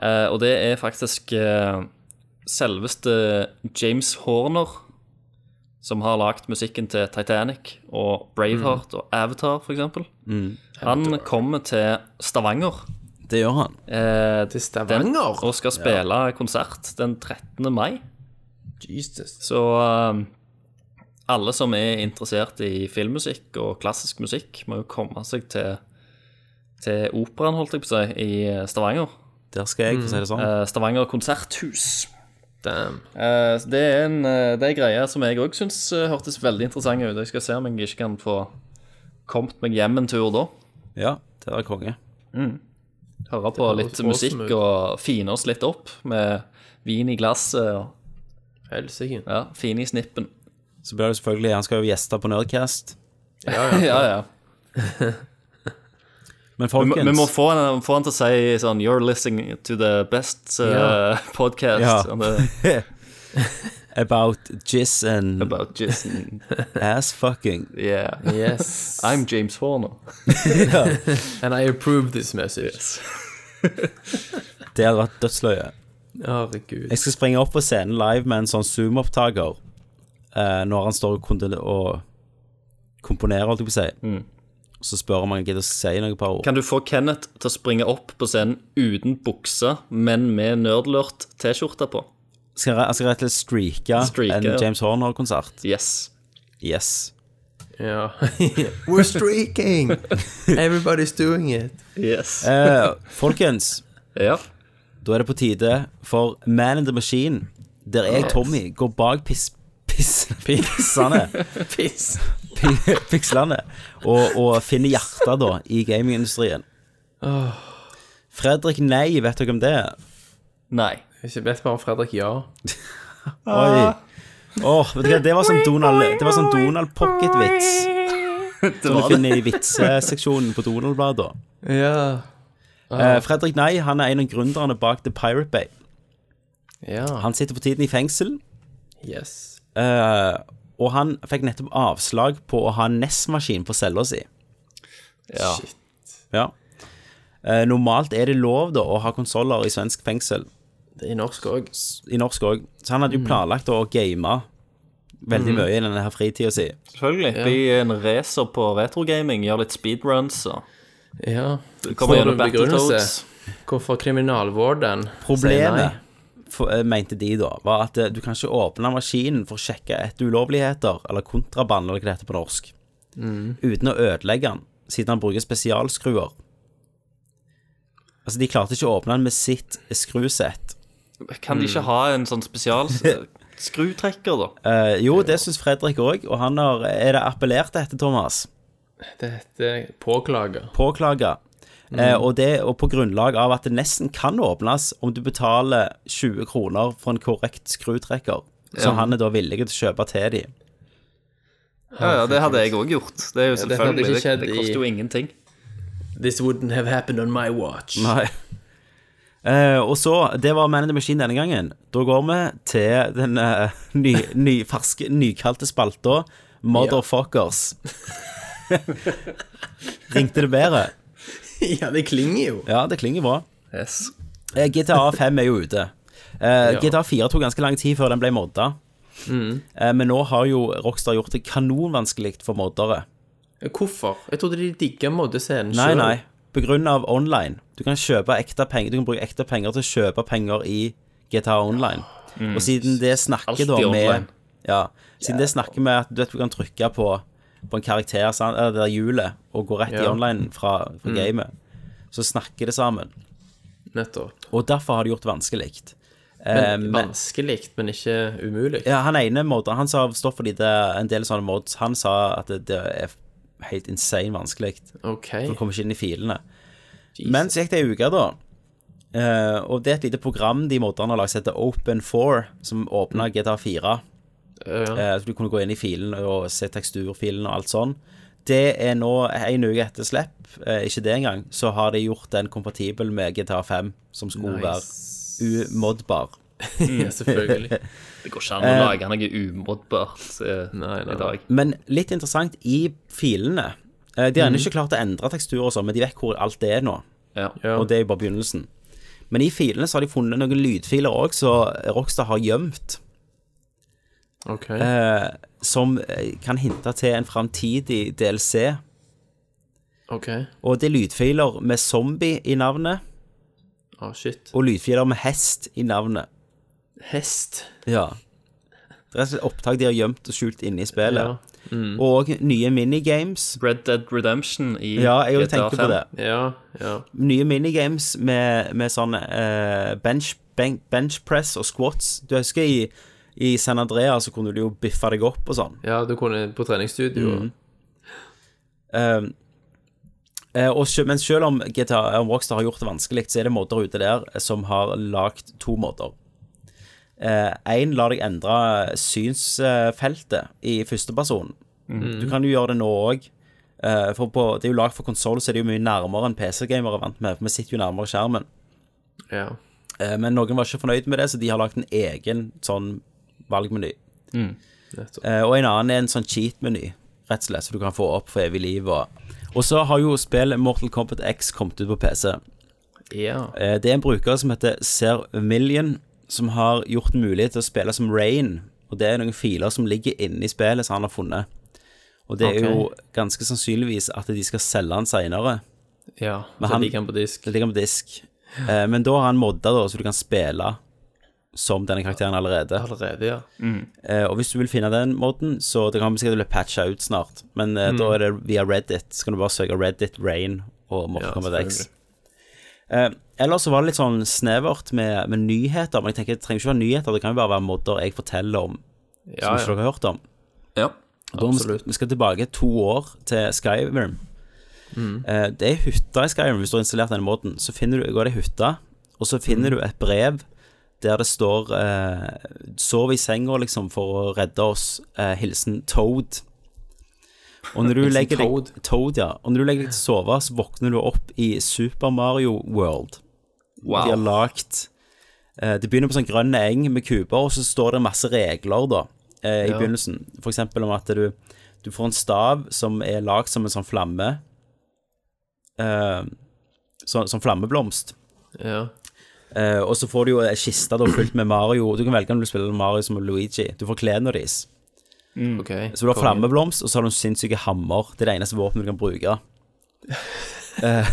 Speaker 5: Eh, og det er faktisk eh, selveste James Horner som har lagd musikken til Titanic og Braveheart og Avatar, f.eks. Han kommer til Stavanger.
Speaker 4: Det gjør han.
Speaker 5: eh,
Speaker 6: Til Stavanger?
Speaker 5: Den, og skal spille konsert den 13. mai.
Speaker 6: Jesus.
Speaker 5: Så um, alle som er interessert i filmmusikk og klassisk musikk, må jo komme seg til, til operaen, holdt jeg på å si, i eh, Stavanger.
Speaker 4: Der skal jeg, for å si det sånn.
Speaker 5: Eh, Stavanger konserthus.
Speaker 6: Damn.
Speaker 5: Eh, så det er en eh, det er greie som jeg òg syns hørtes veldig interessant ut. Jeg skal se om jeg ikke kan få kommet meg hjem en tur da.
Speaker 4: Ja, det var konge.
Speaker 5: Høre på
Speaker 6: høres
Speaker 5: litt
Speaker 6: awesome
Speaker 5: musikk
Speaker 6: ut.
Speaker 5: og fine oss litt opp med vin i glasset og
Speaker 6: Helsike.
Speaker 5: ja, fine i snippen.
Speaker 4: Så blir det selvfølgelig Han skal jo gjeste på Nerdcast.
Speaker 5: Ja, ja. Vi
Speaker 4: Men
Speaker 5: må-
Speaker 4: folkens
Speaker 5: Vi må få han, få han til å si sånn You're listening to the best uh,
Speaker 6: Ja.
Speaker 5: podcast
Speaker 4: Ja.
Speaker 5: on the,
Speaker 4: About jizz and
Speaker 5: about Jason.
Speaker 4: ass fucking.
Speaker 5: Yeah.
Speaker 6: Yes.
Speaker 5: I'm James Horner.
Speaker 6: And I approve this message.
Speaker 4: Det hadde vært dødsløye.
Speaker 6: Herregud.
Speaker 4: Jeg skal springe opp på scenen live med en sånn Zoom-opptaker eh, når han står og, kondol- og komponerer, holdt jeg på å si. Så spør om han gidder å si noen par ord.
Speaker 5: Mm. Kan du få Kenneth til å springe opp på scenen uten bukse, men med nerdlurt T-skjorte på?
Speaker 4: Skal, jeg- jeg skal rett og slett streake
Speaker 5: Streake,
Speaker 4: en
Speaker 5: ja.
Speaker 4: James Horner-konsert.
Speaker 5: Yes.
Speaker 4: Yes.
Speaker 6: Ja. We're streaking! Everybody's doing it.
Speaker 5: Yes.
Speaker 4: Eh, folkens,
Speaker 5: Ja.
Speaker 4: da er det på tide for Man in the Machine, der jeg, Tommy, går bak piss... Piss, pissene
Speaker 6: Piss.
Speaker 4: pi- Pikslene og, og finner hjertet da i gamingindustrien. Fredrik Nei, vet dere om det? er?
Speaker 5: Nei.
Speaker 6: Ikke vet bare Fredrik ja.
Speaker 4: Oi. Åh, vet du hva, det var sånn Donald Det var sånn Donald Pocket-vits
Speaker 5: Det
Speaker 4: som du
Speaker 5: var det.
Speaker 4: finner i vitseseksjonen på Donald-bladet.
Speaker 6: Ja.
Speaker 4: Eh, Fredrik Nei han er en av gründerne bak The Pirate Bay.
Speaker 6: Ja.
Speaker 4: Han sitter for tiden i fengsel,
Speaker 6: Yes.
Speaker 4: eh, og han fikk nettopp avslag på å ha en NES-maskin på cella si.
Speaker 5: Ja.
Speaker 6: Shit.
Speaker 4: Ja. Eh, normalt er det lov da å ha konsoller i svensk fengsel,
Speaker 6: Det er i norsk òg.
Speaker 4: i norsk òg, så han hadde jo planlagt å game veldig mye i denne her fritida si.
Speaker 5: Selvfølgelig. Bli en racer på retrogaming, gjør litt speedruns og
Speaker 6: Ja.
Speaker 5: kommer
Speaker 6: Får du
Speaker 5: gjennom
Speaker 6: en begrunnelse?
Speaker 5: Battletoads.
Speaker 6: Hvorfor kriminalvården sier nei?
Speaker 4: Problemet, for, eh, mente de da, var at eh, du kan ikke åpne maskinen for å sjekke etter ulovligheter, eller kontraband, eller hva det heter på norsk, uten å ødelegge den, siden han bruker spesialskruer. Altså, de klarte ikke å åpne den med sitt skrusett.
Speaker 5: Kan de ikke ha en sånn spesial skrutrekker, da?
Speaker 4: Eh, jo, det syns Fredrik òg, og han har, er det appellert etter, Thomas?
Speaker 6: Det heter påklager.
Speaker 4: Påklaga. Eh, og, det, og på grunnlag av at det nesten kan åpnes om du betaler 20 kroner for en korrekt skrutrekker, som han er da villig til å kjøpe til de.
Speaker 5: Ja, ja, det hadde jeg òg gjort. Det er jo
Speaker 6: dette hadde
Speaker 5: selvfølgelig
Speaker 6: ikke
Speaker 5: Det,
Speaker 6: skjedd
Speaker 5: det
Speaker 6: i-
Speaker 5: koster jo ingenting.
Speaker 6: This wouldn't have happened on my watch.
Speaker 4: Nei. Eh, og så, det var Man in the Machine denne gangen. Da går vi til den eh, ny, ny, ferske, nykalte spalta Motherfuckers. Ringte det bedre?
Speaker 6: ja, det klinger jo.
Speaker 4: Ja, det klinger bra.
Speaker 5: Yes.
Speaker 4: Eh, GTA 5 er jo ute. Eh, GTA 4 tok ganske lang tid før den ble modda.
Speaker 6: Mm.
Speaker 4: Eh, men nå har jo Rockstar gjort det kanonvanskelig for moddere.
Speaker 6: Hvorfor? Jeg trodde de digga moddescenen
Speaker 4: Nei,
Speaker 6: selv.
Speaker 4: nei. På grunn av online. Du kan kjøpe ekte penger Du kan bruke ekte penger til å kjøpe penger i GTA Online.
Speaker 6: Mm.
Speaker 4: Og siden det snakker
Speaker 5: Alltid
Speaker 4: da
Speaker 5: online.
Speaker 4: med Ja, siden det snakker med at du vet du kan trykke på På en karakter, sant? eller det der hjulet, og gå rett i
Speaker 6: Ja. Mm.
Speaker 4: online fra, fra gamet, så snakker det sammen.
Speaker 6: Nettopp.
Speaker 4: Og derfor har de gjort det vanskelig. Eh,
Speaker 6: Men,
Speaker 4: men-
Speaker 6: vanskelig, men ikke umulig.
Speaker 4: Ja, han ene modder, han sa stoff fordi det er en del sånne mods. Han sa at det, det er helt insane vanskelig.
Speaker 6: OK.
Speaker 4: Du kommer ikke inn i filene.
Speaker 6: Jesus.
Speaker 4: Men så gikk det ei uke, da. Eh, og det er et lite program de modderne har lagd som heter Open4, som åpna GTA4.
Speaker 6: Ja.
Speaker 4: eh, så du kunne gå inn i filen og se teksturfilen og alt sånn. Det er nå en uke etter slipp, eh, ikke det engang, så har de gjort den kompatibel med GTA5, som skulle være umodbar.
Speaker 6: ja, selvfølgelig.
Speaker 5: Det går ikke an å lage noe umodbart eh,
Speaker 6: Eh. Nei, nei,
Speaker 5: i dag.
Speaker 4: Men litt interessant i filene eh, De har ennå ikke klart å endre tekstur og sånn, men de vet hvor alt det er nå.
Speaker 5: Ja.
Speaker 6: Ja.
Speaker 4: Og det er jo bare begynnelsen. Men i filene så har de funnet noen lydfiler òg, som Rockstar har gjemt.
Speaker 6: OK.
Speaker 4: eh, Som eh, kan hinte til en framtidig DLC.
Speaker 6: OK.
Speaker 4: Og det er lydfiler med zombie i navnet,
Speaker 6: Å, shit.
Speaker 4: og lydfiler med hest i navnet.
Speaker 6: Hest.
Speaker 4: Ja. Det er rett og slett opptak de har gjemt og skjult inne i
Speaker 6: Ja.
Speaker 4: spillet. Og nye minigames.
Speaker 5: Red Dead Redemption i
Speaker 4: Ja, jeg òg
Speaker 5: GTA
Speaker 4: tenkte på
Speaker 5: 5.
Speaker 4: det.
Speaker 6: Ja. ja.
Speaker 4: nye minigames med, med sånn eh, bench, ben, bench press og squats. Du husker i, i San Andreas så kunne du jo biffe deg opp og sånn.
Speaker 6: Ja, du kunne på treningsstudio.
Speaker 4: Mm. Ehm, Eh, og, sjø- men selv om GTA om eh, Rockstar har gjort det vanskelig, så er det måter ute der eh, som har lagd to måter. Én lar deg endre synsfeltet i førsteperson. Du kan jo gjøre det nå òg. for på, det er jo lagd for konsoll, så er det jo mye nærmere enn PC-gamere er vant med. For vi sitter jo nærmere skjermen.
Speaker 6: Ja.
Speaker 4: Eh, Men noen var ikke fornøyd med det, så de har lagt en egen sånn valgmeny.
Speaker 6: Nettopp.
Speaker 4: Eh, Og en annen er en sånn cheat-meny, rett og slett, så du kan få opp for evig liv. Og, og så har jo spillet Mortal Kombat X kommet ut på PC.
Speaker 6: Ja.
Speaker 4: Eh, Det er en bruker som heter Ser Million, som har gjort det mulig til å spille som Rain. Og det er noen filer som ligger inne i spillet som han har funnet. Og det er
Speaker 6: Ok.
Speaker 4: jo ganske sannsynligvis at de skal selge den seinere.
Speaker 6: ja.
Speaker 4: Men
Speaker 6: Så
Speaker 4: han-
Speaker 6: ligger han på disk.
Speaker 4: Det ligger på disk. Eh, Men da har han modda, da, så du kan spille som denne karakteren allerede.
Speaker 6: Allerede, ja.
Speaker 4: Eh, og hvis du vil finne den måten, så det kan sikkert bli patcha ut snart. Men eh,
Speaker 6: Mm.
Speaker 4: da er det via Reddit. Så kan du bare søke Reddit Rain og Mortal
Speaker 6: Ja,
Speaker 4: Kombat X.
Speaker 6: selvfølgelig.
Speaker 4: Eh, ellers så var det litt sånn snevert med, med nyheter. Men jeg tenker det trenger ikke være nyheter, det kan jo bare være måter jeg forteller om som
Speaker 6: Ja,
Speaker 4: ikke
Speaker 6: ja.
Speaker 4: dere har hørt om.
Speaker 5: Ja.
Speaker 4: Og da må vi,
Speaker 6: Absolutt.
Speaker 4: vi skal tilbake to år til Skyrim. Eh, det er hytta i Skyrim, hvis du har installert den måten. Så finner du, går det i hytta, og så finner du et brev der det står eh, 'Sov i senga, liksom, for å redde oss'. Eh, hilsen Toad. Og når, du
Speaker 6: Hilsen
Speaker 4: legger deg,
Speaker 6: Toad.
Speaker 4: Toad ja. og når du legger deg til å sove, så våkner du opp i Super Mario World. De har
Speaker 5: Wow.
Speaker 4: lagt eh, Det begynner på sånn grønn eng med kuber, og så står det masse regler da eh, i begynnelsen. For eksempel om at du, du får en stav som er lagd som en sånn flamme eh, så, Som flammeblomst.
Speaker 6: ja.
Speaker 4: Eh, og så får du jo ei kiste da, fylt med Mario. Du kan velge om du spiller Mario som Luigi. Du får klærne deres.
Speaker 6: OK.
Speaker 4: Mm. Så du har flammeblomst, og så har du en sinnssyk hammer. Det er det eneste våpenet du kan bruke. Eh,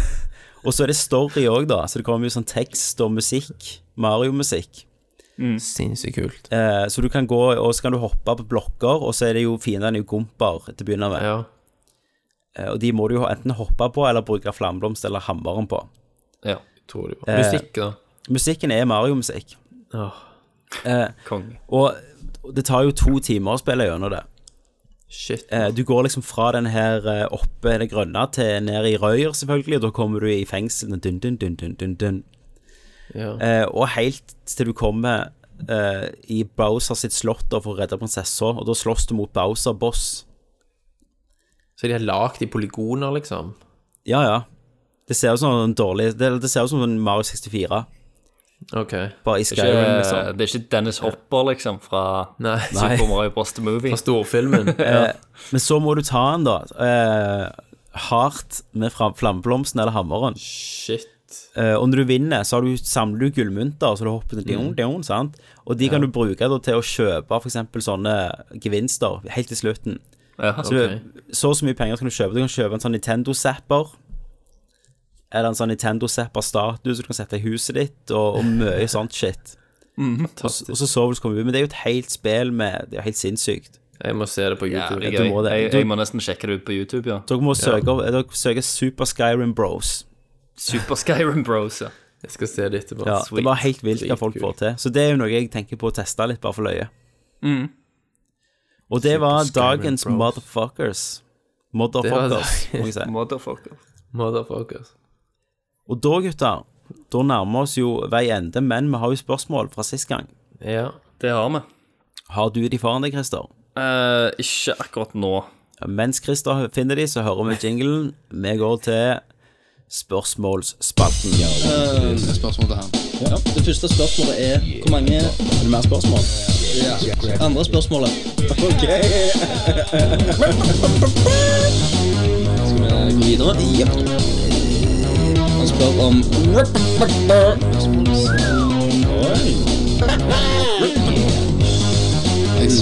Speaker 4: og så er det story òg, da. Så det kommer jo sånn tekst og musikk. Mario-musikk.
Speaker 6: Sinnssykt kult.
Speaker 4: Eh, så du kan gå, og så kan du hoppe på blokker, og så er det jo fiendene i gomper til å begynne med.
Speaker 6: Ja.
Speaker 4: Eh, og de må du jo enten hoppe på, eller bruke flammeblomst eller hammeren på.
Speaker 6: ja. Tror det
Speaker 4: Eh.
Speaker 6: var. Musikk, da.
Speaker 4: Musikken er Mario-musikk. Eh,
Speaker 6: Åh,
Speaker 5: Konge.
Speaker 4: Og det tar jo to timer å spille gjennom det.
Speaker 6: shit.
Speaker 4: Eh, Du går liksom fra den her eh, oppe i det grønne til ned i røyer, selvfølgelig, og da kommer du i fengsel. Dun, dun, dun, dun, dun, dun.
Speaker 6: Ja.
Speaker 4: Eh, Og helt til du kommer eh, i Bowser sitt slott da, for å redde prinsessa, og da slåss du mot Bowser boss.
Speaker 6: Så de har lagd i polygoner, liksom?
Speaker 4: Ja, ja. Det ser ut som en dårlig Det, det ser ut som en Mario 64,
Speaker 6: OK.
Speaker 4: bare i
Speaker 5: Det er,
Speaker 4: Skyrim,
Speaker 5: ikke,
Speaker 4: liksom.
Speaker 5: eh, det er ikke Dennis Hopper, liksom, fra
Speaker 6: Nei.
Speaker 5: Super Mario Bros. The Movie.
Speaker 6: Fra storfilmen. ja.
Speaker 4: Eh, Men så må du ta den, da. Eh, hardt med fra- flammeblomsten eller hammeren.
Speaker 6: Shit.
Speaker 4: Eh, og når du vinner, så har du, samler du gullmynter, så du hopper til dion, dion, sant? Og de kan du bruke da, til å kjøpe f.eks. sånne gevinster helt til slutten.
Speaker 5: Ja.
Speaker 4: Så så og så mye penger kan du kjøpe. Du kan kjøpe en sånn Nintendo-zapper. Eller en sånn Nintendo-zapper-status du kan sette i huset ditt, og, og mye sånt shit. Og, så- og så sover du så kommer du ut. Men det er jo et helt spill med Det er jo helt sinnssykt.
Speaker 6: Jeg må se det på YouTube.
Speaker 5: Jævlig
Speaker 4: du
Speaker 5: gøy.
Speaker 4: må det.
Speaker 5: Jeg,
Speaker 4: Du-
Speaker 5: jeg må nesten sjekke det ut på YouTube, ja.
Speaker 4: Dere må søke, opp- dere søker Super Skyrim Bros.
Speaker 5: Super Skyrim Bros, ja.
Speaker 6: Jeg skal se det etterpå.
Speaker 4: Ja,
Speaker 5: Sweet.
Speaker 4: Det var helt vilt hva
Speaker 6: Sweet,
Speaker 4: folk
Speaker 6: kult.
Speaker 4: får til. Så det er jo noe jeg tenker på å teste litt, bare for løye. Og det
Speaker 6: Super
Speaker 4: var
Speaker 6: Mm. Skyrim
Speaker 4: dagens
Speaker 6: Bros.
Speaker 4: motherfuckers. Motherfuckers,
Speaker 6: Det var-
Speaker 4: må jeg si.
Speaker 5: Motherfucker.
Speaker 6: Motherfuckers.
Speaker 4: Og da, gutter, da nærmer vi oss jo vei ende, men vi har jo spørsmål fra sist gang.
Speaker 6: Ja.
Speaker 5: Det har vi.
Speaker 4: Har du de foran deg, Christer?
Speaker 5: Eh, ikke akkurat nå.
Speaker 4: Mens Christer finner de, så hører vi jinglen. Vi går til spørsmålsspalten.
Speaker 7: Ja, det første spørsmålet er hvor mange Er det mer spørsmål? Ja. Andre spørsmålet. Ok. Skal vi gå videre? Jepp. Han spør om Oi.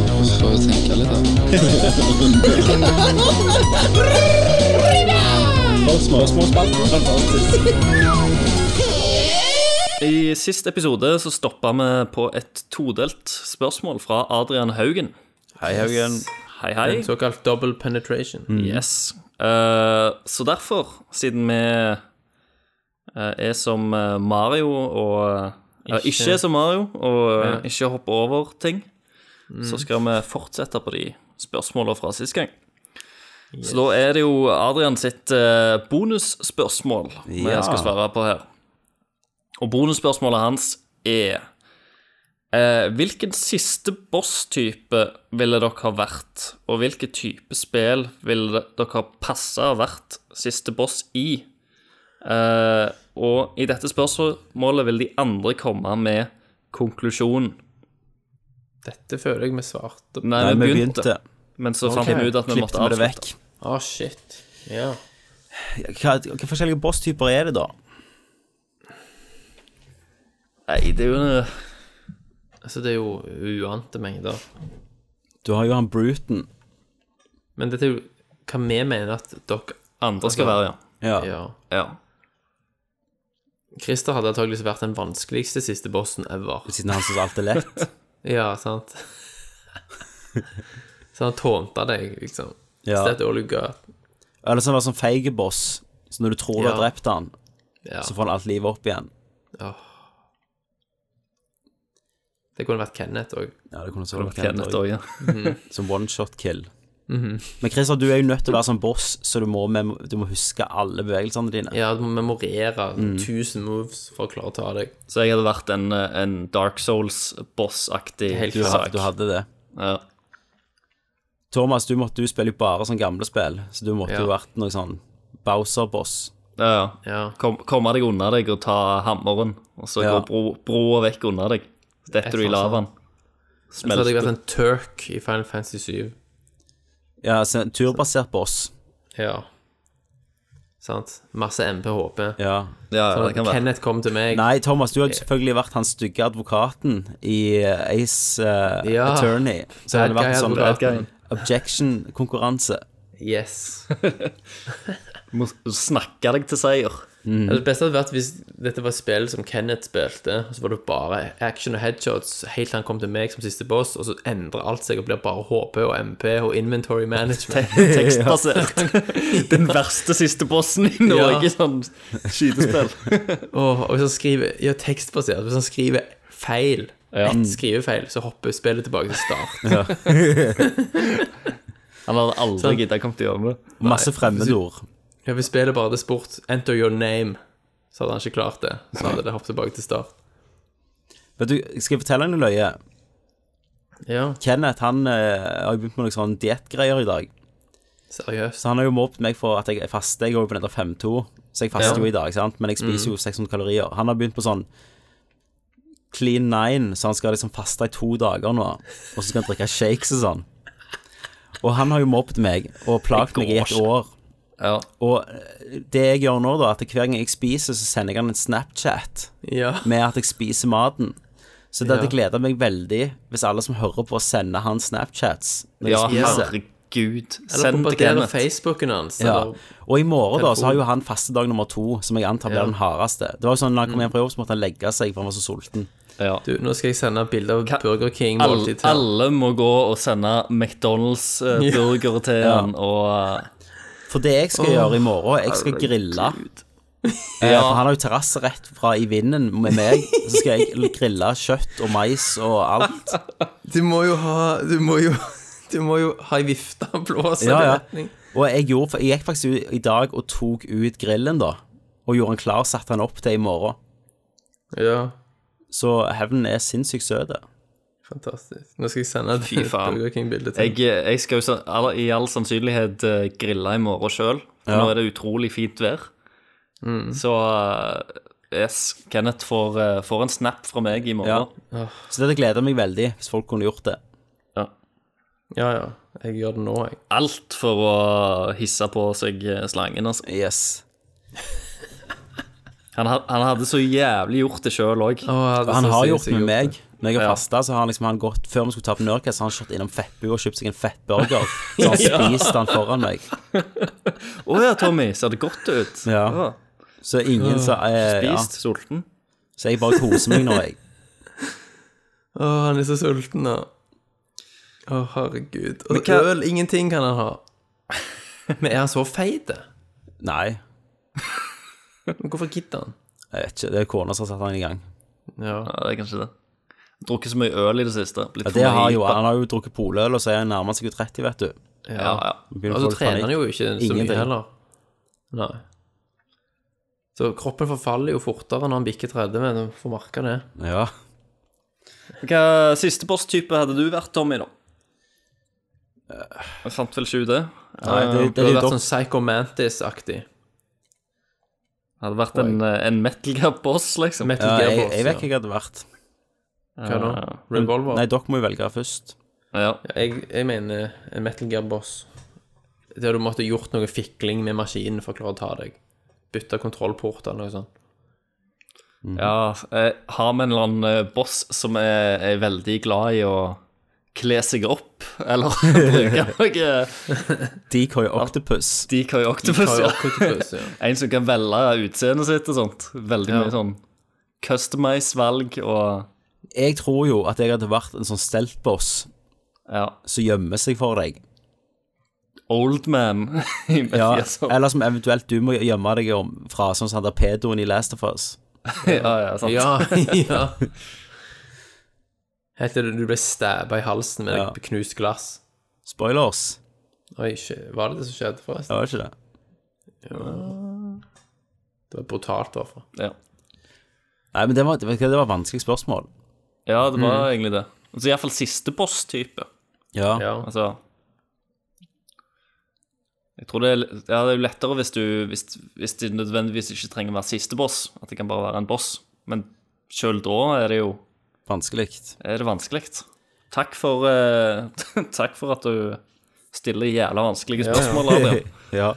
Speaker 7: Jeg får tenke litt, da. Spørsmålsspalten. Fantastisk.
Speaker 5: I sist episode så stoppa vi på et todelt spørsmål fra Adrian Haugen.
Speaker 4: Hei, Haugen.
Speaker 5: Hei, hei.
Speaker 6: En såkalt double penetration.
Speaker 4: Mm.
Speaker 5: Yes. Eh, så derfor, siden vi eh, er som eh, Mario og eh,
Speaker 6: Ikke-
Speaker 5: Ikke er som Mario og eh, ikke hopper over ting, så skal vi fortsette på de spørsmålene fra sist gang. Så da er det jo Adrian sitt eh, bonusspørsmål vi
Speaker 4: Ja.
Speaker 5: skal svare på her. Og bonusspørsmålet hans er eh, Hvilken siste boss-type ville dere ha vært, og hvilke type spill ville dere ha passa å vært siste boss i? Eh, og i dette spørsmålet vil de andre komme med konklusjonen.
Speaker 6: Dette føler jeg vi svarte på.
Speaker 5: Nei,
Speaker 4: Nei,
Speaker 5: vi begynte, men så fant
Speaker 6: Ok.
Speaker 5: vi ut at vi
Speaker 4: Klippet
Speaker 5: måtte
Speaker 4: vi det
Speaker 5: avslutte.
Speaker 4: vekk.
Speaker 6: Å, Ah, shit. Ja.
Speaker 4: Hva, hva forskjellige boss-typer er det, da?
Speaker 5: Nei, det er jo
Speaker 6: Altså, det er jo uante mengder.
Speaker 4: Du har jo han Bruton.
Speaker 6: Men dette er jo hva vi mener at dere
Speaker 5: andre skal være, ja.
Speaker 4: Ja.
Speaker 6: Ja.
Speaker 5: ja.
Speaker 6: Christer hadde antakeligvis vært den vanskeligste siste bossen ever.
Speaker 4: Siden han syns alt er lett.
Speaker 6: Ja, sant? Så han tånta deg, liksom.
Speaker 4: Ja.
Speaker 6: Stedet all you got.
Speaker 4: Eller så var det sånn feige boss. Så når du tror du har
Speaker 6: Ja.
Speaker 4: drept han,
Speaker 6: Ja.
Speaker 4: så får han alt livet opp igjen.
Speaker 6: Det kunne vært Kenneth òg.
Speaker 4: Ja, det kunne så vært
Speaker 5: Kenneth
Speaker 4: Kenneth også.
Speaker 5: òg, ja.
Speaker 4: Som one shot kill.
Speaker 6: Mhm.
Speaker 4: Men Christer, du er jo nødt til å være sånn boss, så du må, mem- du må huske alle bevegelsene dine.
Speaker 6: Ja, du må memorere
Speaker 4: Mm.
Speaker 6: 1000 moves for å klare å ta deg.
Speaker 5: Så jeg hadde vært en, eh, en Dark Souls-boss-aktig
Speaker 6: Helt
Speaker 4: du,
Speaker 5: sak.
Speaker 4: had, du hadde det.
Speaker 5: Ja.
Speaker 4: Thomas, du, måtte, du spiller jo bare sånn gamle spill, så du måtte
Speaker 6: Ja.
Speaker 4: jo vært noe sånn Bowser-boss.
Speaker 5: Ja, ja.
Speaker 6: Ja.
Speaker 5: Kom, komme deg unna deg og ta hammeren, og så
Speaker 4: Ja.
Speaker 5: går bro, broa vekk unna deg. Så detter du i
Speaker 6: tror
Speaker 5: lavaen.
Speaker 6: Så hadde jeg vært
Speaker 5: Smelter.
Speaker 6: en turk i Final Fantasy 7.
Speaker 4: Ja, altså, en turbasert boss.
Speaker 6: Ja. Sant? Masse MP HP.
Speaker 4: Ja.
Speaker 5: Ja, ja,
Speaker 6: Sånn
Speaker 5: det
Speaker 6: at
Speaker 5: kan være.
Speaker 6: Kenneth kom til meg.
Speaker 4: Nei, Thomas, du hadde selvfølgelig vært han stygge advokaten i eh, Ace eh,
Speaker 6: Ja.
Speaker 4: Attorney. Så hadde
Speaker 6: Bad
Speaker 4: vært en
Speaker 6: guy
Speaker 4: sånn
Speaker 6: advokaten.
Speaker 4: objection-konkurranse.
Speaker 6: Yes.
Speaker 5: Må snakke deg til seier.
Speaker 6: Det beste hadde vært hvis dette var et spill som Kenneth spilte, og så var det bare action og headshots helt til han kom til meg som siste boss, og så endrer alt seg og blir bare HP og MP og inventory management.
Speaker 5: Tekstbasert. Altså, Den verste siste bossen i Norge,
Speaker 6: Ja.
Speaker 5: sånn skytespill.
Speaker 6: Åh, og hvis han skriver Ja, tekstbasert. Hvis han skriver feil,
Speaker 5: Ja.
Speaker 6: ett skrivefeil, så hopper spillet tilbake til start.
Speaker 5: Han hadde aldri
Speaker 6: Sånn.
Speaker 5: gidda kommet til å gjøre det.
Speaker 4: Masse fremmedord.
Speaker 6: Ja, hvis spillet bare hadde spurt 'enter your name', så hadde han ikke klart det. Så hadde det hoppet tilbake til start.
Speaker 4: Vet du, skal jeg fortelle deg noe løye?
Speaker 6: Ja,
Speaker 4: Kenneth han eh, har jo begynt med noen sånne diettgreier i dag.
Speaker 6: seriøst.
Speaker 4: Så han har jo mobbet meg for at jeg faster. Jeg går jo på nettopp 5-2, så jeg faster
Speaker 6: Ja.
Speaker 4: jo i dag, ikke sant? men jeg spiser jo 600 kalorier. Han har begynt på sånn clean nine, så han skal liksom faste i to dager nå. Og så skal han drikke shakes og sånn. Og han har jo mobbet meg og plaget meg i et år.
Speaker 5: Ja.
Speaker 4: Og eh, det jeg gjør nå, da, at hver gang jeg spiser, så sender jeg han en Snapchat
Speaker 6: Ja.
Speaker 4: med at jeg spiser maten. Så det hadde gleda meg veldig hvis alle som hører på, sender han Snapchats. når jeg
Speaker 5: ja,
Speaker 4: spiser.
Speaker 5: herregud.
Speaker 6: Eller
Speaker 5: Send til
Speaker 6: bombardere
Speaker 5: Kenneth.
Speaker 6: Facebooken hans.
Speaker 4: Ja.
Speaker 6: Eller,
Speaker 4: Og i morgen da, så
Speaker 6: telefon.
Speaker 4: har jo han fastedag nummer to, som jeg antar blir
Speaker 6: Ja.
Speaker 4: den hardeste. Det var jo sånn, Når han kom hjem fra jobb, så måtte han legge seg, for han var så sulten.
Speaker 5: Ja.
Speaker 6: du, nå skal jeg sende bilde av
Speaker 5: Ka-
Speaker 6: Burger King-måltid
Speaker 5: Alle,
Speaker 6: til han.
Speaker 5: alle må gå og sende McDonald's-burger til han, og eh,
Speaker 4: For det jeg skal gjøre i morgen, jeg skal grille. Eh, For han har jo terrasse rett fra i vinden med meg. Så skal jeg grille kjøtt og mais og alt.
Speaker 6: Du må jo ha Du må jo Du må jo ha ei vifte av blåser.
Speaker 4: Ja, ja.
Speaker 6: i retning.
Speaker 4: Og jeg, gjorde, jeg gikk faktisk ut i dag og tok ut grillen, da. Og gjorde han klar, satte han opp til i morgen.
Speaker 6: ja.
Speaker 4: Så hevnen er sinnssykt søt.
Speaker 6: Fantastisk. Nå skal jeg sende et
Speaker 5: Fy faen.
Speaker 6: Burger King-bilde til
Speaker 5: jeg, eh, jeg skal jo så- all- i all sannsynlighet eh, grille i morgen sjøl.
Speaker 4: Ja.
Speaker 5: Nå er det utrolig fint vær. Så eh, yes, Kenneth får, eh, får en snap fra meg i
Speaker 4: Ja.
Speaker 5: morgen.
Speaker 4: Så det hadde gleda meg veldig, hvis folk kunne gjort det.
Speaker 6: Ja, ja. Jeg gjør det nå, jeg.
Speaker 5: Alt for å hisse på seg eh, slangen. Altså.
Speaker 4: Yes.
Speaker 5: Han, had- han hadde så jævlig gjort det sjøl òg.
Speaker 4: Og han har gjort det med meg. Når jeg har
Speaker 5: Ja.
Speaker 4: fasta, så har han liksom han gått Før vi skulle ta på Nurcast, så har han kjørt innom Fettbu og kjøpt seg en fettburger. Så han spiste den foran meg.
Speaker 5: Å ja, Tommy, ser det godt ut?
Speaker 4: Ja.
Speaker 5: Å,
Speaker 4: Så ingen sa eh, ja.
Speaker 5: Spist, sulten?
Speaker 4: Så jeg bare koser meg nå, jeg.
Speaker 6: Å, han er så sulten nå. Å, herregud. Og
Speaker 5: Men hva-
Speaker 6: øl, ingenting kan han ha. Men er han så feit? Men
Speaker 4: Nei,
Speaker 6: Hvorfor gidder han?
Speaker 4: jeg vet ikke. Det er kona som har satt han i gang.
Speaker 6: Ja.
Speaker 5: Ja, det er kanskje det. Drukket så mye øl i det siste. Blitt
Speaker 4: Ja, det har jo,
Speaker 5: han.
Speaker 4: han har jo drukket poløl, og så er han nærmer seg jo 30, vet du.
Speaker 5: Ja, ja.
Speaker 4: Nå begynner
Speaker 6: Og så
Speaker 4: folk
Speaker 6: trener
Speaker 4: panikk.
Speaker 6: han Altså, jo ikke så
Speaker 4: Ingenting.
Speaker 6: mye heller. Nei. Så kroppen forfaller jo fortere når han bikker 30, men du får merke det.
Speaker 4: Ja.
Speaker 5: Hva siste posttype hadde du vært, Tommy, da? Jeg fant vel ikke ut det.
Speaker 6: Nei,
Speaker 4: det- det
Speaker 6: du
Speaker 4: er
Speaker 6: har
Speaker 4: jo
Speaker 6: vært
Speaker 4: dopp-
Speaker 6: sånn Psycho Mantis-aktig.
Speaker 5: Jeg hadde vært en, eh, en metal gear boss, liksom.
Speaker 6: Metal
Speaker 4: Ja,
Speaker 6: Gear
Speaker 4: jeg,
Speaker 6: Boss.
Speaker 4: jeg vet ikke
Speaker 6: ja.
Speaker 4: hva jeg hadde vært.
Speaker 6: Hva da? Revolver?
Speaker 4: Nei, dere må jo velge først.
Speaker 5: Ja.
Speaker 6: Jeg, jeg mener en Metal Gear Boss. Der du måtte gjort noe fikling med maskinen for å klare å ta deg. Bytte kontrollport eller noe sånt. Mm.
Speaker 5: ja, jeg har med en eller annen eh, boss som er, er veldig glad i å kle seg opp, eller bruke noe
Speaker 4: Decoy Octopus.
Speaker 5: decoy octopus.
Speaker 6: Ta
Speaker 5: Ja.
Speaker 6: jo octopus, ja.
Speaker 5: En som kan velge utseendet sitt og sånt. Veldig
Speaker 6: Ja.
Speaker 5: mye sånn customize-valg og
Speaker 4: Jeg tror jo at jeg hadde vært en sånn steltboss
Speaker 5: ja,
Speaker 4: som gjemmer seg for deg.
Speaker 5: old man. i Metal
Speaker 4: Ja,
Speaker 5: Gear, sånn.
Speaker 4: eller som eventuelt du må gjemme deg om fra, sånn som han der pedoen i Last of Us.
Speaker 5: ja, ja, sant.
Speaker 6: Ja, ja. Helt til du ble stabba i halsen med
Speaker 4: Ja.
Speaker 6: et knust glass.
Speaker 4: Spoilers.
Speaker 6: Oi, shit. var det det som skjedde, forresten?
Speaker 4: Ja, var det ikke det?
Speaker 6: Det var brutalt, i hvert fall.
Speaker 5: Ja.
Speaker 4: Nei, men det var, vet du hva, det var et vanskelig spørsmål.
Speaker 5: Ja, det var egentlig det. Altså Iallfall siste boss-type.
Speaker 4: Ja.
Speaker 6: Ja.
Speaker 5: Altså Jeg tror det er, ja, det er jo lettere hvis du hvis, hvis det nødvendigvis ikke trenger å være siste boss. At det kan bare være en boss. Men sjøl da er det jo
Speaker 4: Vanskelig.
Speaker 5: er det vanskelig. Takk for eh, Takk for at du stiller jævla vanskelige spørsmål, Adrian.
Speaker 4: ja.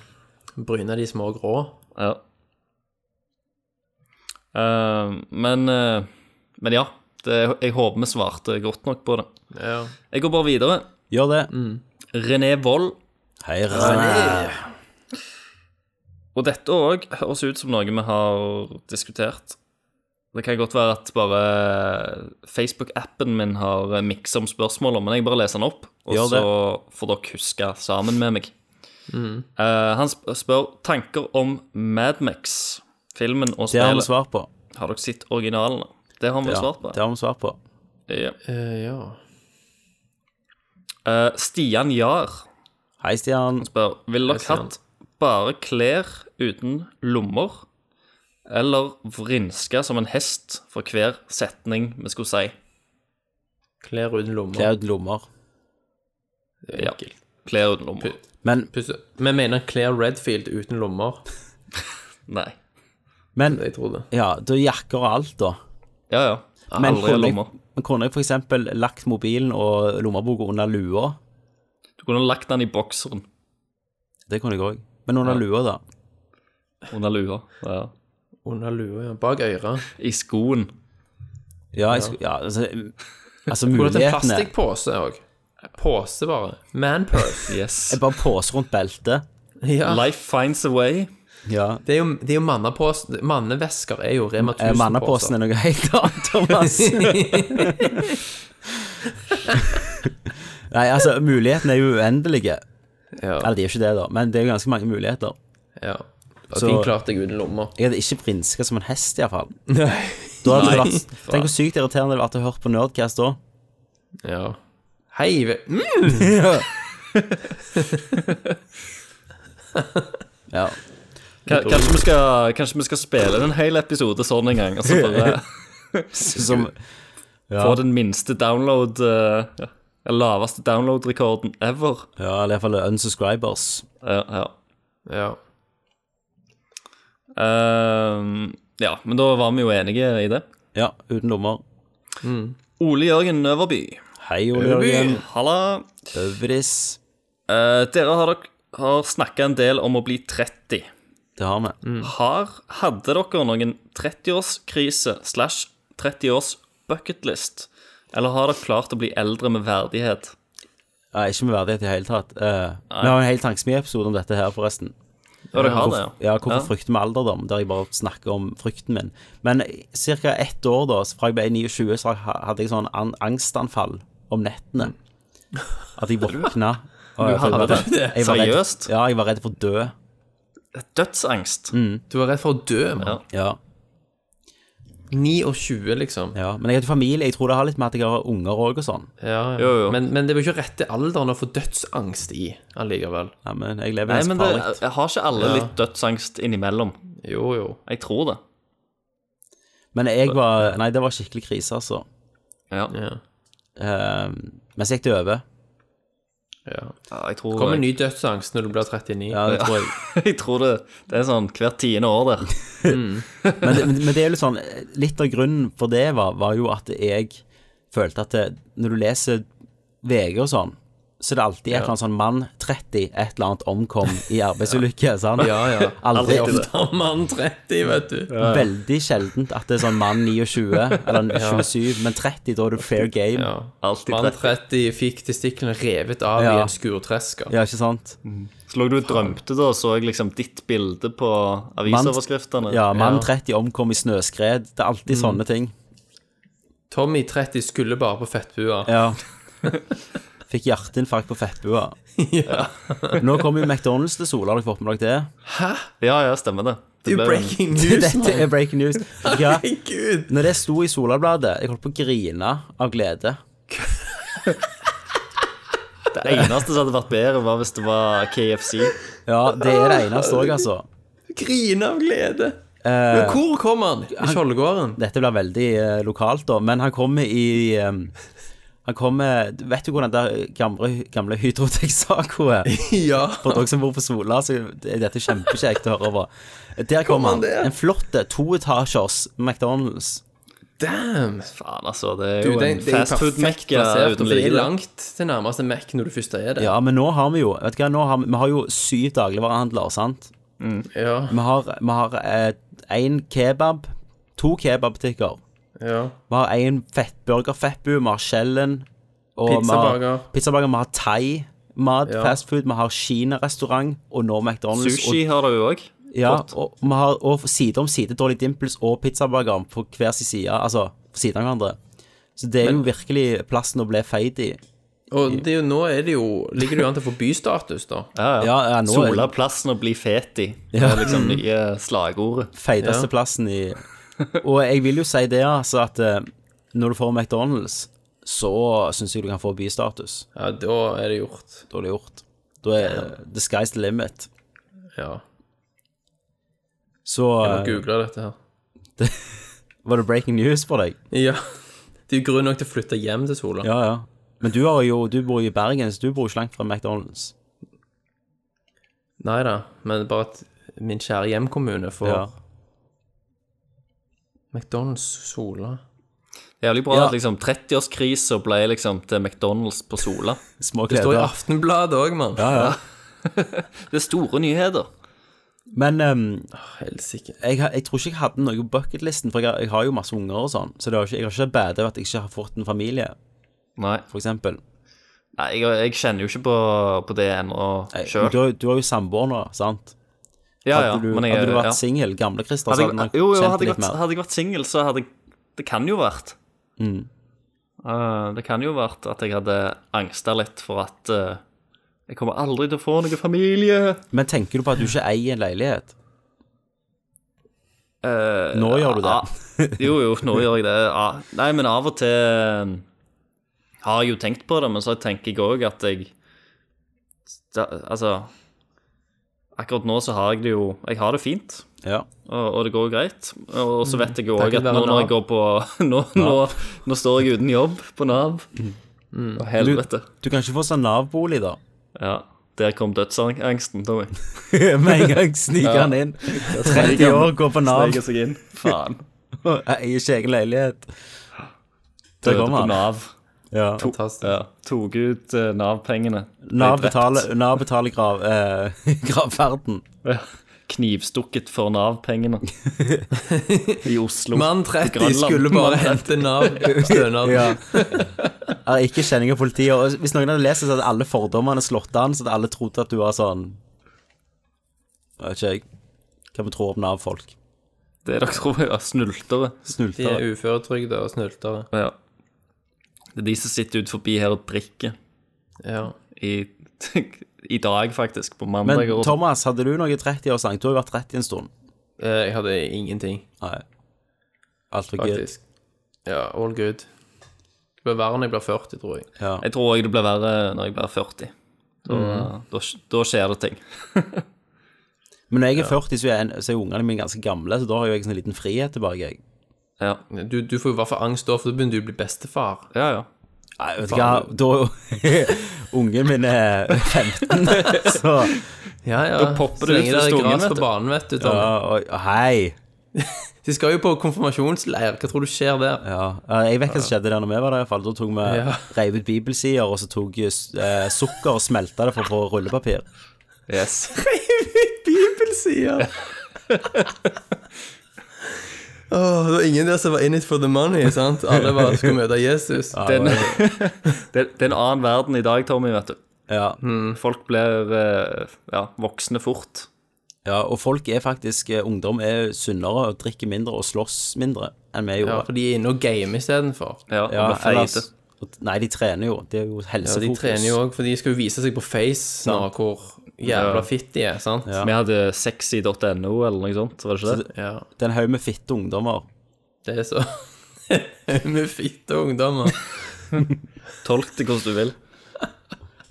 Speaker 6: Bryna de små grå.
Speaker 5: Ja. Eh, men, eh, men ja. Det, jeg håper vi svarte godt nok på det.
Speaker 6: Ja.
Speaker 5: Jeg går bare videre.
Speaker 4: Gjør det.
Speaker 5: René Wold.
Speaker 4: Hei, René.
Speaker 5: Og dette òg høres ut som noe vi har diskutert. Det kan godt være at bare Facebook-appen min har miksa om spørsmålene, men jeg bare leser den opp, og
Speaker 4: Gjør det.
Speaker 5: så får dere huske sammen med meg.
Speaker 4: Mm.
Speaker 5: Eh, han sp- spør tanker om Madmax, filmen og
Speaker 4: Det har vi
Speaker 5: spillet.
Speaker 4: svar på.
Speaker 5: Har dere sett originalene? Det har vi
Speaker 4: Ja,
Speaker 5: svart på.
Speaker 4: det har vi svar på.
Speaker 5: Ja.
Speaker 6: Eh, ja.
Speaker 5: Eh, Stian Jahr
Speaker 4: Hei, Stian.
Speaker 5: spør Vil dere
Speaker 6: Jeg ser
Speaker 5: hatt bare klær uten lommer, eller vrinska som en hest for hver setning vi skulle si?
Speaker 6: Klær uten lommer.
Speaker 4: Det er jo lommer.
Speaker 6: Det er
Speaker 5: Ja.
Speaker 6: enkelt.
Speaker 5: Klær uten lommer.
Speaker 4: Men,
Speaker 6: Pusse. Vi mener Claire Redfield uten lommer.
Speaker 5: Nei.
Speaker 4: men
Speaker 6: Jeg tror det.
Speaker 4: Ja, da jakker og alt, da.
Speaker 5: Ja, ja.
Speaker 4: Men
Speaker 5: Aldri
Speaker 4: kunne jeg,
Speaker 5: lommer.
Speaker 4: men kunne jeg for eksempel lagt mobilen og lommeboka under lua?
Speaker 5: Du kunne lagt den i bokseren
Speaker 4: Det kunne jeg òg. Men under lua, da.
Speaker 5: under lua. Ja.
Speaker 6: Under lua, ja. Bak øret.
Speaker 5: I skoen.
Speaker 4: Ja, jeg, sku- ja altså, altså
Speaker 6: Kunne hatt en
Speaker 4: mulighetene
Speaker 6: plastikkpose òg. Pose, bare. Manpurse.
Speaker 5: Yes.
Speaker 4: Jeg bare pose rundt beltet.
Speaker 6: Ja.
Speaker 5: Life finds a way.
Speaker 4: Ja.
Speaker 6: Det er jo, det er jo mannepåsen Mannevesker er jo Rema
Speaker 4: Eh,
Speaker 6: 1000-poser.
Speaker 4: Mannaposen er noe helt annet, Thomas. Nei, altså, mulighetene er jo uendelige.
Speaker 6: Ja.
Speaker 4: Eller de er jo ikke det, da, men det er jo ganske mange muligheter.
Speaker 6: ja. Og
Speaker 4: Så-
Speaker 6: din klarte jeg uten lommer.
Speaker 4: Jeg hadde ikke vrinska som en hest, iallfall. Tenk hvor sykt irriterende det hadde vært å høre på Nerdcast da.
Speaker 6: Ja. Hei, ve- mm,
Speaker 4: Ja.
Speaker 5: Ka- Kanskje vi, skal, kanskje vi skal spille en hel episode sånn en gang, og så bare
Speaker 4: Som
Speaker 5: få den minste download eh, ja, Den laveste download-rekorden ever.
Speaker 4: Ja, eller iallfall unsubscribers.
Speaker 5: Ja, ja.
Speaker 6: ja.
Speaker 5: Ehm, ja, men da var vi jo enige i det.
Speaker 4: Ja, uten lommer.
Speaker 5: Ole Jørgen Øverby.
Speaker 4: Hei, Ole Jørgen.
Speaker 5: Halla.
Speaker 4: Øvris.
Speaker 5: Eh, dere har, dok- har snakka en del om å bli 30.
Speaker 4: Det har vi.
Speaker 5: Har, hadde dere noen 30-årskrise slash 30-års bucketlist? Eller har dere klart å bli eldre med verdighet?
Speaker 4: Ja, ikke med verdighet i det hele tatt. Eh, vi har en hel tankesmieepisode om dette her, forresten.
Speaker 5: Og dere har det,
Speaker 4: Hvorf- ja, hvorfor frykter vi alderdom? Der jeg bare snakker om frykten min. Men ca. ett år da, så fra jeg ble 29, så ha- hadde jeg sånn an angstanfall om nettene.
Speaker 5: Mm.
Speaker 4: At jeg våkna. og jeg-
Speaker 5: hadde
Speaker 4: jeg var
Speaker 5: det?
Speaker 4: redd- jeg var redd-
Speaker 5: Seriøst?
Speaker 4: Ja, jeg var redd for å dø.
Speaker 5: Dødsangst.
Speaker 4: Mm.
Speaker 6: Du var redd for å dø, mann.
Speaker 4: Ja,
Speaker 6: 29, liksom.
Speaker 4: ja. Men jeg hadde familie. Jeg tror det har litt med at jeg har unger òg og sånn.
Speaker 6: Ja, ja.
Speaker 5: Jo, jo.
Speaker 6: Men, men det var ikke rette alderen å få dødsangst i allikevel.
Speaker 4: Ja, men jeg lever
Speaker 5: Nei,
Speaker 4: ganske
Speaker 5: men det,
Speaker 4: farlig.
Speaker 5: jeg har ikke alle litt dødsangst innimellom.
Speaker 6: Jo, jo.
Speaker 5: Jeg tror det.
Speaker 4: Men jeg var Nei, det var skikkelig krise, altså.
Speaker 5: Ja,
Speaker 6: Ja.
Speaker 4: Eh, men så gikk det over.
Speaker 6: ja.
Speaker 5: ja jeg tror
Speaker 6: Kommer ny dødsangst når du blir 39.
Speaker 4: Ja, det tror jeg.
Speaker 5: Jeg tror det, det er sånn hvert tiende år der.
Speaker 4: Men, det- men, men det er jo litt sånn Litt av grunnen for det var, var jo at jeg følte at det, når du leser VG og sånn, så er det alltid et eller annet sånn mann 30 et eller annet omkom i arbeidsulykke. sant?
Speaker 6: Ja, ja.
Speaker 4: Aldri
Speaker 6: Ofte er mann 30, vet du.
Speaker 4: Veldig sjeldent at det er sånn mann 29 eller 27, men 30, da er det fair game.
Speaker 6: Ja.
Speaker 4: Ja,
Speaker 5: Alltid
Speaker 6: Mann
Speaker 5: 30.
Speaker 6: 30 fikk testiklene revet av
Speaker 4: Ja.
Speaker 6: i en skurtresker.
Speaker 4: ikke sant?
Speaker 5: Så lå du og drømte da, så jeg liksom ditt bilde på avisoverskriftene.
Speaker 4: Ja, mann
Speaker 6: Ja. Mm.
Speaker 4: 30 omkom i snøskred. Det er alltid sånne ting.
Speaker 6: Tommy 30 skulle bare på fettbua.
Speaker 4: Ja. Fikk hjerteinfarkt på fettbua. Nå kommer jo McDonald's til Sola, har dere fått med dere det?
Speaker 5: ja, ja, stemmer det. Det ble-
Speaker 4: Dette er breaking news. Vet du hva?
Speaker 6: Herregud!
Speaker 4: Når det sto i Solabladet, jeg holdt på å grine av glede.
Speaker 5: Det eneste som hadde vært bedre, var hvis det var KFC.
Speaker 4: Ja, det er det eneste òg, altså. Eh,
Speaker 6: Grine av glede. Men hvor kom han? I Skjoldgården?
Speaker 4: Dette blir veldig eh, lokalt, da. Men han kommer i eh, Han kommer Vet du hvordan det der gamle, gamle Hydrotex-saco er?
Speaker 6: Ja.
Speaker 4: For dere som bor på Sola, så er dette kjempekjekt å høre på. Der kom han. En flott toetasjers McDonald's.
Speaker 6: Damn!
Speaker 5: Faen, altså. Det er
Speaker 6: Du,
Speaker 5: jo en
Speaker 6: det, det er jo perfekt
Speaker 5: fastfood-mekka
Speaker 6: plassert.
Speaker 5: uten
Speaker 6: For det er
Speaker 5: like.
Speaker 6: langt til nærmeste Mac når du først er der.
Speaker 4: Ja, men nå har vi jo Vet du hva, nå har vi, vi har jo syv dagligvarehandler, sant?
Speaker 6: Ja.
Speaker 4: Vi har én kebab, to kebabbutikker.
Speaker 6: ja.
Speaker 4: Vi har én fettburgerfettbu, vi har Skjellen. og vi har
Speaker 6: Pizzabaker.
Speaker 4: Pizzabaker, vi har thai. mat,
Speaker 6: Ja.
Speaker 4: fastfood, vi har Kina-restaurant og nå McDonald's.
Speaker 5: Sushi har du jo òg.
Speaker 4: og, ja,
Speaker 5: godt.
Speaker 4: og, vi har, og side om side Dolly Dimples og pizzaburgeren på hver sin side, altså på siden av hverandre. Så det er jo virkelig plassen å bli feit i.
Speaker 6: Og det er jo, nå er det jo, ligger det jo an til å få bystatus, da.
Speaker 5: Ja, ja.
Speaker 4: Ja, ja, nå er-
Speaker 5: Sola plassen og bli fet i. Det er liksom nye slagordet.
Speaker 4: feiteste
Speaker 6: Ja.
Speaker 4: plassen i Og jeg vil jo si det, altså, at eh, når du får McDonald's, så syns jeg du kan få bystatus.
Speaker 6: Ja, da er det gjort.
Speaker 4: Da er det gjort. Da er the sky's the limit.
Speaker 6: Ja.
Speaker 4: Så
Speaker 6: Jeg må
Speaker 4: eh,
Speaker 6: google dette her.
Speaker 4: var det breaking news for deg.
Speaker 6: Ja. Det er jo grunn nok til å flytte hjem til Sola.
Speaker 4: Ja, ja. Men du, har jo, du bor jo i Bergen, så du bor jo ikke langt fra McDonald's.
Speaker 6: Nei da, men bare at min kjære hjemkommune får
Speaker 4: Ja.
Speaker 6: McDonald's Sola.
Speaker 5: Det er Jævlig bra
Speaker 4: Ja.
Speaker 5: at liksom 30-årskrisa ble liksom til McDonald's på Sola.
Speaker 4: Små
Speaker 6: Det står i
Speaker 4: kleder.
Speaker 6: Aftenbladet òg, mann. Ja,
Speaker 5: Det er store nyheter.
Speaker 4: Men ehm,
Speaker 6: Helsike.
Speaker 4: jeg, har- jeg tror ikke jeg hadde noe på bucketlisten, for jeg, har- jeg har jo masse unger og sånn. Så det har ikke, jeg har ikke badet over at jeg ikke har fått en familie,
Speaker 5: Nei,
Speaker 4: for eksempel.
Speaker 5: Nei jeg, jeg kjenner jo ikke på, på det ennå
Speaker 4: Jeg,
Speaker 5: sjøl.
Speaker 4: Eh, du, har- du har jo samboer nå, sant?
Speaker 5: Ja, ja,
Speaker 4: hadde du,
Speaker 5: men jeg,
Speaker 4: hadde du vært
Speaker 5: ja.
Speaker 4: singel, gamle Christer, så
Speaker 5: Hadde
Speaker 4: hadde
Speaker 5: jeg,
Speaker 4: nok
Speaker 5: jo, jo,
Speaker 4: kjent
Speaker 5: hadde jeg
Speaker 4: litt
Speaker 5: vært,
Speaker 4: mer.
Speaker 5: hadde jeg vært singel, så hadde jeg Det kan jo vært. Mm. Eh, det kan jo vært at jeg hadde angsta litt for at eh, jeg kommer aldri til å få noen familie.
Speaker 4: Men tenker du på at du ikke eier en leilighet?
Speaker 5: Eh,
Speaker 4: Nå gjør du det.
Speaker 5: Ja, jo, jo, nå gjør jeg det. Ja. Nei, men av og til eh, har jeg jo tenkt på det, men så tenker jeg òg at jeg da, Altså Akkurat nå så har jeg det jo Jeg har det fint,
Speaker 4: Ja.
Speaker 5: og, og det går jo greit. Og
Speaker 4: Mm.
Speaker 5: så vet jeg jo òg
Speaker 6: Takket
Speaker 5: at nå
Speaker 6: være
Speaker 5: når jeg
Speaker 6: Nav.
Speaker 5: går på nå, nå, nå står jeg uten jobb på Nav. Å, helvete.
Speaker 4: Mm. Du kan ikke få sånn Nav-bolig, da.
Speaker 5: Ja. Der kom dødsangsten, Tommy.
Speaker 4: Med en gang sniker han inn. 30 år, går på Nav,
Speaker 5: Sneker seg inn. Faen.
Speaker 4: eier ikke egen leilighet. Der
Speaker 5: Døde
Speaker 4: kommer
Speaker 5: på
Speaker 4: han.
Speaker 5: Nav.
Speaker 4: Ja.
Speaker 6: Fantastisk.
Speaker 5: Ja. Tok ut eh, Nav-pengene. Ble
Speaker 4: Nav
Speaker 5: drept.
Speaker 4: betaler, Nav betaler grav, eh, gravferden.
Speaker 5: Ja. Knivstukket for Nav-pengene i Oslo.
Speaker 6: Mann
Speaker 5: På
Speaker 6: 30
Speaker 5: Grønland.
Speaker 6: skulle bare hente Nav-stønad.
Speaker 4: Ja. Er ikke kjenning av politiet. Og hvis noen hadde lest det, så hadde alle fordommene slått an, så hadde alle trodd at du var sånn Jeg vet ikke, jeg. Hva vi tror om Nav-folk.
Speaker 5: Det dere tror jeg er snultere.
Speaker 6: De
Speaker 4: Snulter.
Speaker 6: er uføretrygda og snyltere.
Speaker 5: Ja. Det er de som sitter ut forbi her og drikker.
Speaker 6: Ja.
Speaker 5: I, I dag, faktisk. På
Speaker 4: Men
Speaker 5: mandag. og-
Speaker 4: Thomas, hadde du noe 30-årssang? Du har jo vært 30 en stund.
Speaker 6: Eh, Jeg hadde ingenting,
Speaker 4: Nei. Alt for gøy.
Speaker 6: faktisk. Ja, all good. Det blir verre når jeg blir 40, tror jeg.
Speaker 4: Ja.
Speaker 5: Jeg tror òg det blir verre når jeg blir 40. Da, da, da skjer det ting.
Speaker 4: Men når jeg er 40, så er, en- så er ungene mine ganske gamle, så da har jo jeg en sånn liten frihet tilbake. Jeg.
Speaker 5: Ja,
Speaker 6: Du, du får jo i hvert fall angst da, for da begynner du å bli bestefar.
Speaker 5: ja. ja.
Speaker 4: Nei, vet du hva, da Ungen min er 15, så
Speaker 6: Ja, ja.
Speaker 5: Da popper
Speaker 6: Så
Speaker 5: det ut
Speaker 6: lenge det
Speaker 5: fra
Speaker 6: er
Speaker 5: stungen,
Speaker 6: gress
Speaker 5: vet
Speaker 6: på
Speaker 5: du.
Speaker 6: banen, vet du. Tom.
Speaker 4: ja, og, Hei!
Speaker 6: De skal jo på konfirmasjonsleir. Hva tror du skjer der?
Speaker 4: Ja, jeg vet hva som skjedde der når vi var der, i hvert fall. Da tok vi
Speaker 6: Ja.
Speaker 4: reiv ut bibelsider, og så tok eh, sukker og smelta det for å få rullepapir.
Speaker 5: Yes.
Speaker 6: Bibelsider! Åh, det var ingen der som var in it for the money, sant? Alle bare skulle møte Jesus.
Speaker 5: Det, er en- det, er- det er en annen verden i dag, Tommy, vet du.
Speaker 4: Ja.
Speaker 5: Folk blir eh, ja, voksne fort.
Speaker 4: ja, og folk er faktisk eh, Ungdom er sunnere og drikker mindre og slåss mindre enn vi
Speaker 6: Ja,
Speaker 4: gjorde.
Speaker 6: for de er inne og gamer istedenfor.
Speaker 5: Ja, og
Speaker 4: Ja,
Speaker 5: blir feite.
Speaker 4: ellers- Nei, de trener jo. Det er jo
Speaker 6: Ja,
Speaker 4: helsefokus.
Speaker 6: de trener jo òg, for de skal jo vise seg på Face nå hvor
Speaker 5: Ja.
Speaker 6: jævla fitt de er, sant?
Speaker 4: Ja.
Speaker 5: Vi hadde sexy.no eller noe sånt, var det ikke det?
Speaker 6: Ja,
Speaker 4: Det er en haug med fitte ungdommer.
Speaker 6: det er så Med fitte ungdommer.
Speaker 5: Tolk det hvordan du vil.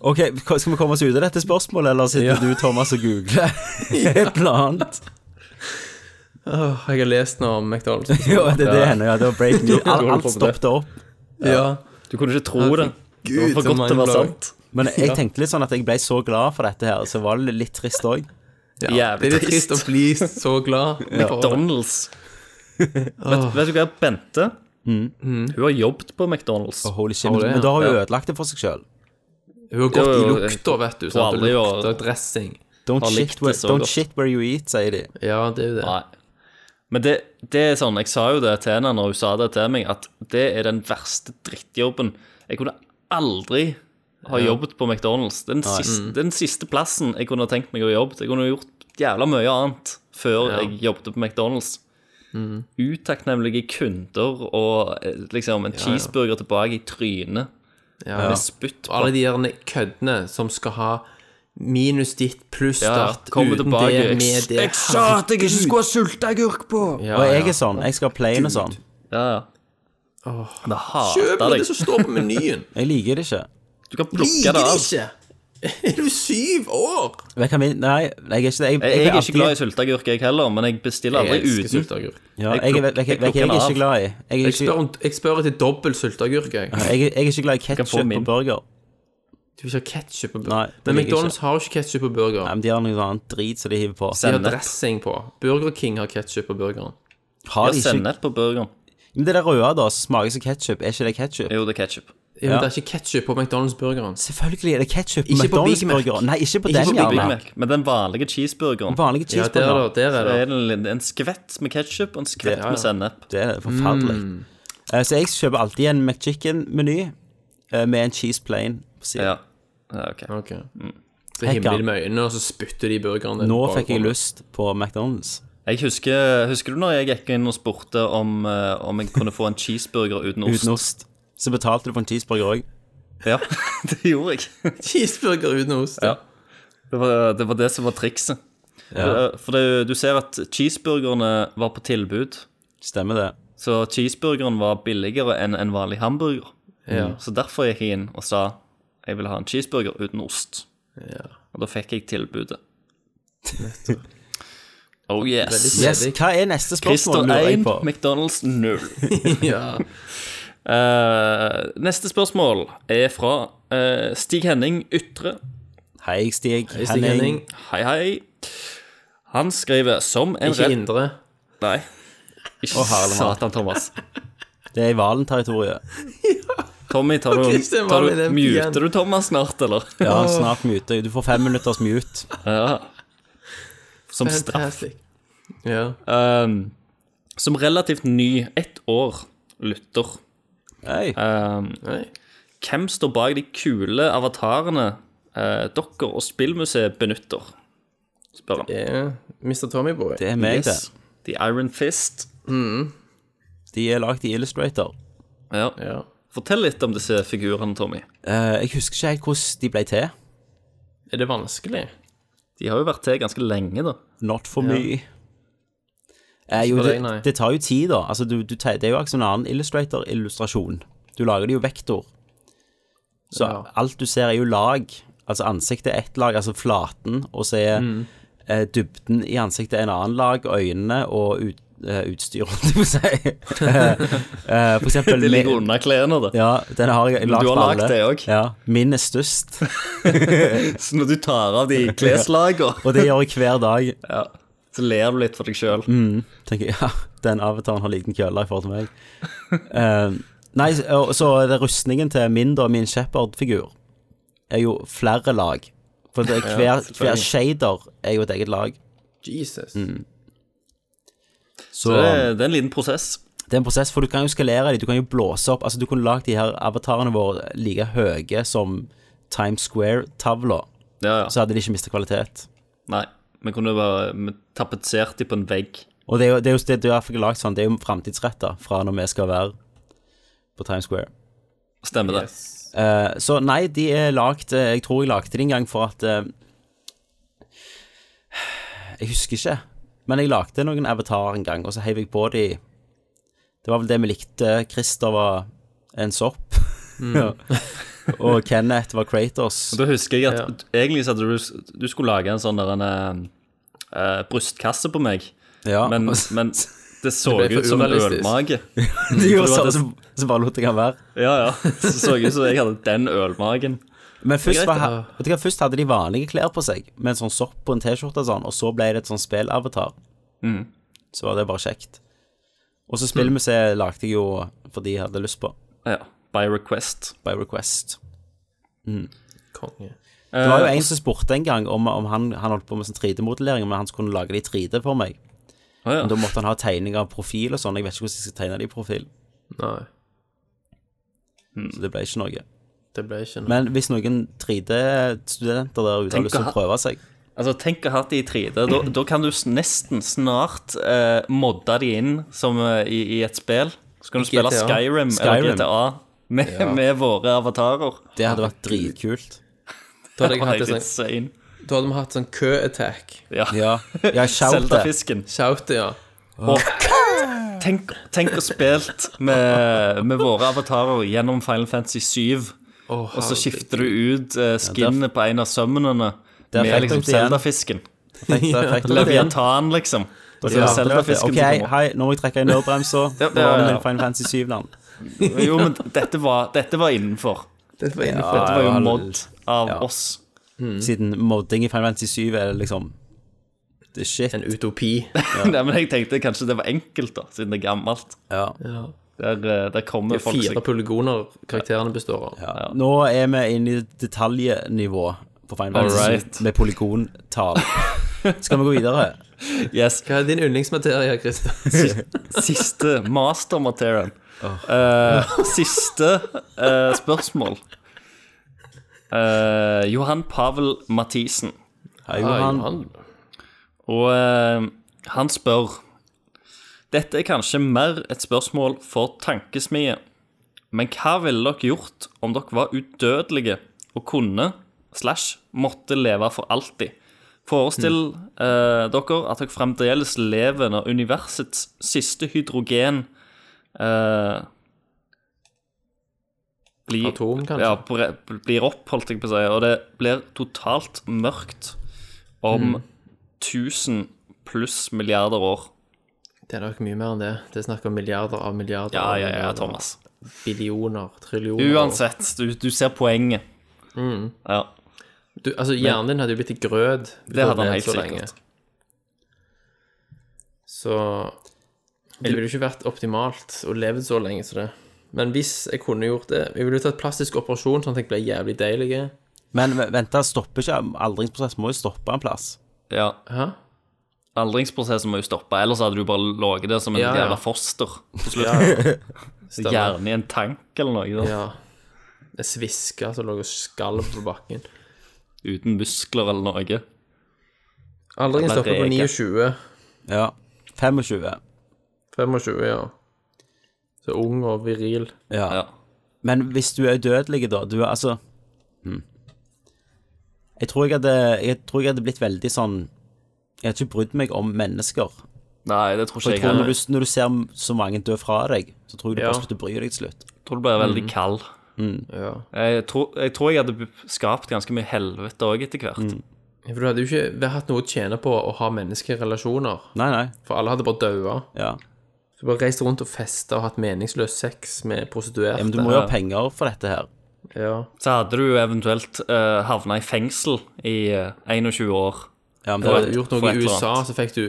Speaker 4: Ok, hva- Skal vi komme oss ut av dette spørsmålet, eller sitter
Speaker 6: Ja.
Speaker 4: du Thomas og googler et eller annet?
Speaker 6: Åh, jeg har lest noe om McDonald's.
Speaker 4: Jo, det er det henne, ja. Det var breaking news. Alt, alt stoppet opp.
Speaker 6: Ja.
Speaker 5: Du kunne ikke tro det. Det var
Speaker 6: Gud,
Speaker 5: for
Speaker 6: så
Speaker 5: godt til å være
Speaker 6: mindblowing.
Speaker 5: sant.
Speaker 4: Men jeg tenkte litt sånn at jeg ble så glad for dette her, så var det litt trist òg.
Speaker 6: Ja, Det er
Speaker 5: Jævlig
Speaker 6: litt trist å
Speaker 5: trist.
Speaker 6: bli så glad. for-
Speaker 5: McDonald's. Vet, vet du hva, Bente? Mm. Hun har jobbet på McDonald's.
Speaker 4: Holy shit,
Speaker 6: Har du det,
Speaker 4: men, men da har hun
Speaker 5: ja?
Speaker 4: ødelagt det for seg sjøl.
Speaker 6: Hun har gått i
Speaker 5: Jo, jo,
Speaker 6: lukta, vet du.
Speaker 5: tror
Speaker 6: Sant?
Speaker 5: aldri
Speaker 6: Det
Speaker 5: å-
Speaker 6: lukter dressing.
Speaker 4: Don't,
Speaker 5: Har likt
Speaker 4: shit where,
Speaker 5: det så
Speaker 4: don't
Speaker 5: godt.
Speaker 4: shit where you eat, sier de.
Speaker 6: Ja, det er jo det.
Speaker 5: Nei. Men det, det er sånn, jeg sa jo det til henne når hun sa det til meg, at det er den verste drittjobben. Jeg kunne aldri har jobbet på McDonald's. Det er Den
Speaker 6: Mm.
Speaker 5: siste, den siste plassen jeg kunne tenkt meg å jobbe. Jeg kunne gjort jævla mye annet før jeg jobbet på McDonald's.
Speaker 6: Mm.
Speaker 5: Utakknemlige kunder og eh, liksom en cheeseburger tilbake i trynet.
Speaker 6: Ja.
Speaker 5: Med spytt på.
Speaker 6: Alle de der køddene som skal ha minus ditt pluss
Speaker 5: Ja, ja.
Speaker 6: start
Speaker 5: Kommer
Speaker 6: uten
Speaker 5: tilbake.
Speaker 6: det
Speaker 5: Jeg-
Speaker 6: med det.
Speaker 4: at jeg ikke skulle ha sulteagurk på! og jeg er sånn. Jeg skal ha plain og sånn.
Speaker 5: Ja, ja. det hater
Speaker 6: Kjøp noe
Speaker 5: deg.
Speaker 6: som står på menyen.
Speaker 4: Jeg liker det ikke. altså.
Speaker 5: Du kan plukke
Speaker 6: Liker
Speaker 5: det
Speaker 6: det
Speaker 5: av.
Speaker 6: ikke. Er du syv år?
Speaker 4: Vet du hva min Nei, jeg er ikke det. Jeg,
Speaker 5: Jeg, jeg er ikke glad i
Speaker 4: i
Speaker 5: sulteagurk, jeg heller, men jeg bestiller aldri uten.
Speaker 6: sulteagurk.
Speaker 4: ja,
Speaker 5: jeg
Speaker 4: jeg, jeg,
Speaker 5: plukker-
Speaker 4: vet- vet-
Speaker 5: jeg
Speaker 4: vet hva jeg,
Speaker 5: plukker
Speaker 4: er
Speaker 5: den
Speaker 4: ikke glad i. Jeg er
Speaker 6: Jeg
Speaker 4: ikke,
Speaker 6: spør, om, jeg spør etter dobbel sulteagurk, jeg.
Speaker 4: jeg, er- jeg er ikke glad i
Speaker 5: kan få
Speaker 4: ketsjup på
Speaker 5: min.
Speaker 4: burger.
Speaker 6: Du vil ikke ha ketsjup på
Speaker 4: Nei,
Speaker 6: burger.
Speaker 4: det
Speaker 6: Men
Speaker 4: liker jeg
Speaker 6: McDonald's har jo ikke ketsjup på burger.
Speaker 4: Nei, men De har noe annet drit som de hiver på.
Speaker 6: De har
Speaker 5: Sennep.
Speaker 6: dressing på. Burger King har ketsjup på burgeren.
Speaker 4: Har
Speaker 5: Ja,
Speaker 4: de ikke
Speaker 5: sennep på burgeren.
Speaker 4: Men det der røde, da, som smaker som ketsjup, er ikke det ketsjup?
Speaker 5: Jo, det er ketsjup.
Speaker 6: Ja, men
Speaker 4: Ja.
Speaker 6: Det er ikke ketsjup på McDonald's-burgeren.
Speaker 4: Selvfølgelig er det ketsjup på
Speaker 6: Ikke på Big Mac.
Speaker 4: McDonald's-burgeren. Nei, ikke på
Speaker 6: Ikke
Speaker 4: den,
Speaker 6: på Big
Speaker 5: Big
Speaker 4: gjerne.
Speaker 5: Mac. Men den vanlige cheeseburgeren
Speaker 4: Vanlige
Speaker 6: Ja, der,
Speaker 4: cheeseburger.
Speaker 6: da, der er
Speaker 5: så
Speaker 6: det.
Speaker 5: er det en- en skvett med ketsjup og en skvett
Speaker 6: Ja, ja.
Speaker 5: med sennep.
Speaker 4: Det er forferdelig. Eh, Så jeg kjøper alltid en McChicken-meny eh, med en cheese plain på siden.
Speaker 5: Ja. ja, ok.
Speaker 6: Ok. Så
Speaker 4: Hekka.
Speaker 6: himler de med øynene, og så spytter de burgeren din
Speaker 4: Nå
Speaker 6: bak
Speaker 4: fikk jeg
Speaker 6: på.
Speaker 4: lyst på McDonald's.
Speaker 5: Jeg husker, husker du når jeg gikk inn og spurte om, eh, om jeg kunne få en cheeseburger uten ost?
Speaker 4: Uten ost. Så betalte du for en cheeseburger òg.
Speaker 5: Ja, det gjorde jeg.
Speaker 6: Cheeseburger uten ost.
Speaker 5: Ja. Det var, det var det som var trikset. Eh, For, for det, du ser at cheeseburgerne var på tilbud.
Speaker 4: Stemmer det.
Speaker 5: Så cheeseburgeren var billigere enn en vanlig hamburger. Mm.
Speaker 6: Ja.
Speaker 5: Så derfor gikk jeg inn og sa jeg vil ha en cheeseburger uten ost.
Speaker 6: Ja.
Speaker 5: Og da fikk jeg tilbudet. Oh yes.
Speaker 6: Veldig
Speaker 4: Yes, Hva er neste
Speaker 5: Christer
Speaker 4: spørsmål? lurer jeg
Speaker 5: 1,
Speaker 4: på?
Speaker 5: McDonald's 0.
Speaker 6: ja.
Speaker 5: Eh, neste spørsmål er fra eh, Stig Henning Ytre.
Speaker 4: Hei, jeg Stig.
Speaker 6: Hvis det er Henning,
Speaker 5: Hei, hei. Han skriver som en
Speaker 6: ikke
Speaker 5: redd
Speaker 6: indre.
Speaker 5: Nei. Ikke
Speaker 4: Harlem.
Speaker 5: satan, Thomas.
Speaker 4: Det er i Valen-territoriet.
Speaker 5: Tommy, tar du,
Speaker 6: Christian var
Speaker 5: tar
Speaker 6: med
Speaker 5: du,
Speaker 6: den igjen.
Speaker 5: muter du Thomas snart, eller?
Speaker 4: Ja, snart mute. Du får fem minutters mute.
Speaker 5: Ja. Som straff.
Speaker 6: Fantastic. Ja.
Speaker 5: Ehm, som relativt ny, ett år, lytter.
Speaker 4: Hei.
Speaker 5: Ehm,
Speaker 6: Nei.
Speaker 5: hvem står bak de kule avatarene uh, dere og spillmuseet benytter? Spør han.
Speaker 6: Ja. Mr. Tommyboy.
Speaker 4: Det er meg,
Speaker 5: Yes. The Iron Fist.
Speaker 4: det. De er lagd i Illustrator.
Speaker 5: Ja.
Speaker 6: Ja.
Speaker 5: Fortell litt om disse figurene, Tommy.
Speaker 4: Eh, jeg husker ikke helt hvordan de ble til.
Speaker 6: Er det vanskelig?
Speaker 5: De har jo vært til ganske lenge, da.
Speaker 4: Not for me. Eh, jo,
Speaker 6: for
Speaker 4: det,
Speaker 6: deg, nei.
Speaker 4: det tar jo tid, da. Altså, du, du, te- det er jo akkurat en annen Illustrator-illustrasjon. Du lager det jo vektor. Så
Speaker 6: Ja.
Speaker 4: alt du ser, er jo lag. Altså ansiktet er ett lag, altså flaten, og så er
Speaker 6: Mm.
Speaker 4: eh, dybden i ansiktet en annen lag, og øynene og ut, eh, utstyr, holdt jeg på å si. Eh, eh, for eksempel
Speaker 5: De ligger
Speaker 4: min-
Speaker 5: under klærne, da.
Speaker 4: Ja, den har jeg lagd
Speaker 5: du har
Speaker 4: for
Speaker 5: lagt
Speaker 4: alle.
Speaker 5: det også?
Speaker 4: Ja, min er størst,
Speaker 5: Så når du tar av de kleslagene,
Speaker 4: og det gjør jeg hver dag.
Speaker 5: ja, så ler du litt for deg sjøl.
Speaker 4: Mm. tenker jeg, ja, den avataren har liten kølle i forhold til meg. Eh, nei, og så er det rustningen til min, da, min Shepherd-figur, er jo flere lag. For det er hver, hver shader er jo et eget lag.
Speaker 6: Jesus.
Speaker 4: Så
Speaker 5: Det,
Speaker 4: det
Speaker 5: er- det er en liten prosess.
Speaker 4: um, er en prosess, for du kan jo skalere de, du kan jo blåse opp. Altså, du kunne lagd de her avatarene våre like høye som Times Square-tavla,
Speaker 5: Ja, ja.
Speaker 4: så hadde de ikke mista kvalitet.
Speaker 5: Nei, vi kunne jo bare vi tapetsert dem på en vegg.
Speaker 4: Og det er jo det er jo det du har lagd sånn, det er jo framtidsretta fra når vi skal være på Times Square.
Speaker 5: Stemmer det?
Speaker 4: Eh, Så nei, de er lagt eh, Jeg tror jeg lagde det en gang for at eh, Jeg husker ikke Men jeg lagde noen avatar en gang Og så heiv jeg på de Det var vel det vi likte Christer var en sopp
Speaker 5: Mm.
Speaker 4: Ja. Og Kenneth var Kratos
Speaker 5: Da husker jeg at egentlig så hadde du, du skulle lage en sånn der en eh, brystkasse på meg,
Speaker 4: ja,
Speaker 5: men,
Speaker 4: og så-
Speaker 5: men det så
Speaker 6: Ah. Det ble for
Speaker 5: ut som en
Speaker 6: urealistisk.
Speaker 5: ølmage.
Speaker 4: de gjorde
Speaker 5: det var
Speaker 4: sånn, så, så bare lot jeg han være
Speaker 5: Ja, ja. Så så ut som jeg hadde den ølmagen.
Speaker 4: Men først,
Speaker 5: greit,
Speaker 4: var,
Speaker 6: da.
Speaker 4: vet du hva, først hadde de vanlige klær på seg Med en sånn sopp på en t-skjorte og sånn Og så ble det et sånn spillavatar
Speaker 5: Mm.
Speaker 4: Så var det bare kjekt Og så spillmuseet lagde jeg jo Fordi jeg hadde lyst på
Speaker 5: Ja, By request.
Speaker 4: By request
Speaker 6: Konge.
Speaker 4: Det
Speaker 5: Eh,
Speaker 4: var jo en som spurte en gang Om, om han, han holdt på med sånn 3D-modellering Om han skulle kunne lage de 3D for meg
Speaker 5: Å, ja.
Speaker 4: Men da måtte han ha tegninger av profil og sånn Jeg vet ikke hvordan jeg skal tegne de i profil
Speaker 6: Nei.
Speaker 4: Så det ble ikke noe
Speaker 6: Det ble ikke noe.
Speaker 4: Men hvis noen 3D-studenter der ute har
Speaker 5: Tenk
Speaker 4: lyst til
Speaker 5: å ha-
Speaker 4: å prøve seg
Speaker 5: Altså, tenk å ha det i 3D. Da, da kan du s- nesten snart eh, modde de inn som, eh, i, i et spill. Så kan du spille
Speaker 6: GTA.
Speaker 5: Skyrim, eller
Speaker 4: Skyrim.
Speaker 5: GTA med, med våre avatarer.
Speaker 4: Det hadde vært dritkult.
Speaker 6: Da hadde jeg hatt
Speaker 5: Helt
Speaker 6: det sånn,
Speaker 5: insane.
Speaker 6: da hadde vi hatt sånn kø-attack.
Speaker 5: Ja.
Speaker 4: Ja, ja shout det.
Speaker 5: Zelda-fisken.
Speaker 6: Shout, ja.
Speaker 5: Tenk, tenk å spilt med, med våre avatarer gjennom Final Fantasy 7, og så skifter du ut eh, skinnet på en av summonene
Speaker 4: Der
Speaker 5: med
Speaker 4: fikk
Speaker 5: liksom
Speaker 4: dere det igjen.
Speaker 5: Zelda-fisken.
Speaker 4: Fikk dere- fikk dere det igjen?
Speaker 5: Leviatan, liksom. Så
Speaker 4: Ja.
Speaker 5: Zelda-fisken som
Speaker 4: Ok,
Speaker 5: kommer.
Speaker 4: hei, nå må jeg trekke i nødbremsa.
Speaker 5: Ja,
Speaker 4: Nå var
Speaker 5: ja,
Speaker 4: vi
Speaker 5: ja.
Speaker 4: i Final Fantasy 7-land.
Speaker 5: Jo, men dette var, dette var innenfor.
Speaker 6: Dette var
Speaker 5: Dette var jo
Speaker 4: ja,
Speaker 5: mod av
Speaker 4: ja.
Speaker 5: oss.
Speaker 4: Siden modding i Final Fantasy 7 er liksom Det er shit.
Speaker 6: En utopi.
Speaker 5: Nei, men jeg tenkte kanskje det var enkelt, da, siden det er gammelt.
Speaker 4: Ja.
Speaker 5: Der, eh, der kommer folk
Speaker 6: Fire
Speaker 5: seg
Speaker 6: polygoner karakterene består av.
Speaker 4: Ja. Nå er vi inne i detaljnivå på Final
Speaker 5: All
Speaker 4: Fantasy
Speaker 5: right.
Speaker 4: med polygontall. Skal vi gå videre?
Speaker 5: Yes.
Speaker 6: Hva er din yndlingsmaterie, Christer?
Speaker 5: Siste mastermaterial. Eh, siste eh, spørsmål. Eh, Johan Pavel Mathisen.
Speaker 4: Hei, Johan.
Speaker 5: Og eh, han spør Dette er kanskje mer et spørsmål for tankesmie, men hva ville dere gjort om dere var udødelige og kunne slash måtte leve for alltid? Forestill eh, dere at dere fremdeles lever når universets siste hydrogen eh, blir,
Speaker 6: Atom, kanskje?
Speaker 5: Ja, bre- blir opp, holdt jeg på å si, og det blir totalt mørkt
Speaker 6: Mm.
Speaker 5: om 1000 pluss milliarder år.
Speaker 6: Det er nok mye mer enn det. Det er snakk om milliarder av milliarder.
Speaker 5: Ja,
Speaker 6: av
Speaker 5: ja, ja,
Speaker 6: milliarder,
Speaker 5: Thomas.
Speaker 6: Billioner, trillioner.
Speaker 5: Uansett, du, du ser poenget.
Speaker 6: Mm.
Speaker 5: Ja,
Speaker 6: Du, altså, hjernen din hadde jo blitt til grød.
Speaker 5: det hadde han
Speaker 6: levd
Speaker 5: helt
Speaker 6: så lenge.
Speaker 5: sikkert.
Speaker 6: Så det ville jo ikke vært optimalt å leve så lenge som det. Men hvis jeg kunne gjort det Jeg ville jo tatt plastisk operasjon, sånn at jeg ble jævlig deilig.
Speaker 4: Men v- vent, da stopper ikke aldringsprosessen. Må jo stoppe en plass.
Speaker 5: Ja,
Speaker 6: Hæ?
Speaker 5: Aldringsprosessen må jo stoppe, ellers hadde du bare ligget der som en
Speaker 6: Ja, ja.
Speaker 5: jævla foster.
Speaker 6: Stemmer.
Speaker 5: Gjerne i en tank eller noe, da.
Speaker 6: Ja. Jeg sviska som lå og skalv på bakken.
Speaker 5: uten muskler eller noe.
Speaker 6: Aldringen
Speaker 5: Det ble
Speaker 6: stopper på
Speaker 5: reke.
Speaker 6: 29.
Speaker 4: Ja. 25.
Speaker 6: 25, ja. Så ung og viril.
Speaker 4: Ja.
Speaker 5: Ja.
Speaker 4: Men hvis du er udødelig, da Du er altså hm. jeg, tror jeg, hadde, jeg tror jeg hadde blitt veldig sånn Jeg hadde ikke brydd meg om mennesker.
Speaker 5: Nei, det tror ikke
Speaker 4: For jeg
Speaker 5: jeg
Speaker 4: tror når
Speaker 5: heller.
Speaker 4: du, når du ser så mange dø fra deg, så tror jeg du
Speaker 6: Ja.
Speaker 4: bare slutter å bry deg til slutt.
Speaker 5: Jeg tror du blir veldig kald.
Speaker 6: Mm. Ja.
Speaker 5: Jeg tror, jeg tror jeg hadde skapt ganske mye helvete òg etter hvert.
Speaker 6: Mm. For du hadde jo ikke hatt noe å tjene på å ha menneskelige relasjoner.
Speaker 4: Nei, nei.
Speaker 6: For alle hadde bare daua.
Speaker 4: Ja.
Speaker 6: Du bare reist rundt og festa og hatt meningsløs sex med prostituerte.
Speaker 4: ja men du må jo ha penger for dette her.
Speaker 6: Ja.
Speaker 5: Så hadde du eventuelt uh, havna i fengsel i eh, 21 år.
Speaker 4: Ja, men
Speaker 6: Du
Speaker 4: det
Speaker 6: hadde
Speaker 4: er
Speaker 6: gjort
Speaker 5: for
Speaker 6: noe
Speaker 5: et
Speaker 6: i
Speaker 5: eller
Speaker 6: USA,
Speaker 5: annet.
Speaker 6: så fikk du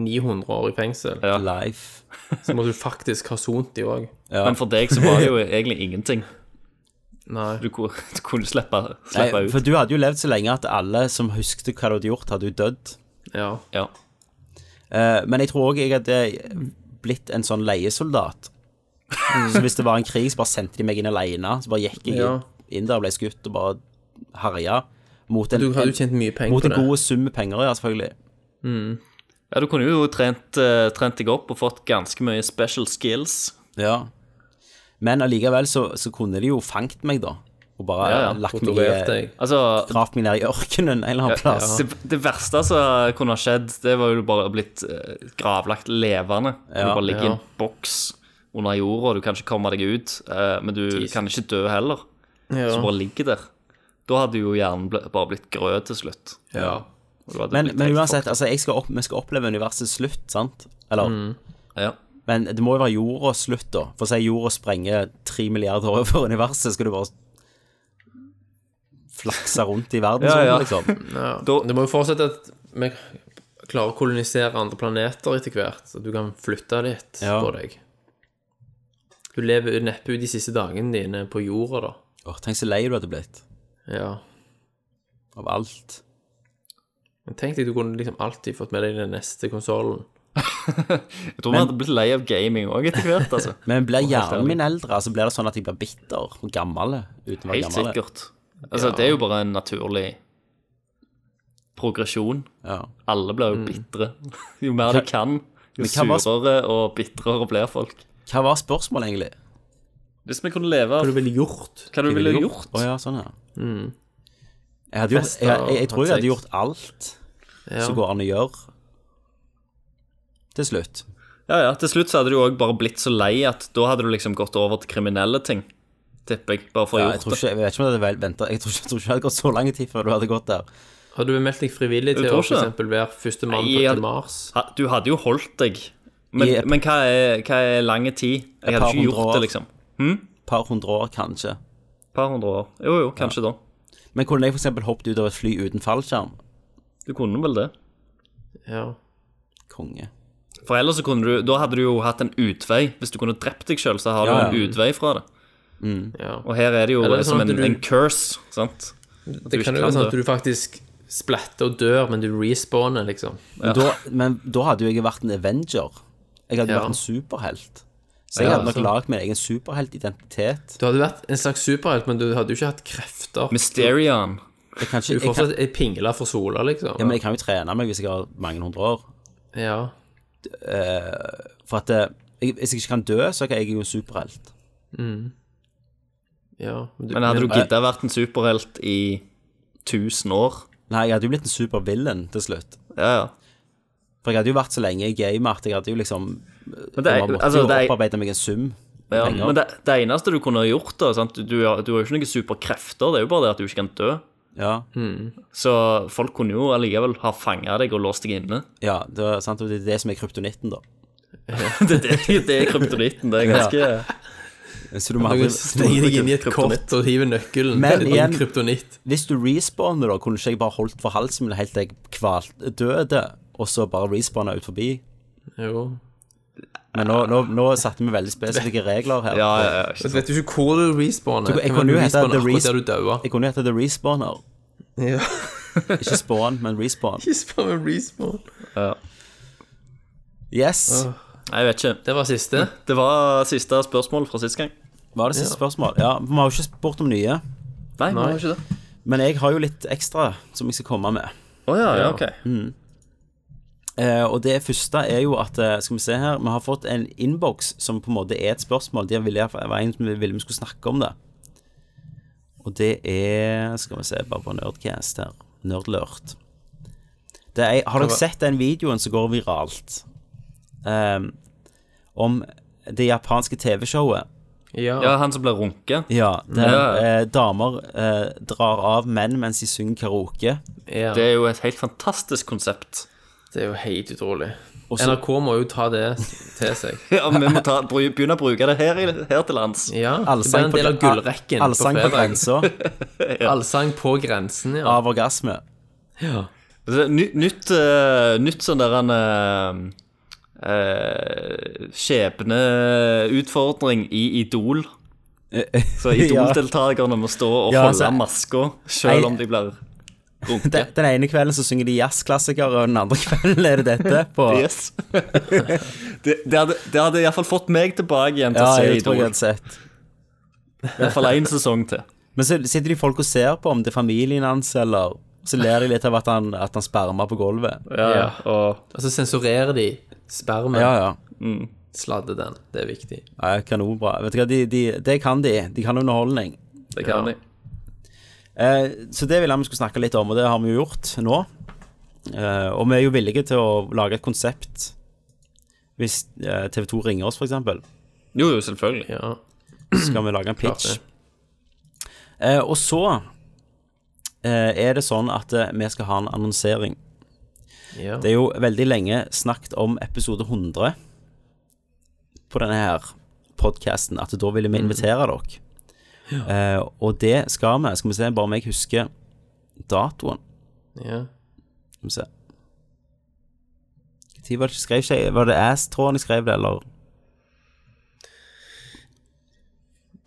Speaker 6: 900 år i fengsel.
Speaker 5: Ja.
Speaker 4: life.
Speaker 6: Så måtte du faktisk ha sont de òg.
Speaker 4: Ja.
Speaker 5: Men for deg så var det jo egentlig ingenting.
Speaker 6: Nei.
Speaker 5: Du, ku- du kunne slippe,
Speaker 4: Nei,
Speaker 5: slippe ut.
Speaker 4: for du hadde jo levd så lenge at alle som husket hva du hadde gjort, hadde jo dødd.
Speaker 6: Ja.
Speaker 5: Ja.
Speaker 4: Eh, men jeg tror òg jeg hadde blitt en sånn leiesoldat. Så hvis det var en krig, så bare sendte de meg inn alene. Så bare gikk jeg
Speaker 6: Ja.
Speaker 4: inn der og ble skutt og bare herja. Mot en,
Speaker 6: Du hadde
Speaker 4: en,
Speaker 6: jo tjent mye penger
Speaker 4: mot
Speaker 6: på
Speaker 4: en
Speaker 6: det.
Speaker 4: god sum med penger, ja, selvfølgelig.
Speaker 5: ja, du kunne jo trent, eh, trent deg opp og fått ganske mye special skills.
Speaker 4: Ja. Men allikevel så, så kunne de jo fangt meg, da. Og bare
Speaker 5: Ja, ja,
Speaker 4: lagt meg i
Speaker 6: Torturerte deg.
Speaker 5: Altså,
Speaker 4: Gravd meg ned i ørkenen en eller annen plass.
Speaker 5: det, det verste som kunne ha skjedd, det var jo du bare blitt eh, gravlagt levende.
Speaker 4: Ja,
Speaker 5: du bare ligger i
Speaker 6: ja.
Speaker 5: en boks under jorda, du kan ikke komme deg ut, eh, men du kan ikke dø heller.
Speaker 6: Ja.
Speaker 5: Så bare ligger der. Da hadde jo hjernen ble, bare blitt grød til slutt.
Speaker 6: ja.
Speaker 5: Og du hadde
Speaker 4: Men,
Speaker 5: blitt
Speaker 4: men
Speaker 5: helt
Speaker 4: uansett,
Speaker 5: fucked.
Speaker 4: altså, jeg skal opp, vi skal oppleve universets slutt, sant? Eller
Speaker 6: Mm.
Speaker 5: ja.
Speaker 4: Men det må jo være jordas slutt, da. For å si jorda sprenger tre milliarder år over universet, skal du bare flakse rundt i verdensrommet,
Speaker 5: Ja, ja.
Speaker 4: liksom.
Speaker 6: ja.
Speaker 5: Da-
Speaker 6: Det må jo fortsette at vi klarer å kolonisere andre planeter etter hvert. Så du kan flytte litt
Speaker 4: Ja.
Speaker 6: på deg. Du lever jo neppe ut de siste dagene dine på jorda, da.
Speaker 4: Åh, tenk så lei du hadde blitt
Speaker 6: Ja.
Speaker 4: av alt.
Speaker 6: Men tenk deg, du kunne liksom alltid fått med deg den neste konsollen.
Speaker 5: Jeg tror vi hadde blitt lei av gaming òg etter hvert. altså.
Speaker 4: Men blir
Speaker 5: ærlig.
Speaker 4: hjernen min eldre, så blir det sånn at jeg blir bitter og gammel uten å være
Speaker 5: Helt
Speaker 4: gammel.
Speaker 5: sikkert. Altså, Det er jo bare en naturlig progresjon.
Speaker 4: Ja.
Speaker 5: Alle blir jo bitre. Jo mer de kan, jo
Speaker 4: Men hva var-
Speaker 5: surere og bitrere blir folk.
Speaker 4: Hva var spørsmålet, egentlig?
Speaker 5: Hvis vi kunne leve av
Speaker 6: Hva du ville gjort?
Speaker 5: hva du ville gjort Mm.
Speaker 4: Å ja, sånn, ja. Jeg, hadde gjort,
Speaker 6: Fester
Speaker 4: jeg, jeg, jeg
Speaker 6: og
Speaker 4: tror jeg hadde
Speaker 6: sex.
Speaker 4: gjort alt
Speaker 6: Ja.
Speaker 4: som går an å gjøre, til slutt.
Speaker 5: Ja, ja, Til slutt så hadde du jo òg bare blitt så lei at da hadde du liksom gått over til kriminelle ting. Tipper jeg. Bare for å
Speaker 4: Ja,
Speaker 5: ha
Speaker 4: jeg,
Speaker 5: gjort
Speaker 4: tror
Speaker 5: det.
Speaker 4: ikke, jeg vet ikke om jeg hadde vel ventet. Jeg tror ikke, jeg tror ikke det hadde gått så lang tid før du hadde gått der.
Speaker 6: Hadde du meldt deg frivillig
Speaker 5: Jeg
Speaker 6: til å
Speaker 5: tror
Speaker 6: for
Speaker 5: ikke.
Speaker 6: eksempel være førstemann
Speaker 5: Nei,
Speaker 6: på-
Speaker 5: jeg-
Speaker 6: til Mars?
Speaker 5: Ha, Du hadde jo holdt deg. Men,
Speaker 4: Yep.
Speaker 5: men hva er, hva er lange tid? Jeg hadde
Speaker 4: par
Speaker 5: ikke
Speaker 4: hundre
Speaker 5: gjort
Speaker 4: år.
Speaker 5: det, liksom.
Speaker 4: Et par hundre år, kanskje.
Speaker 5: Par hundre år. Jo, jo, kanskje da.
Speaker 4: Men kunne jeg f.eks. hoppet ut av et fly uten fallskjerm?
Speaker 5: Du kunne vel det.
Speaker 6: Ja.
Speaker 4: Konge.
Speaker 5: For ellers så kunne du Da hadde du jo hatt en utvei. Hvis du kunne drept deg sjøl, så har du
Speaker 4: Ja, ja.
Speaker 5: en utvei fra det.
Speaker 6: ja.
Speaker 5: Og her er det jo
Speaker 6: Eller
Speaker 5: som
Speaker 6: sånn at
Speaker 5: en,
Speaker 6: du-
Speaker 5: en curse, sant?
Speaker 6: Det
Speaker 5: ikke
Speaker 6: kan jo
Speaker 5: kan
Speaker 6: være sånn
Speaker 5: det.
Speaker 6: at du faktisk splatter og dør, men du respawner, liksom.
Speaker 4: Men, da, men da hadde jo jeg vært en Avenger. Jeg hadde
Speaker 6: Ja.
Speaker 4: vært en superhelt. Så jeg
Speaker 6: Ja,
Speaker 4: hadde nok
Speaker 6: sant.
Speaker 4: lagd min egen superheltidentitet.
Speaker 6: Du hadde vært en slags superhelt, men du hadde jo ikke hatt krefter.
Speaker 5: Mysterion.
Speaker 4: Jeg kan ikke,
Speaker 6: Du
Speaker 4: jeg kan,
Speaker 6: fortsatt er pingla for sola, liksom.
Speaker 4: ja, men jeg kan jo trene meg hvis jeg har mange hundre år.
Speaker 6: ja.
Speaker 4: For at eh, jeg, hvis jeg ikke kan dø, så er jeg jo en superhelt.
Speaker 6: ja. du-
Speaker 5: Men hadde du
Speaker 6: men-
Speaker 5: gidda vært en superhelt i 1000 år?
Speaker 4: Nei, jeg hadde jo blitt en supervillain til slutt.
Speaker 5: Ja, ja.
Speaker 4: For jeg hadde jo vært så lenge i gamet at jeg hadde jo liksom
Speaker 5: Men det,
Speaker 4: Man
Speaker 5: er,
Speaker 4: måtte
Speaker 5: altså,
Speaker 4: jo
Speaker 5: det, er,
Speaker 4: opparbeide meg en sum.
Speaker 5: ja,
Speaker 4: penger.
Speaker 5: men det, det eneste du kunne ha gjort, da sant? Du, har- du har jo ikke noen superkrefter, det er jo bare det at du ikke kan dø.
Speaker 4: Ja,
Speaker 5: Så folk kunne jo allikevel ha fanga deg og låst deg inne.
Speaker 4: ja det, er sant? og det er det som er kryptonitten, da.
Speaker 5: Det, det, det er kryptonitten. Det er ganske
Speaker 4: Så du må
Speaker 6: Du
Speaker 4: aldri
Speaker 6: stenger deg inn i et kort og hiver nøkkelen
Speaker 4: Men
Speaker 6: til
Speaker 4: igjen-
Speaker 6: en kryptonitt.
Speaker 4: Hvis du respawner, da, kunne ikke jeg bare holdt for halsen min helt til jeg kvalt døde, og så bare respawna ut forbi?
Speaker 6: Jo.
Speaker 4: Men nå, nå, nå satte vi veldig spesifikke regler her.
Speaker 5: Ja, ja, ja. ikke
Speaker 6: Så
Speaker 5: sant.
Speaker 6: vet du ikke hvor du respawner.
Speaker 4: Du, jeg
Speaker 6: Kan
Speaker 4: kunne
Speaker 6: du
Speaker 4: jo hete
Speaker 6: respawne
Speaker 4: The
Speaker 6: akkurat
Speaker 4: Resp-
Speaker 6: der du daua.
Speaker 4: Jeg kunne hete The Respawner.
Speaker 6: Ja.
Speaker 4: Ikke Spawn, men Respawn.
Speaker 6: Respawn med respawn.
Speaker 4: Yes!
Speaker 5: Nei, Jeg vet ikke.
Speaker 6: Det var siste.
Speaker 5: Det var siste spørsmål fra sist gang.
Speaker 4: Var det siste spørsmål? Ja, Vi har jo ikke spurt om nye.
Speaker 5: Nei, det var ikke det.
Speaker 4: Men jeg har jo litt ekstra som jeg skal komme med.
Speaker 5: Å ja, ja, ok.
Speaker 4: Eh, og det første er jo at eh, Skal vi se her Vi har fått en innboks som på en måte er et spørsmål. De ville det var en som ville vi skulle snakke om det. Og det er Skal vi se, bare på Nerdcast her. Nerdlurt. Det er, har dere sett den videoen som går viralt? Ehm, om det japanske TV-showet.
Speaker 6: Ja.
Speaker 5: Ja, han som ble runket.
Speaker 4: Ja, der
Speaker 5: Ja.
Speaker 4: eh, damer eh, drar av menn mens de synger karaoke.
Speaker 6: ja.
Speaker 5: Det er jo et helt fantastisk konsept.
Speaker 6: Det er jo helt utrolig.
Speaker 4: så-
Speaker 6: NRK må jo ta det til seg.
Speaker 5: Ja, Vi må ta, bru- begynne å bruke det her, i- her til lands.
Speaker 6: Ja, det
Speaker 4: Allsang
Speaker 6: blir en del av gullrekken på
Speaker 4: Allsang på
Speaker 6: fredag.
Speaker 4: grensa
Speaker 6: Allsang på grensen, ja.
Speaker 4: av orgasme.
Speaker 5: Det er Ny, nytt, eh, nytt sånn der en eh, eh, Skjebneutfordring i Idol. Så Idol-deltakerne må stå og
Speaker 4: Ja,
Speaker 5: holde
Speaker 4: altså-
Speaker 5: maska selv om de blir
Speaker 4: Den,
Speaker 5: runket.
Speaker 4: den ene kvelden så synger de jazzklassikere, og den andre kvelden er det dette. På,
Speaker 5: Yes. det, det hadde, det hadde i hvert fall fått meg tilbake igjen til å
Speaker 4: ja,
Speaker 5: se
Speaker 4: jeg tror jeg
Speaker 5: Idol.
Speaker 4: hadde sett.
Speaker 5: I hvert fall én sesong til.
Speaker 4: Men så sitter de folk og ser på om det er familien hans, eller så ler de litt av at han, at han spermer på gulvet.
Speaker 6: Ja.
Speaker 5: Og
Speaker 6: Og så sensurerer de spermen.
Speaker 4: Ja, ja.
Speaker 6: Sladde den. Det er viktig.
Speaker 4: ja kanonbra. Vet du hva, de, de, det kan de. De kan underholdning.
Speaker 5: det kan
Speaker 6: Ja.
Speaker 5: de.
Speaker 4: Eh, så det ville jeg vi skulle snakke litt om, og det har vi jo gjort nå. Eh, og vi er jo villige til å lage et konsept hvis eh, TV 2 ringer oss, f.eks.
Speaker 5: Jo, jo, selvfølgelig.
Speaker 6: Ja.
Speaker 4: skal vi lage en pitch.
Speaker 6: det.
Speaker 4: Eh, og så eh, er det sånn at eh, vi skal ha en annonsering.
Speaker 6: ja.
Speaker 4: Det er jo veldig lenge snakket om episode 100 på denne her podkasten, at da ville vi invitere dere. Eh, og det skal vi. Skal vi se, bare om jeg husker datoen.
Speaker 6: ja.
Speaker 4: Skal vi se. Når var det ikke skrev ikke jeg- Var det ass-tråden jeg skrev det, eller?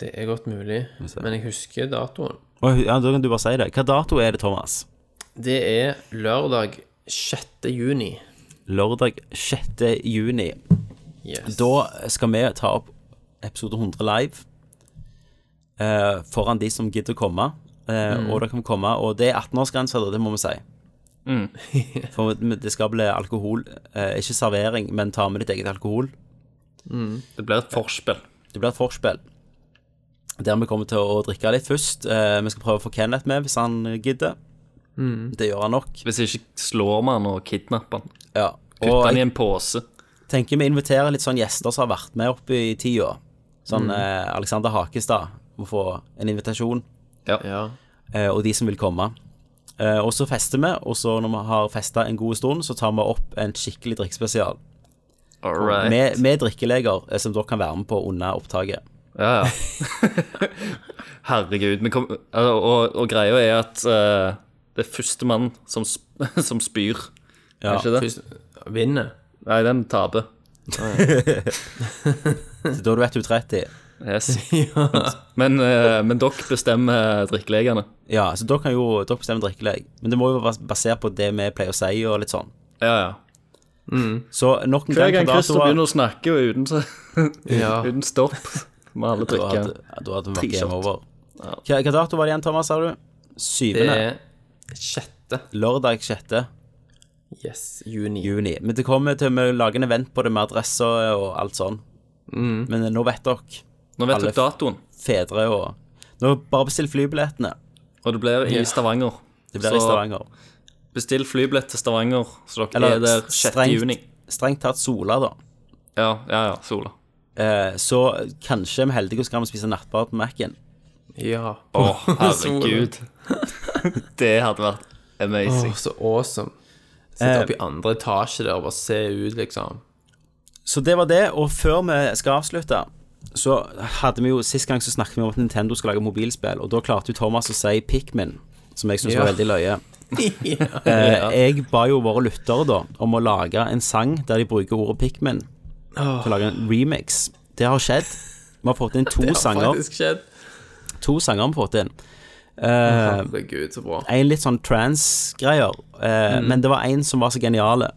Speaker 6: Det er godt mulig. Men jeg husker datoen.
Speaker 4: Å, Ja, da kan du bare si det. Hva dato er det, Thomas?
Speaker 6: Det er lørdag 6. juni.
Speaker 4: lørdag 6. juni.
Speaker 6: Yes.
Speaker 4: Da skal vi ta opp episode 100 live eh, foran de som gidder å komme. Eh, Og det kan komme. Og det er 18-årsgrense, da, det må vi si. For det skal bli alkohol. Eh, ikke servering, men ta med ditt eget alkohol.
Speaker 5: Det blir et forspill.
Speaker 4: Det blir et forspill. Der vi kommer til å drikke litt først. Eh, vi skal prøve å få Kenneth med, hvis han gidder. Det gjør han nok.
Speaker 5: Hvis ikke slår man han og kidnapper han.
Speaker 4: Ja.
Speaker 5: Putter
Speaker 4: Og
Speaker 5: han i
Speaker 4: jeg
Speaker 5: en pose.
Speaker 4: tenker vi inviterer litt sånn gjester som har vært med opp i tida. Sånn eh, Alexander Hakestad må få en invitasjon.
Speaker 6: Ja.
Speaker 4: eh, og de som vil komme. Eh, og så fester vi, og så når vi har festa en god stund, så tar vi opp en skikkelig drikkespesial.
Speaker 5: All right.
Speaker 4: Med, med drikkeleger eh, som dere kan være med på under opptaket.
Speaker 5: Ja, ja. Herregud. Men kom, altså, og, og greia er at eh, det er førstemann som, sp- som spyr.
Speaker 4: Ja.
Speaker 5: Er ikke det?
Speaker 6: Først- Vinner.
Speaker 5: Nei, den taper.
Speaker 4: Så Da er du 1,30.
Speaker 5: Yes. men, eh, men dere bestemmer eh, drikkelegene.
Speaker 4: Ja, så dere kan jo dere bestemme drikkeleg. Men det må jo være basert på det vi pleier å si og litt sånn.
Speaker 5: Ja, ja.
Speaker 4: Så nok en
Speaker 5: Hver
Speaker 4: gang
Speaker 5: gang
Speaker 4: på
Speaker 5: Christer
Speaker 4: datoer
Speaker 5: begynner å snakke og uten, så,
Speaker 6: Ja.
Speaker 5: uten stopp med alle
Speaker 4: Da hadde
Speaker 5: drikkene.
Speaker 4: ja, da hadde vi vært
Speaker 5: T-shirt.
Speaker 4: game over. Hva hva dato var det igjen, Thomas, sa du?
Speaker 6: Det
Speaker 4: Syvende.
Speaker 6: er sjette.
Speaker 4: Lørdag 6.
Speaker 6: Yes. Juni.
Speaker 4: juni. Men det kommer til å lage en event på det med adresser og alt sånn. Men eh, nå vet dere,
Speaker 5: Nå vet
Speaker 4: Alle-
Speaker 5: dere datoen,
Speaker 4: fedre og Nå bare bestill flybillettene.
Speaker 5: og det blir i Stavanger.
Speaker 4: Det blir
Speaker 5: Så
Speaker 4: i Stavanger.
Speaker 5: Bestill flybillett til Stavanger, så dere
Speaker 4: Eller
Speaker 5: er der 6.
Speaker 4: strengt-
Speaker 5: juni.
Speaker 4: Strengt tatt Sola, da.
Speaker 5: Ja, ja, ja, Sola.
Speaker 4: Eh, så kanskje vi er heldige og så kan vi spise nattbart på Mac-en.
Speaker 6: Ja.
Speaker 5: Å,
Speaker 6: Åh,
Speaker 5: herregud. Det hadde vært amazing.
Speaker 6: så awesome. Sitte oppe i andre etasje der og bare se ut, liksom.
Speaker 4: Så det var det, og før vi skal avslutte så hadde vi jo, Sist gang så snakket vi om at Nintendo skal lage mobilspill, og da klarte jo Thomas å si Pikmin, som jeg syns
Speaker 6: Ja.
Speaker 4: var veldig løye. Eh, jeg ba jo våre lyttere da om å lage en sang der de bruker ordet Pikmin, til å lage en remix. Det har skjedd. Vi har fått inn to sanger.
Speaker 6: faktisk skjedd.
Speaker 4: To sanger har vi fått inn. Eh,
Speaker 6: Herregud, så bra.
Speaker 4: en litt sånn trans-greier, eh, men det var en som var så geniale.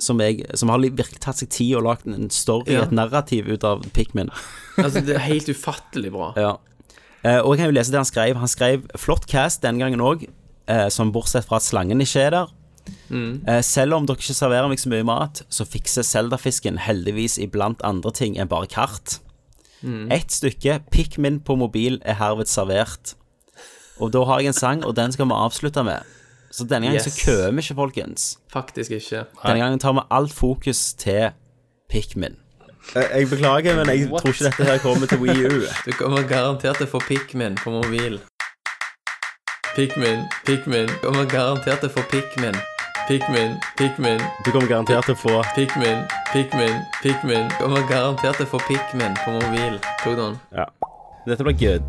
Speaker 4: Som, jeg, som har li- virkelig tatt seg tid og lagd en story,
Speaker 6: Ja.
Speaker 4: et narrativ, ut av Pikmin.
Speaker 6: Altså, det er helt ufattelig bra.
Speaker 4: Ja. Eh, og jeg kan jo lese det han skrev. Han skrev flott cast den gangen òg, eh, som bortsett fra at slangen ikke er der. Eh, selv om dere ikke serverer meg så mye mat, så fikser Zelda-fisken heldigvis iblant andre ting enn bare kart. Ett stykke Pikmin på mobil er herved servert. Og da har jeg en sang, og den skal vi avslutte med. Så denne gangen
Speaker 6: Yes.
Speaker 4: så køer vi ikke, folkens.
Speaker 6: Faktisk ikke.
Speaker 4: Denne gangen tar vi alt fokus til Pikmin. Jeg beklager, men jeg tror ikke dette her kommer til WiiU.
Speaker 6: Du kommer garantert til å få Pikmin på mobil. Pikmin, Pikmin. Du kommer garantert til å få Pikmin. Pikmin, Pikmin,
Speaker 4: Du kommer garantert til å få
Speaker 6: Pikmin, Pikmin, Pikmin. Du kommer garantert til å få Pikmin på mobil. Tok du den?
Speaker 4: Ja. Dette blir good.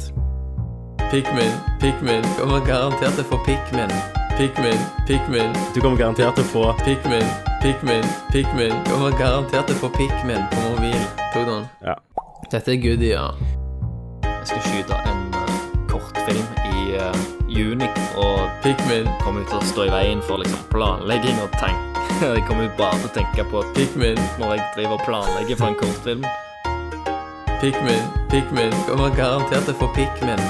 Speaker 6: Pikmin, Pikmin. Du kommer garantert til å få Pikmin. Pikmin, Pikmin,
Speaker 4: Du kommer garantert til å få
Speaker 6: Pikmin, Pikmin, Pikmin. Du kommer garantert til å få Pikmin på mobil. Tok du den?
Speaker 4: Ja.
Speaker 6: Dette er good, ja.
Speaker 5: Jeg skal skyte en eh, kortfilm i eh, juni, og
Speaker 6: Pikmin,
Speaker 5: kommer ut til å stå i veien for liksom, planlegging og tenk. Jeg kommer jo bare til å tenke på at
Speaker 6: Pikmin.
Speaker 5: når jeg driver og planlegger for en kortfilm.
Speaker 6: Pikmin, Pikmin, kommer garantert til å få Pikmin.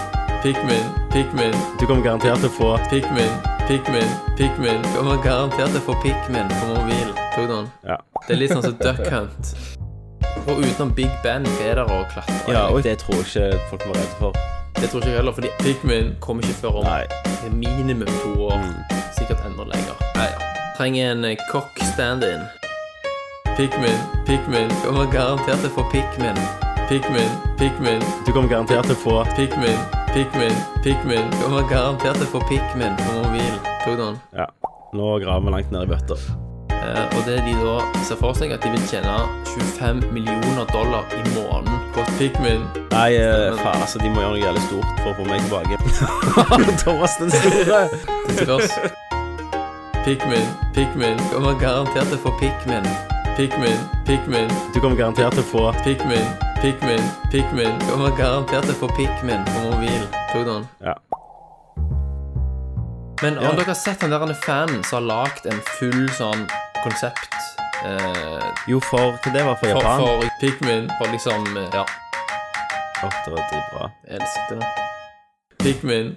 Speaker 6: Pikmin, Pikmin,
Speaker 4: Du kommer garantert til å få
Speaker 6: Pikmin, Pikmin, Pikmin. Kommer garantert til å få Pikmin på mobil. Tok du den?
Speaker 4: Ja.
Speaker 6: Det er litt sånn som Duck Hunt. Og utenom Big Ben er det å klatre.
Speaker 4: og det tror jeg ikke folk var redde for.
Speaker 6: Det tror ikke jeg heller, fordi Pikmin kommer ikke før om
Speaker 4: Nei.
Speaker 6: minimum to år. Sikkert enda lenger. Trenger en eh, kokk stand-in. Pikmin, Pikmin, kommer garantert til å få Pikmin. Pikmin, Pikmin.
Speaker 4: Du kommer garantert til å få
Speaker 6: Pikmin, Pikmin, Pikmin. Du kommer garantert til å få Pikmin på mobil. Tok du den?
Speaker 4: Ja. Nå graver vi langt ned i bøtta.
Speaker 6: Eh, og det de da ser for seg, at de vil tjene 25 millioner dollar i måneden på Pikmin.
Speaker 4: Nei, eh, faen, altså, de må gjøre noe jævlig stort for å få meg tilbake. Thomas den store.
Speaker 6: Det spørs. Pikmin, Pikmin. Du kommer garantert til å få Pikmin. Pikmin, Pikmin,
Speaker 4: Du kommer garantert til å få
Speaker 6: Pikmin, Pikmin, Pikmin. Du kommer garantert til å få Pikmin på mobil. Tok du den?
Speaker 4: Ja.
Speaker 6: Men har dere sett den der fanen som har lagd en full sånn konsept eh,
Speaker 4: Jo, for til det var for
Speaker 6: for,
Speaker 4: Japan.
Speaker 6: for Pikmin. For liksom eh, Ja,
Speaker 4: Åh, det var dritbra.
Speaker 6: jeg elsket det. Pikmin